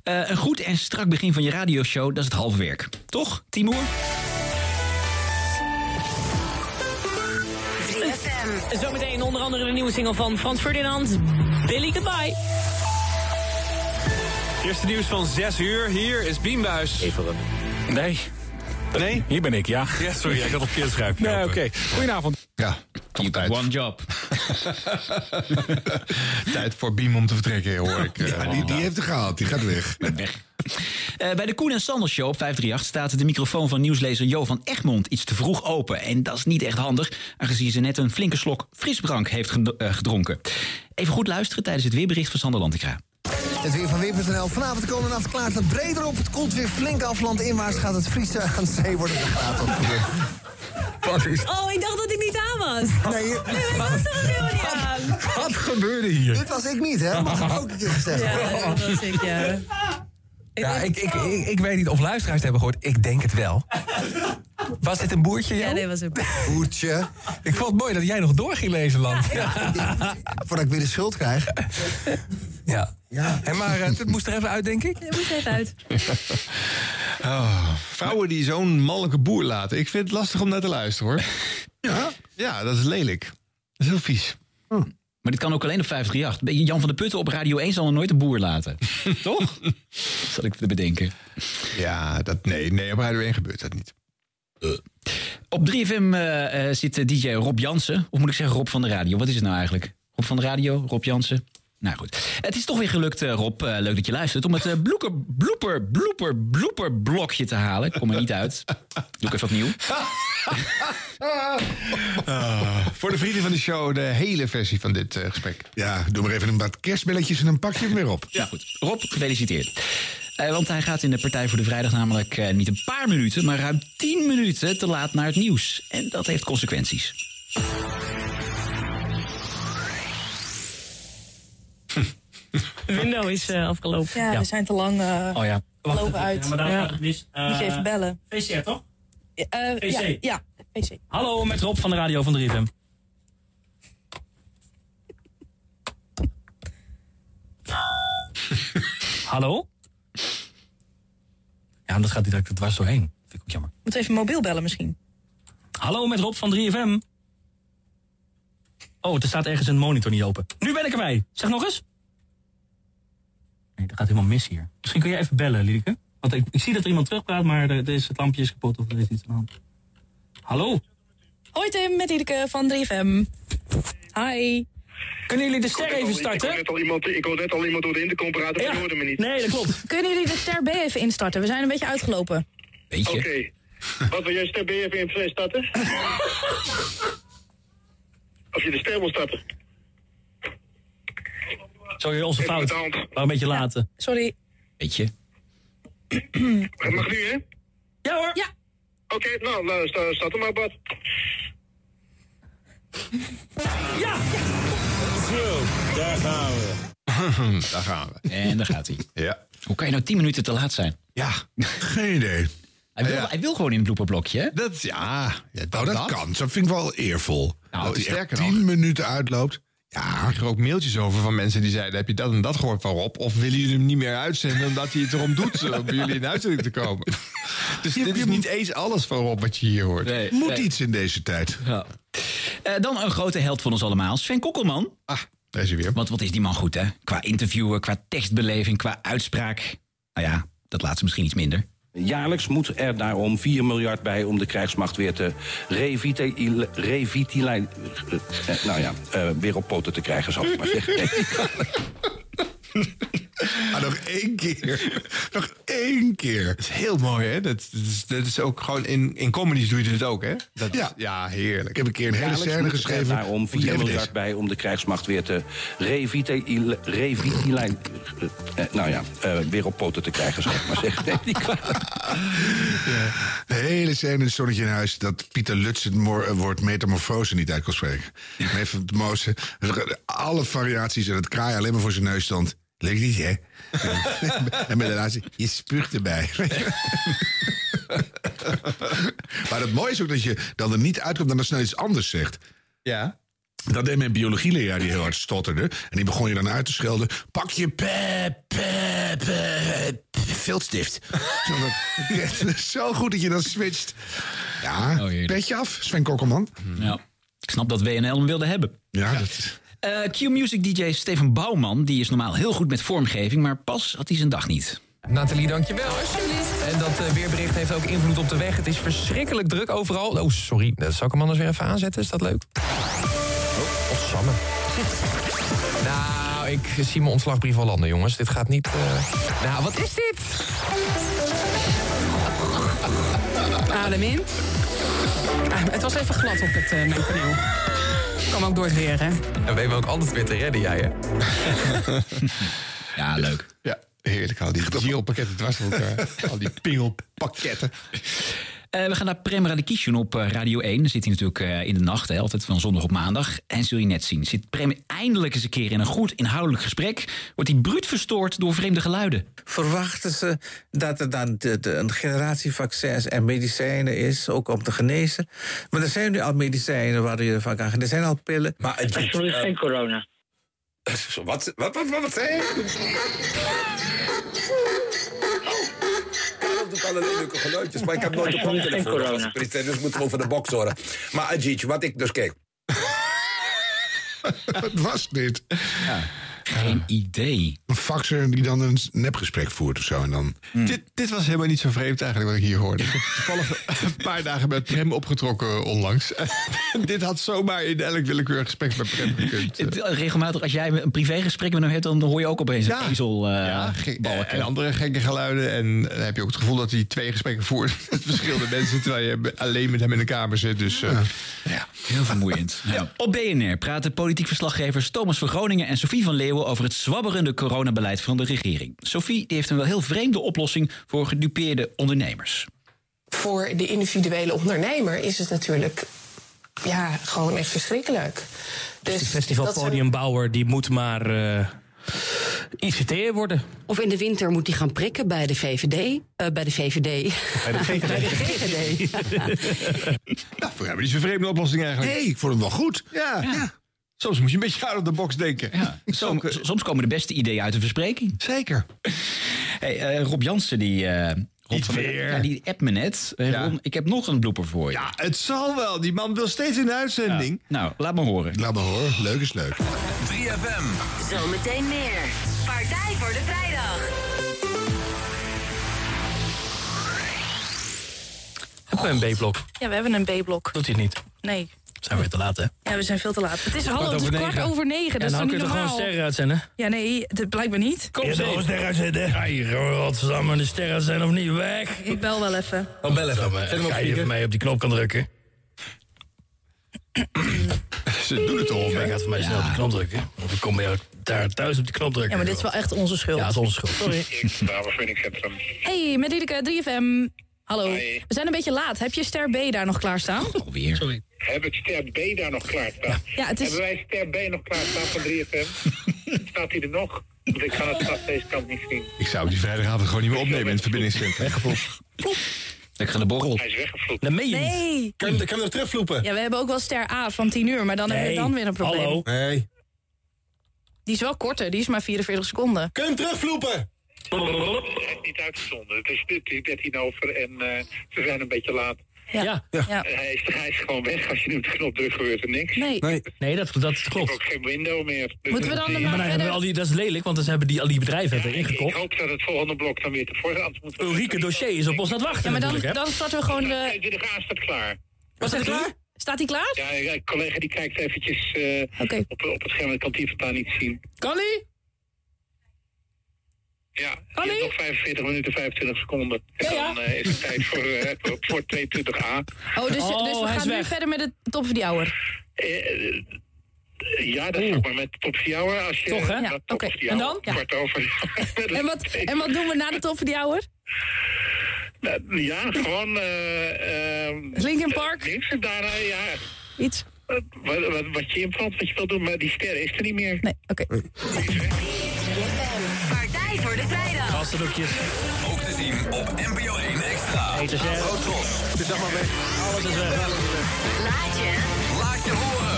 Speaker 2: Eh, een goed en strak begin van je radioshow, dat is het halve werk. Toch, Timoer?
Speaker 5: 3FM.
Speaker 17: ZFM. Zometeen onder andere de nieuwe single van Frans Ferdinand, Billy Goodbye.
Speaker 20: Eerste nieuws van 6 uur. Hier is Biembuis. Even Nee. Nee? Hier ben ik, ja. Ja, sorry, ik had op verkeerd schrijven. Nee, oké. Goedenavond.
Speaker 3: Ja,
Speaker 20: Keep one job.
Speaker 3: Tijd voor Beam om te vertrekken, hoor ik. Ja, die, die heeft het gehaald. Die gaat weg.
Speaker 2: Eh, bij de Koen en Sander Show op 538 staat de microfoon van nieuwslezer Jo van Egmond iets te vroeg open. En dat is niet echt handig, aangezien ze net een flinke slok frisdrank heeft geno- eh, gedronken. Even goed luisteren tijdens het weerbericht van Sander Lantekra.
Speaker 7: Het weer van Weer.nl. Vanavond de komende nacht klaart het breder op. Het koelt weer flink af. Landinwaarts gaat het vriezen. Aan zee wordt het een graad of
Speaker 17: Oh, ik dacht dat ik niet aan was.
Speaker 7: Nee, ik
Speaker 17: was er helemaal niet aan.
Speaker 7: Wat gebeurde hier? Dit was ik niet, hè? Mag ik ook een keer gezegd
Speaker 17: Ja, dat was ik, ja.
Speaker 35: Ja, ik, ik, ik, ik weet niet of luisteraars het hebben gehoord. Ik denk het wel. Was dit een boertje, Ja, nee,
Speaker 7: was
Speaker 35: een
Speaker 7: boertje.
Speaker 35: Ik vond het mooi dat jij nog door ging lezen, Land.
Speaker 7: Voordat ik weer de schuld krijg.
Speaker 35: Ja. ja. Hé, maar eh, het moest er even uit, denk ik.
Speaker 7: Het moest even uit.
Speaker 4: Oh, vrouwen die zo'n mannelijke boer laten. Ik vind het lastig om naar te luisteren, hoor. Ja? Ja, dat is lelijk. Dat is heel vies.
Speaker 2: Maar dit kan ook alleen op 538. Jan van der Putten op Radio 1 zal er nooit een boer laten. Toch? Zal ik te bedenken.
Speaker 4: Ja, dat, nee, nee, op Radio 1 gebeurt dat niet.
Speaker 2: Eh, Op 3FM eh, eh, zit eh, DJ Rob Jansen. Of moet ik zeggen Rob van de Radio? Wat is het nou eigenlijk? Rob van de Radio, Rob Jansen. Nou goed. Het is toch weer gelukt, eh, Rob. Eh, leuk dat je luistert. Om het eh, bloeker, bloeper, bloeper, bloeper blokje te halen. Ik kom er niet uit. Doe ik even opnieuw.
Speaker 4: Ah, voor de vrienden van de show, de hele versie van dit eh, gesprek.
Speaker 3: Ja, doe maar even een wat kerstbelletjes en dan pak je hem weer op.
Speaker 2: Ja, goed. Rob, gefeliciteerd. Eh, want hij gaat in de Partij voor de Vrijdag namelijk eh, niet een paar minuten, maar ruim 10 minuten te laat naar het nieuws. En dat heeft consequenties.
Speaker 17: Window is eh, afgelopen.
Speaker 35: Ja, we zijn te lang eh,
Speaker 2: Oh ja.
Speaker 35: lopen
Speaker 2: even,
Speaker 35: uit.
Speaker 2: ja, maar daar
Speaker 35: Ja.
Speaker 2: gaat het mis. Eh,
Speaker 35: Moet je even bellen. VCR, toch? Ja, eh, VC. ja, ja, VC.
Speaker 2: Hallo, met Rob van de radio van 3FM.
Speaker 35: Hallo?
Speaker 2: Ja, dat gaat direct er dwars doorheen. Vind ik ook jammer.
Speaker 35: Moet even mobiel bellen misschien.
Speaker 2: Hallo, met Rob van 3FM. Oh, er staat ergens een monitor niet open. Nu ben ik erbij. Zeg nog eens. Nee, dat gaat helemaal mis hier. Misschien kun je even bellen, Liedeke. Want ik, ik zie dat er iemand terugpraat, maar er, er is, het lampje is kapot of er is iets aan de hand. Hallo?
Speaker 35: Hoi Tim, met Liedeke van 3FM. Hi.
Speaker 2: Kunnen jullie de
Speaker 35: ster
Speaker 5: even starten? Ik hoor net al iemand, ik hoor net al iemand door de intercom praten, maar ik hoorde me niet.
Speaker 35: Nee, dat klopt. Kunnen jullie de ster B even instarten? We zijn een beetje uitgelopen.
Speaker 5: Oké. Wat wil jij ster B even in het starten? Als je de ster wil starten.
Speaker 2: Sorry, onze fout. Maar een beetje laten.
Speaker 35: Sorry.
Speaker 2: Weet je.
Speaker 5: Het mag nu, hè?
Speaker 2: Ja hoor.
Speaker 35: Ja.
Speaker 5: Oké, nou, nou sta- start hem maar, Bart.
Speaker 35: Ja!
Speaker 5: Zo, daar gaan we.
Speaker 2: daar gaan we. En daar gaat hij.
Speaker 4: Ja.
Speaker 2: Hoe kan je nou 10 minuten te laat zijn?
Speaker 4: Ja,
Speaker 2: geen idee. Hij wil, hij wil gewoon in het blooperblokje, hè? Ah,
Speaker 4: Dat, ja.
Speaker 3: dat, oh, dat, kan. Dat vind ik wel eervol. dat
Speaker 4: Nou,
Speaker 3: hij echt
Speaker 4: sterker
Speaker 3: tien minuten uitloopt.
Speaker 4: Ja, ik kreeg ook mailtjes over van mensen die zeiden... heb je dat en dat gehoord van Rob? Of willen jullie hem niet meer uitzenden omdat hij het erom doet... eh, om bij jullie in de uitzending te komen? Dus dit is niet eens alles van Rob wat je hier hoort.
Speaker 3: Moet iets in deze tijd.
Speaker 2: Ja. Eh, dan een grote held van ons allemaal, Sven Kokkelman.
Speaker 4: Ah, daar is hij weer.
Speaker 2: Want wat is die man goed, hè? Qua interviewen, qua tekstbeleving, qua uitspraak. Nou ja, dat laatste misschien iets minder.
Speaker 8: Jaarlijks moet er daarom 4 miljard bij om de krijgsmacht weer te revitaliseren. nou ja, eh, weer op poten te krijgen, zal ik maar zeggen.
Speaker 3: Ah, nog één keer.
Speaker 4: Nog één keer. Dat is heel mooi, hè? Dat, dat is, dat is ook gewoon... In, in comedies doe je dit ook, hè? Dat, ja. heerlijk. Ik heb een keer
Speaker 8: Jaarlijks moet Er daarom 4 miljard bij om de krijgsmacht weer te revitaliseren. nou ja, eh, weer op poten te krijgen, zal ik maar zeggen. Nee, niet waar.
Speaker 3: De hele scène in het Zonnetje in Huis... dat Pieter Lutz het moor- eh, woord metamorfose niet uit kon spreken. En Even de mooiste. Alle variaties en het kraai alleen maar voor zijn neus stond. Leuk niet, hè? en met de laatste, je spuugt erbij. maar het mooie is ook dat je dan er niet uitkomt... en dan snel iets anders zegt.
Speaker 4: Ja.
Speaker 3: Dat deed mijn biologieleraar die heel hard stotterde. En die begon je dan uit te schelden. Pak je pe, pe, pe, pe- viltstift. Zo dat-
Speaker 4: Hmm.
Speaker 3: Het is Zo goed dat je dat switcht. Ja, petje af, Sven Kokkelman.
Speaker 2: Oh, Ja. Ik snap dat WNL hem wilde hebben.
Speaker 3: Ja,
Speaker 2: Eh, Q-Music DJ Steven Bouwman, die is normaal heel goed met vormgeving, maar pas had hij zijn dag niet.
Speaker 11: Nathalie, dankjewel. En dat eh, weerbericht heeft ook invloed op de weg. Het is verschrikkelijk druk overal. Oh, sorry. Eh, Zal ik hem anders weer even aanzetten? Is dat leuk? Oh, of Samme. Nou, ik zie mijn ontslagbrief al landen, jongens. Dit gaat niet... eh, Nou, wat is dit?
Speaker 14: Adem in. Ah, het was even glad op het uh, mengpaneel. Kom ook door het weer, hè?
Speaker 11: En we hebben ook altijd weer te redden, jij, hè?
Speaker 2: ja, leuk.
Speaker 9: Ja, heerlijk. Al die Gio-pakketten dwars door elkaar. al die pingelpakketten.
Speaker 2: Eh, we gaan naar Prem Radikisjon op eh, Radio 1. Dan zit hij natuurlijk eh, in de nacht, hè, altijd van zondag op maandag. En zul je net zien, zit Prem eindelijk eens een keer in een goed inhoudelijk gesprek... wordt hij bruut verstoord door vreemde geluiden.
Speaker 1: Verwachten ze dat er dan de- de- een generatie vaccins en medicijnen is, ook om te genezen? Maar er zijn nu al medicijnen waar je van kan genezen. Er zijn al pillen. Maar het is geen corona.
Speaker 6: eh, Wat, wat, wat, wat, wat zei
Speaker 13: Oh, Dat doet allerlei leuke geluidjes, maar ik heb nooit een koptelefoon gespritten. Dus moeten we over de box horen. Maar Ajit, wat ik dus kijk.
Speaker 9: Het was dit.
Speaker 3: Eh.
Speaker 2: Geen idee.
Speaker 9: Een faxer die dan een nepgesprek voert of zo. En dan...
Speaker 2: Hmm.
Speaker 4: Dit, dit was helemaal niet zo vreemd eigenlijk wat ik hier hoorde. Ik heb toevallig een paar dagen met Prem opgetrokken eh, onlangs. dit had zomaar in elk willekeurig gesprek met Prem gekund.
Speaker 2: Het- Eh, Regelmatig, als jij een privégesprek met hem hebt... dan hoor je ook opeens een ezel... eh,
Speaker 4: Ge- En andere gekke geluiden. En eh, dan heb je ook het gevoel dat hij twee gesprekken voert met verschillende mensen. Terwijl je alleen met hem in de kamer zit. Dus eh,
Speaker 2: Heel vermoeiend. Ja. Op BNR praten politiek verslaggevers Thomas van Groningen en Sofie van Leeuwen over het zwabberende coronabeleid van de regering. Sofie die heeft een wel heel vreemde oplossing voor gedupeerde ondernemers.
Speaker 21: voor de individuele ondernemer is het natuurlijk ja, gewoon echt verschrikkelijk.
Speaker 25: Dus de festivalpodiumbouwer die moet maar eh ICT'er worden.
Speaker 28: Of in de winter moet hij gaan prikken bij de VVD. eh, bij de VVD.
Speaker 25: Bij de VVD.
Speaker 28: Bij de VVD.
Speaker 4: nou, we hebben niet zo'n vreemde oplossing eigenlijk. Nee, ik vond hem wel goed. Ja. Soms moet je een beetje out of the box denken. eh,
Speaker 2: Som- s- soms komen de beste ideeën uit de verspreking.
Speaker 4: Zeker.
Speaker 2: Hey, eh, Rob Jansen, die, eh Rob van der-
Speaker 4: weer.
Speaker 2: Ja, die appt me net. Eh, Ron, ik heb nog een blooper voor je. Ja,
Speaker 4: Het zal wel. Die man wil steeds in de uitzending.
Speaker 2: Nou, laat maar horen.
Speaker 9: Laat maar horen. Leuk is leuk.
Speaker 13: 3FM.
Speaker 36: Zometeen meer. Partij voor de Vrijdag.
Speaker 25: Hebben we een B-blok?
Speaker 35: Ja, we hebben een B-blok.
Speaker 25: Doet hij het niet?
Speaker 35: Nee.
Speaker 25: Zijn we te laat, hè?
Speaker 35: Ja, we zijn veel te laat. Het is half, het is kwart over negen.
Speaker 25: Ja,
Speaker 35: Dat is
Speaker 25: nou
Speaker 35: toch niet
Speaker 25: kun je toch gewoon
Speaker 35: normaal.
Speaker 25: sterren uitzenden?
Speaker 35: Ja, nee, dat blijkbaar niet.
Speaker 25: je toch
Speaker 5: nou,
Speaker 25: gewoon sterren uitzenden? Ga je gewoon godverdamme de sterren zijn of niet? Weg!
Speaker 35: Ik bel wel even.
Speaker 25: Oh, bel even.
Speaker 21: Zet hem op
Speaker 25: Ga je
Speaker 21: speaker.
Speaker 25: even mee op die knop kan drukken? Ze doen het al. Hij gaat voor mij snel op die knop drukken. Of ik kom bij jou daar thuis op die knop drukken.
Speaker 35: Ja, maar dit is wel echt onze schuld.
Speaker 25: Ja, het is onze schuld.
Speaker 35: Sorry. Hey, met Liedeke, 3FM. Hallo. We zijn een beetje laat. Heb je ster B daar nog klaarstaan?
Speaker 2: Alweer.
Speaker 25: Sorry.
Speaker 7: Heb ik ster B daar nog klaarstaan?
Speaker 35: Ja, het is-
Speaker 7: Hebben wij ster B nog klaarstaan van 3FM? Staat hij er nog? Want ik kan het vanaf deze kant niet zien.
Speaker 4: Ik zou die vrijdagavond gewoon niet meer opnemen in het verbindingscentrum.
Speaker 2: Ik ga de borrel.
Speaker 7: Hij is weggevloed.
Speaker 25: Dat meen
Speaker 35: Nee.
Speaker 13: Kan je kan hem terugvloepen?
Speaker 35: Ja, we hebben ook wel ster A van 10 uur, maar dan hebben we dan weer een probleem.
Speaker 13: Hallo. Nee.
Speaker 35: Die is wel korter, die is maar 44 seconden.
Speaker 13: Kun je hem terugvloepen?
Speaker 7: Het is niet uitgezonden. Het is 13 over en eh, ze zijn een beetje laat.
Speaker 35: Ja.
Speaker 7: Eh, Hij, is, hij is gewoon weg. Als je nu op de knop drukt, gebeurt er niks.
Speaker 35: Nee.
Speaker 25: Nee, nee dat, dat klopt.
Speaker 7: Ik heb ook geen window meer. Dus
Speaker 35: Moeten we dan
Speaker 7: die-
Speaker 25: maar dan hebben we al die, dat is lelijk, want dan hebben die, al die bedrijven hebben
Speaker 7: Ik
Speaker 25: ingekocht.
Speaker 7: hoop dat het volgende blok dan weer tevoren... Anders moeten we...
Speaker 25: Ulrike dossier is op ons aan het wachten.
Speaker 35: Ja, maar dan,
Speaker 25: natuurlijk, hè?
Speaker 35: dan starten we gewoon de...
Speaker 7: staat klaar.
Speaker 35: Wat zegt klaar? Staat hij klaar?
Speaker 7: Ja, ja, een collega die kijkt eventjes eh, op, op het scherm. Ik kan die vandaan niet zien.
Speaker 35: Kan hij?
Speaker 7: Ja, je hebt nog 45 minuten, 25 seconden. En dan eh, is het tijd voor, eh, voor- voor 22a.
Speaker 35: Oh, dus, dus we gaan nu verder met de top van die hour.
Speaker 7: Eh, eh, ja, dat is ook maar met de top 4 hour. Als je,
Speaker 35: Toch, hè?
Speaker 7: dat
Speaker 35: Ja,
Speaker 7: top
Speaker 35: oké.
Speaker 7: vier
Speaker 35: En
Speaker 7: hour,
Speaker 35: dan? Ja.
Speaker 7: Kwart over.
Speaker 35: En wat, en wat doen we na de top van die hour?
Speaker 7: Nou, ja, gewoon... eh ehm,
Speaker 35: Linkin Park?
Speaker 7: Links daar, eh, ja.
Speaker 35: Iets.
Speaker 7: Wat, wat, wat je implant, wat je wil doen, maar die ster is er niet meer.
Speaker 35: Nee, oké.
Speaker 36: Partij voor de Vrijdag.
Speaker 25: Gastendoekjes.
Speaker 13: Ook te zien op NPO 1 Extra.
Speaker 25: Eten ze.
Speaker 13: Afro Tros.
Speaker 25: Het is allemaal weg. Alles is weg.
Speaker 36: Laat je.
Speaker 13: Laat je horen.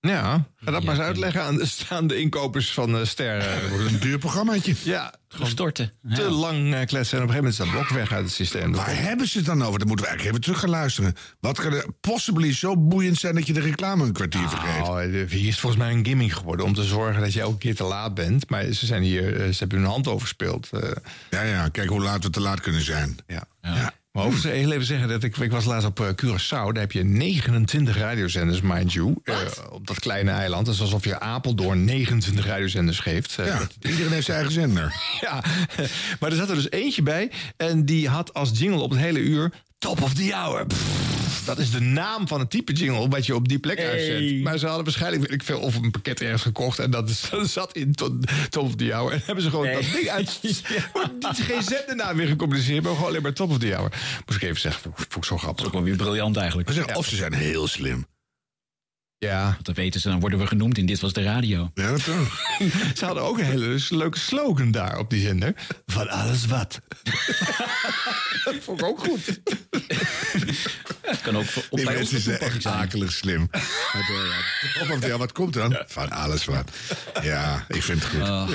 Speaker 4: Ja, ga dat maar eens uitleggen aan de staande inkopers van eh Sterren. Dat wordt een duur programmaatje. Ja. Gewoon
Speaker 2: storten.
Speaker 4: Te lang eh, kletsen en op een gegeven moment is dat blok weg uit het systeem. Dat
Speaker 3: Waar hebben ze het dan over? Dat moeten we eigenlijk even terug gaan luisteren. Wat kan er possibly zo boeiend zijn dat je de reclame een kwartier vergeet?
Speaker 4: Oh, de- hier is volgens mij een gimmick geworden om te zorgen dat je elke keer te laat bent. Maar ze, zijn hier, eh, ze hebben hun hand overspeeld. eh.
Speaker 3: ja, ja, kijk hoe laat we te laat kunnen zijn.
Speaker 4: Ja. Maar overigens heel even zeggen dat ik, ik was laatst op eh, Curaçao. Daar heb je 29 radiozenders, mind you. eh, op dat kleine eiland. Dat is alsof je Apeldoorn 29 radiozenders geeft. Eh, dat-
Speaker 3: Iedereen heeft zijn eigen zender.
Speaker 4: ja, maar er zat er dus eentje bij. En die had als jingle op het hele uur. Top of the hour. Pff, dat is de naam van het type jingle wat je op die plek uitzendt. Maar ze hadden waarschijnlijk, weet ik veel, of een pakket ergens gekocht. En dat, is- dat zat in to- Top of the hour. En hebben ze gewoon dat ding uit. Wordt niet geen zendernaam meer gecommuniceerd, maar gewoon alleen maar Top of the hour. Moest ik even zeggen, vond ik- vond ik zo grappig.
Speaker 2: ook wel weer briljant eigenlijk.
Speaker 3: Maar zeg, Of ze zijn heel slim.
Speaker 4: Ja.
Speaker 2: Want dan weten ze, dan worden we genoemd in Dit Was de Radio.
Speaker 3: Ja, dat
Speaker 4: Ze hadden ook een hele leuke slogan daar op die zender. Van alles wat. dat vond ik ook goed.
Speaker 2: Het kan ook voor- op
Speaker 3: Die
Speaker 2: bij ons
Speaker 3: mensen
Speaker 2: op
Speaker 3: zijn
Speaker 2: toepassing
Speaker 3: echt
Speaker 2: zijn.
Speaker 3: akelig slim. Of of ja, wat komt dan? Van alles wat. Ja, ik vind het goed.
Speaker 2: Oh.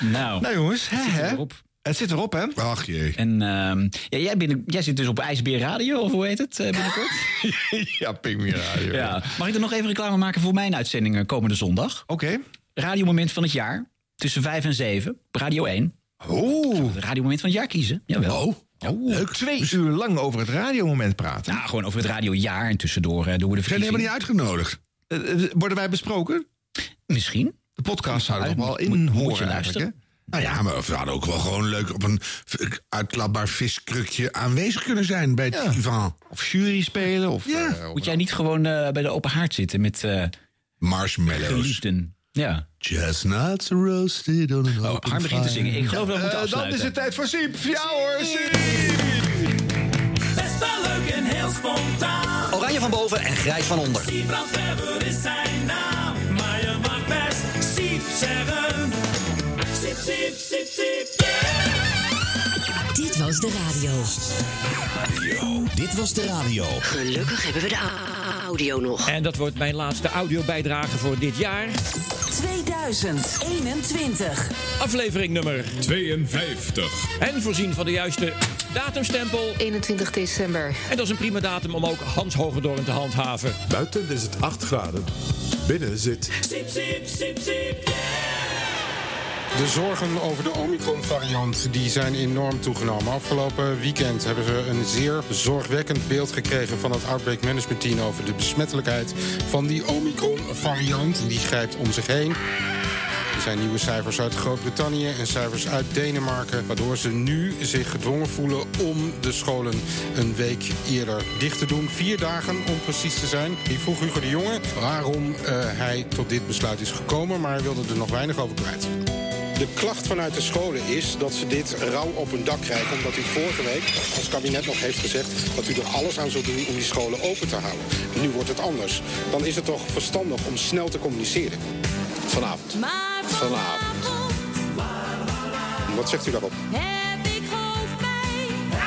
Speaker 2: Nou,
Speaker 4: Nou jongens, hè,
Speaker 2: zit er
Speaker 4: hè?
Speaker 2: erop.
Speaker 4: het zit erop hè?
Speaker 3: Ach jee.
Speaker 2: En ehm, ja, jij, binnen, jij zit dus op IJsbeer Radio, of hoe heet het eh, binnenkort?
Speaker 4: ja, Pingmeer Radio.
Speaker 2: Ja. Mag ik er nog even reclame maken voor mijn uitzendingen komende zondag?
Speaker 4: Oké.
Speaker 2: Radiomoment van het jaar. Tussen 5 en 7. op Radio 1.
Speaker 4: Oh.
Speaker 2: Het radiomoment van het jaar kiezen. Jawel.
Speaker 3: Oh.
Speaker 4: Twee uur lang over het radiomoment praten.
Speaker 2: Nou, gewoon over het radiojaar en tussendoor eh, doen we de
Speaker 3: Zijn die
Speaker 2: verkiezingen.
Speaker 3: helemaal niet uitgenodigd?
Speaker 4: Eh, eh, worden wij besproken?
Speaker 2: Misschien.
Speaker 4: De podcast zou er nog wel in
Speaker 2: Moet- moet je
Speaker 4: horen
Speaker 2: luisteren.
Speaker 4: eigenlijk. hè?
Speaker 3: Nou ja, maar we hadden ook wel gewoon leuk op een v- uitklapbaar viskrukje aanwezig kunnen zijn bij het Ivan.
Speaker 4: Of jury spelen. Of,
Speaker 3: ja.
Speaker 2: Moet jij niet gewoon eh, bij de open haard zitten met eh
Speaker 3: Marshmallows.
Speaker 2: geliefden? Ja. Oh,
Speaker 3: Chestnuts roasted on an open
Speaker 2: Harm begint te zingen. Ik geloof dat we moeten
Speaker 4: Eh, dan
Speaker 2: afsluiten.
Speaker 4: is het tijd voor Siep. Ja hoor, Siep.
Speaker 5: Best wel leuk en heel spontaan.
Speaker 37: Oranje van boven en grijs van onder.
Speaker 5: Siebrand Weber is zijn naam. Maar je mag best Siep zeggen. Siep, siep, siep, siep.
Speaker 11: Dit was de radio. Dit was de radio. Gelukkig hebben we de au- audio nog.
Speaker 7: En dat wordt mijn laatste audiobijdrage voor dit jaar.
Speaker 11: 2021.
Speaker 7: Aflevering nummer 52. En voorzien van de juiste datumstempel.
Speaker 25: 21 december.
Speaker 7: En dat is een prima datum om ook Hans Hogedorn te handhaven.
Speaker 10: Buiten is het 8 graden. Binnen zit
Speaker 5: Siep, siep, siep, siep.
Speaker 38: De zorgen over de Omicron-variant die zijn enorm toegenomen. Afgelopen weekend hebben ze een zeer zorgwekkend beeld gekregen van het Outbreak Management Team over de besmettelijkheid van die Omicron-variant. Die grijpt om zich heen. Er zijn nieuwe cijfers uit Groot-Brittannië en cijfers uit Denemarken, waardoor ze nu zich gedwongen voelen om de scholen een week eerder dicht te doen. Vier dagen om precies te zijn. Ik vroeg Hugo de Jonge waarom eh, hij tot dit besluit is gekomen, maar hij wilde er nog weinig over kwijt. De klacht vanuit de scholen is dat ze dit rauw op hun dak krijgen... omdat u vorige week als kabinet nog heeft gezegd... dat u er alles aan zult doen om die scholen open te houden. Nu wordt het anders. Dan is het toch verstandig om snel te communiceren. Vanavond.
Speaker 5: Maar
Speaker 38: Vanavond. Wat zegt u daarop?
Speaker 5: heb ik hoofdpijn.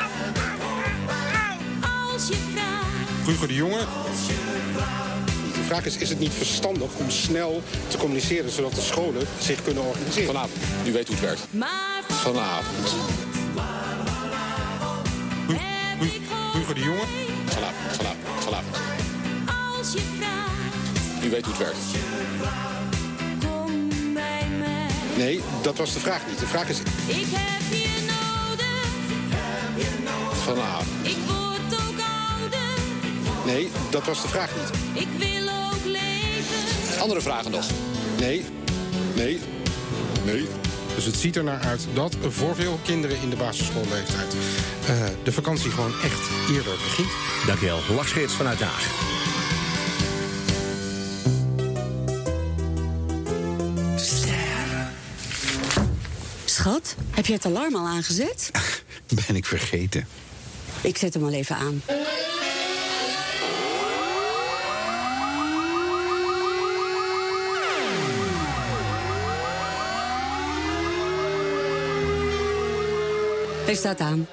Speaker 5: Als je vraagt.
Speaker 38: Hugo de Jonge. De vraag is, is het niet verstandig om snel te communiceren... zodat de scholen zich kunnen organiseren? Vanavond. U weet hoe het werkt.
Speaker 5: Maar
Speaker 38: Vanavond. Hugo de Jonge. Vanavond, vanavond, vanavond.
Speaker 5: als je vraagt.
Speaker 38: U weet hoe het werkt.
Speaker 5: Kom bij mij.
Speaker 38: Nee, dat was de vraag niet. De vraag is
Speaker 5: Ik heb je nodig.
Speaker 38: vanavond.
Speaker 5: Ik word ook ouder.
Speaker 38: Nee, dat was de vraag niet.
Speaker 5: Ik wil ook leven.
Speaker 38: Andere vragen nog? Nee. Nee. Nee. Dus het ziet er naar uit dat voor veel kinderen in de basisschoolleeftijd eh, de vakantie gewoon echt eerder begint.
Speaker 37: Dankjewel. Lachsgeerts vanuit Den Haag.
Speaker 25: Schat, heb je het alarm al aangezet?
Speaker 39: Ben ik vergeten.
Speaker 25: Ik zet hem al even aan. Hij staat aan.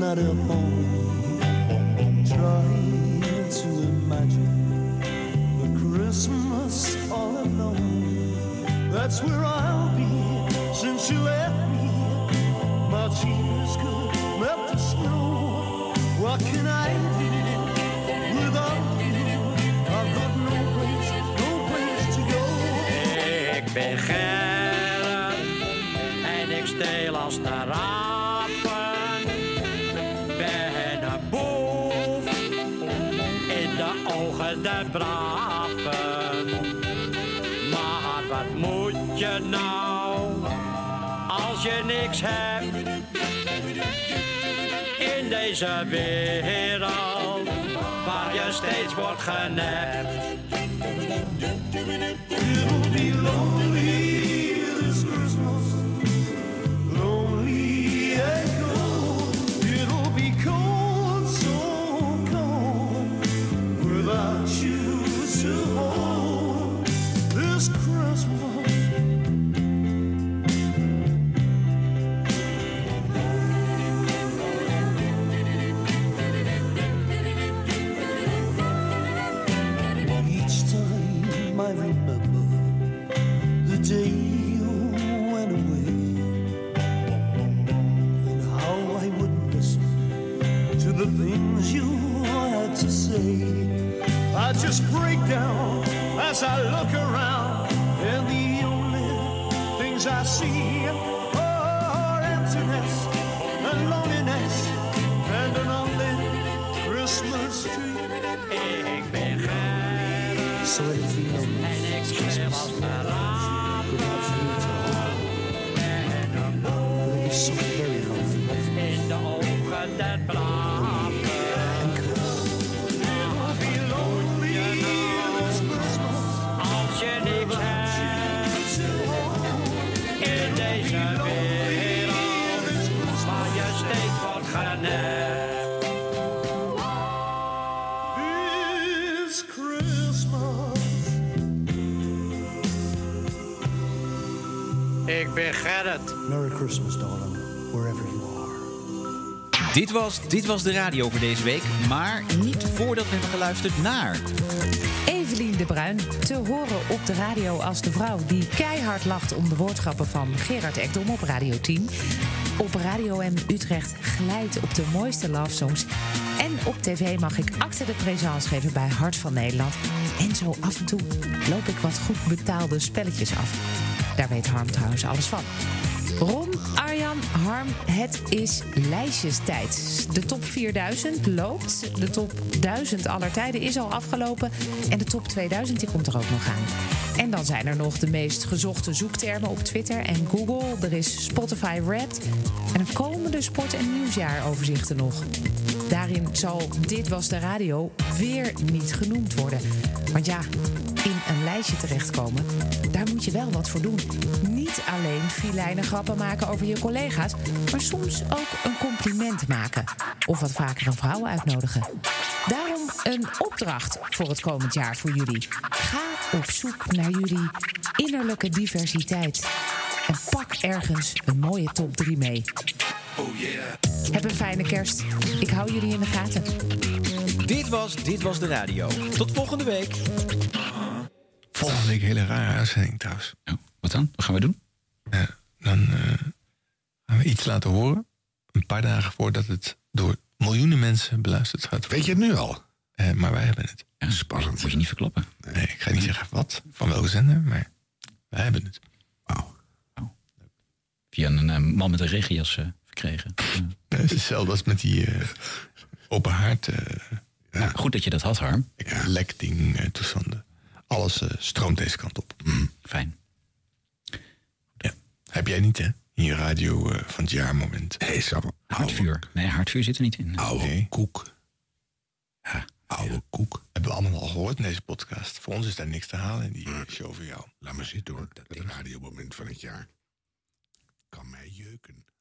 Speaker 1: better home. Trying to imagine the Christmas all alone. That's where I'll be since you left me. My tears could melt the snow. What can I do without you? I've got no place, no place to go.
Speaker 40: Ik ben Gerrit en ik steel als de rapen. Ben een boef in de ogen der braven. Maar wat moet je nou als je niks hebt? In deze wereld waar je steeds wordt genept.
Speaker 1: It'll be lonely this Christmas. Lonely and cold. It'll be cold, so cold. Without you to hold this Christmas. Each time I remember the day you went away, and how I would listen to the things you had to say. I just break down as I look around, and the only things I see are emptiness and loneliness and an ugly Christmas tree.
Speaker 40: Ik ben Gerrit
Speaker 1: So every moment.
Speaker 40: en ik schreeuw als de rapen.
Speaker 1: It's so very lonely.
Speaker 40: In de ogen der braven. It'll be lonely this Christmas. Als je niks hebt. In deze wereld. Waar je steeds wordt genept.
Speaker 1: It's Christmas.
Speaker 40: Ik ben Gerrit.
Speaker 1: Merry Christmas, darling, wherever you are.
Speaker 14: Dit was, dit was de radio voor deze week, maar niet voordat we hebben geluisterd naar. Evelien de Bruin, te horen op de radio als de vrouw die keihard lacht om de woordgrappen van Gerard Ekdom op Radio 10. Op Radio M Utrecht glijdt op de mooiste love songs. En op tv mag ik acte de présence geven bij Hart van Nederland. En zo af en toe loop ik wat goed betaalde spelletjes af. Daar weet Harm trouwens alles van. Ron, Arjan, Harm, het is lijstjestijd. De top 4000 loopt. De top 1000 aller tijden is al afgelopen. En de top 2000 die komt er ook nog aan. En dan zijn er nog de meest gezochte zoektermen op Twitter en Google. Er is Spotify Wrapped. En er komen de sport- en nieuwsjaaroverzichten nog. Daarin zal Dit Was De Radio weer niet genoemd worden. Want ja, in een lijstje terechtkomen, daar moet je wel wat voor doen. Niet alleen filijne grappen maken over je collega's, maar soms ook een compliment maken. Of wat vaker een vrouw uitnodigen. Daarom een opdracht voor het komend jaar voor jullie. Ga op zoek naar jullie innerlijke diversiteit. En pak ergens een mooie top 3 mee.
Speaker 1: Oh yeah.
Speaker 14: Heb een fijne kerst. Ik hou jullie in de gaten. Dit was, dit was de radio. Tot volgende week.
Speaker 4: Volgende week hele rare uitzending trouwens.
Speaker 2: Oh, wat dan? Wat gaan we doen?
Speaker 4: dan eh, gaan we iets laten horen. Een paar dagen voordat het door miljoenen mensen beluisterd gaat Weet je het nu al? maar wij hebben het.
Speaker 2: Spannend. Moet je niet verklappen.
Speaker 4: Nee, ik ga niet zeggen wat, van welke zender, maar wij hebben het.
Speaker 2: Via een eh, man met een regenjas eh, verkregen.
Speaker 4: Ja, het is Hetzelfde als met die eh, open haard. eh,
Speaker 2: Nou, goed dat je dat had, Harm.
Speaker 4: Lekting, eh, toestanden. Alles eh, stroomt deze kant op. Mm.
Speaker 2: Fijn.
Speaker 4: Ja. Heb jij niet, hè? In je radio eh, van het jaarmoment. Hé, hey, Sam.
Speaker 2: Hardvuur. Nee, hardvuur zit er niet in.
Speaker 4: Oude koek. Oude koek. Hebben we allemaal al gehoord in deze podcast. Voor ons is daar niks te halen in die show voor jou.
Speaker 3: Laat maar zitten hoor. Het radiomoment van het jaar. Kan mij jeuken.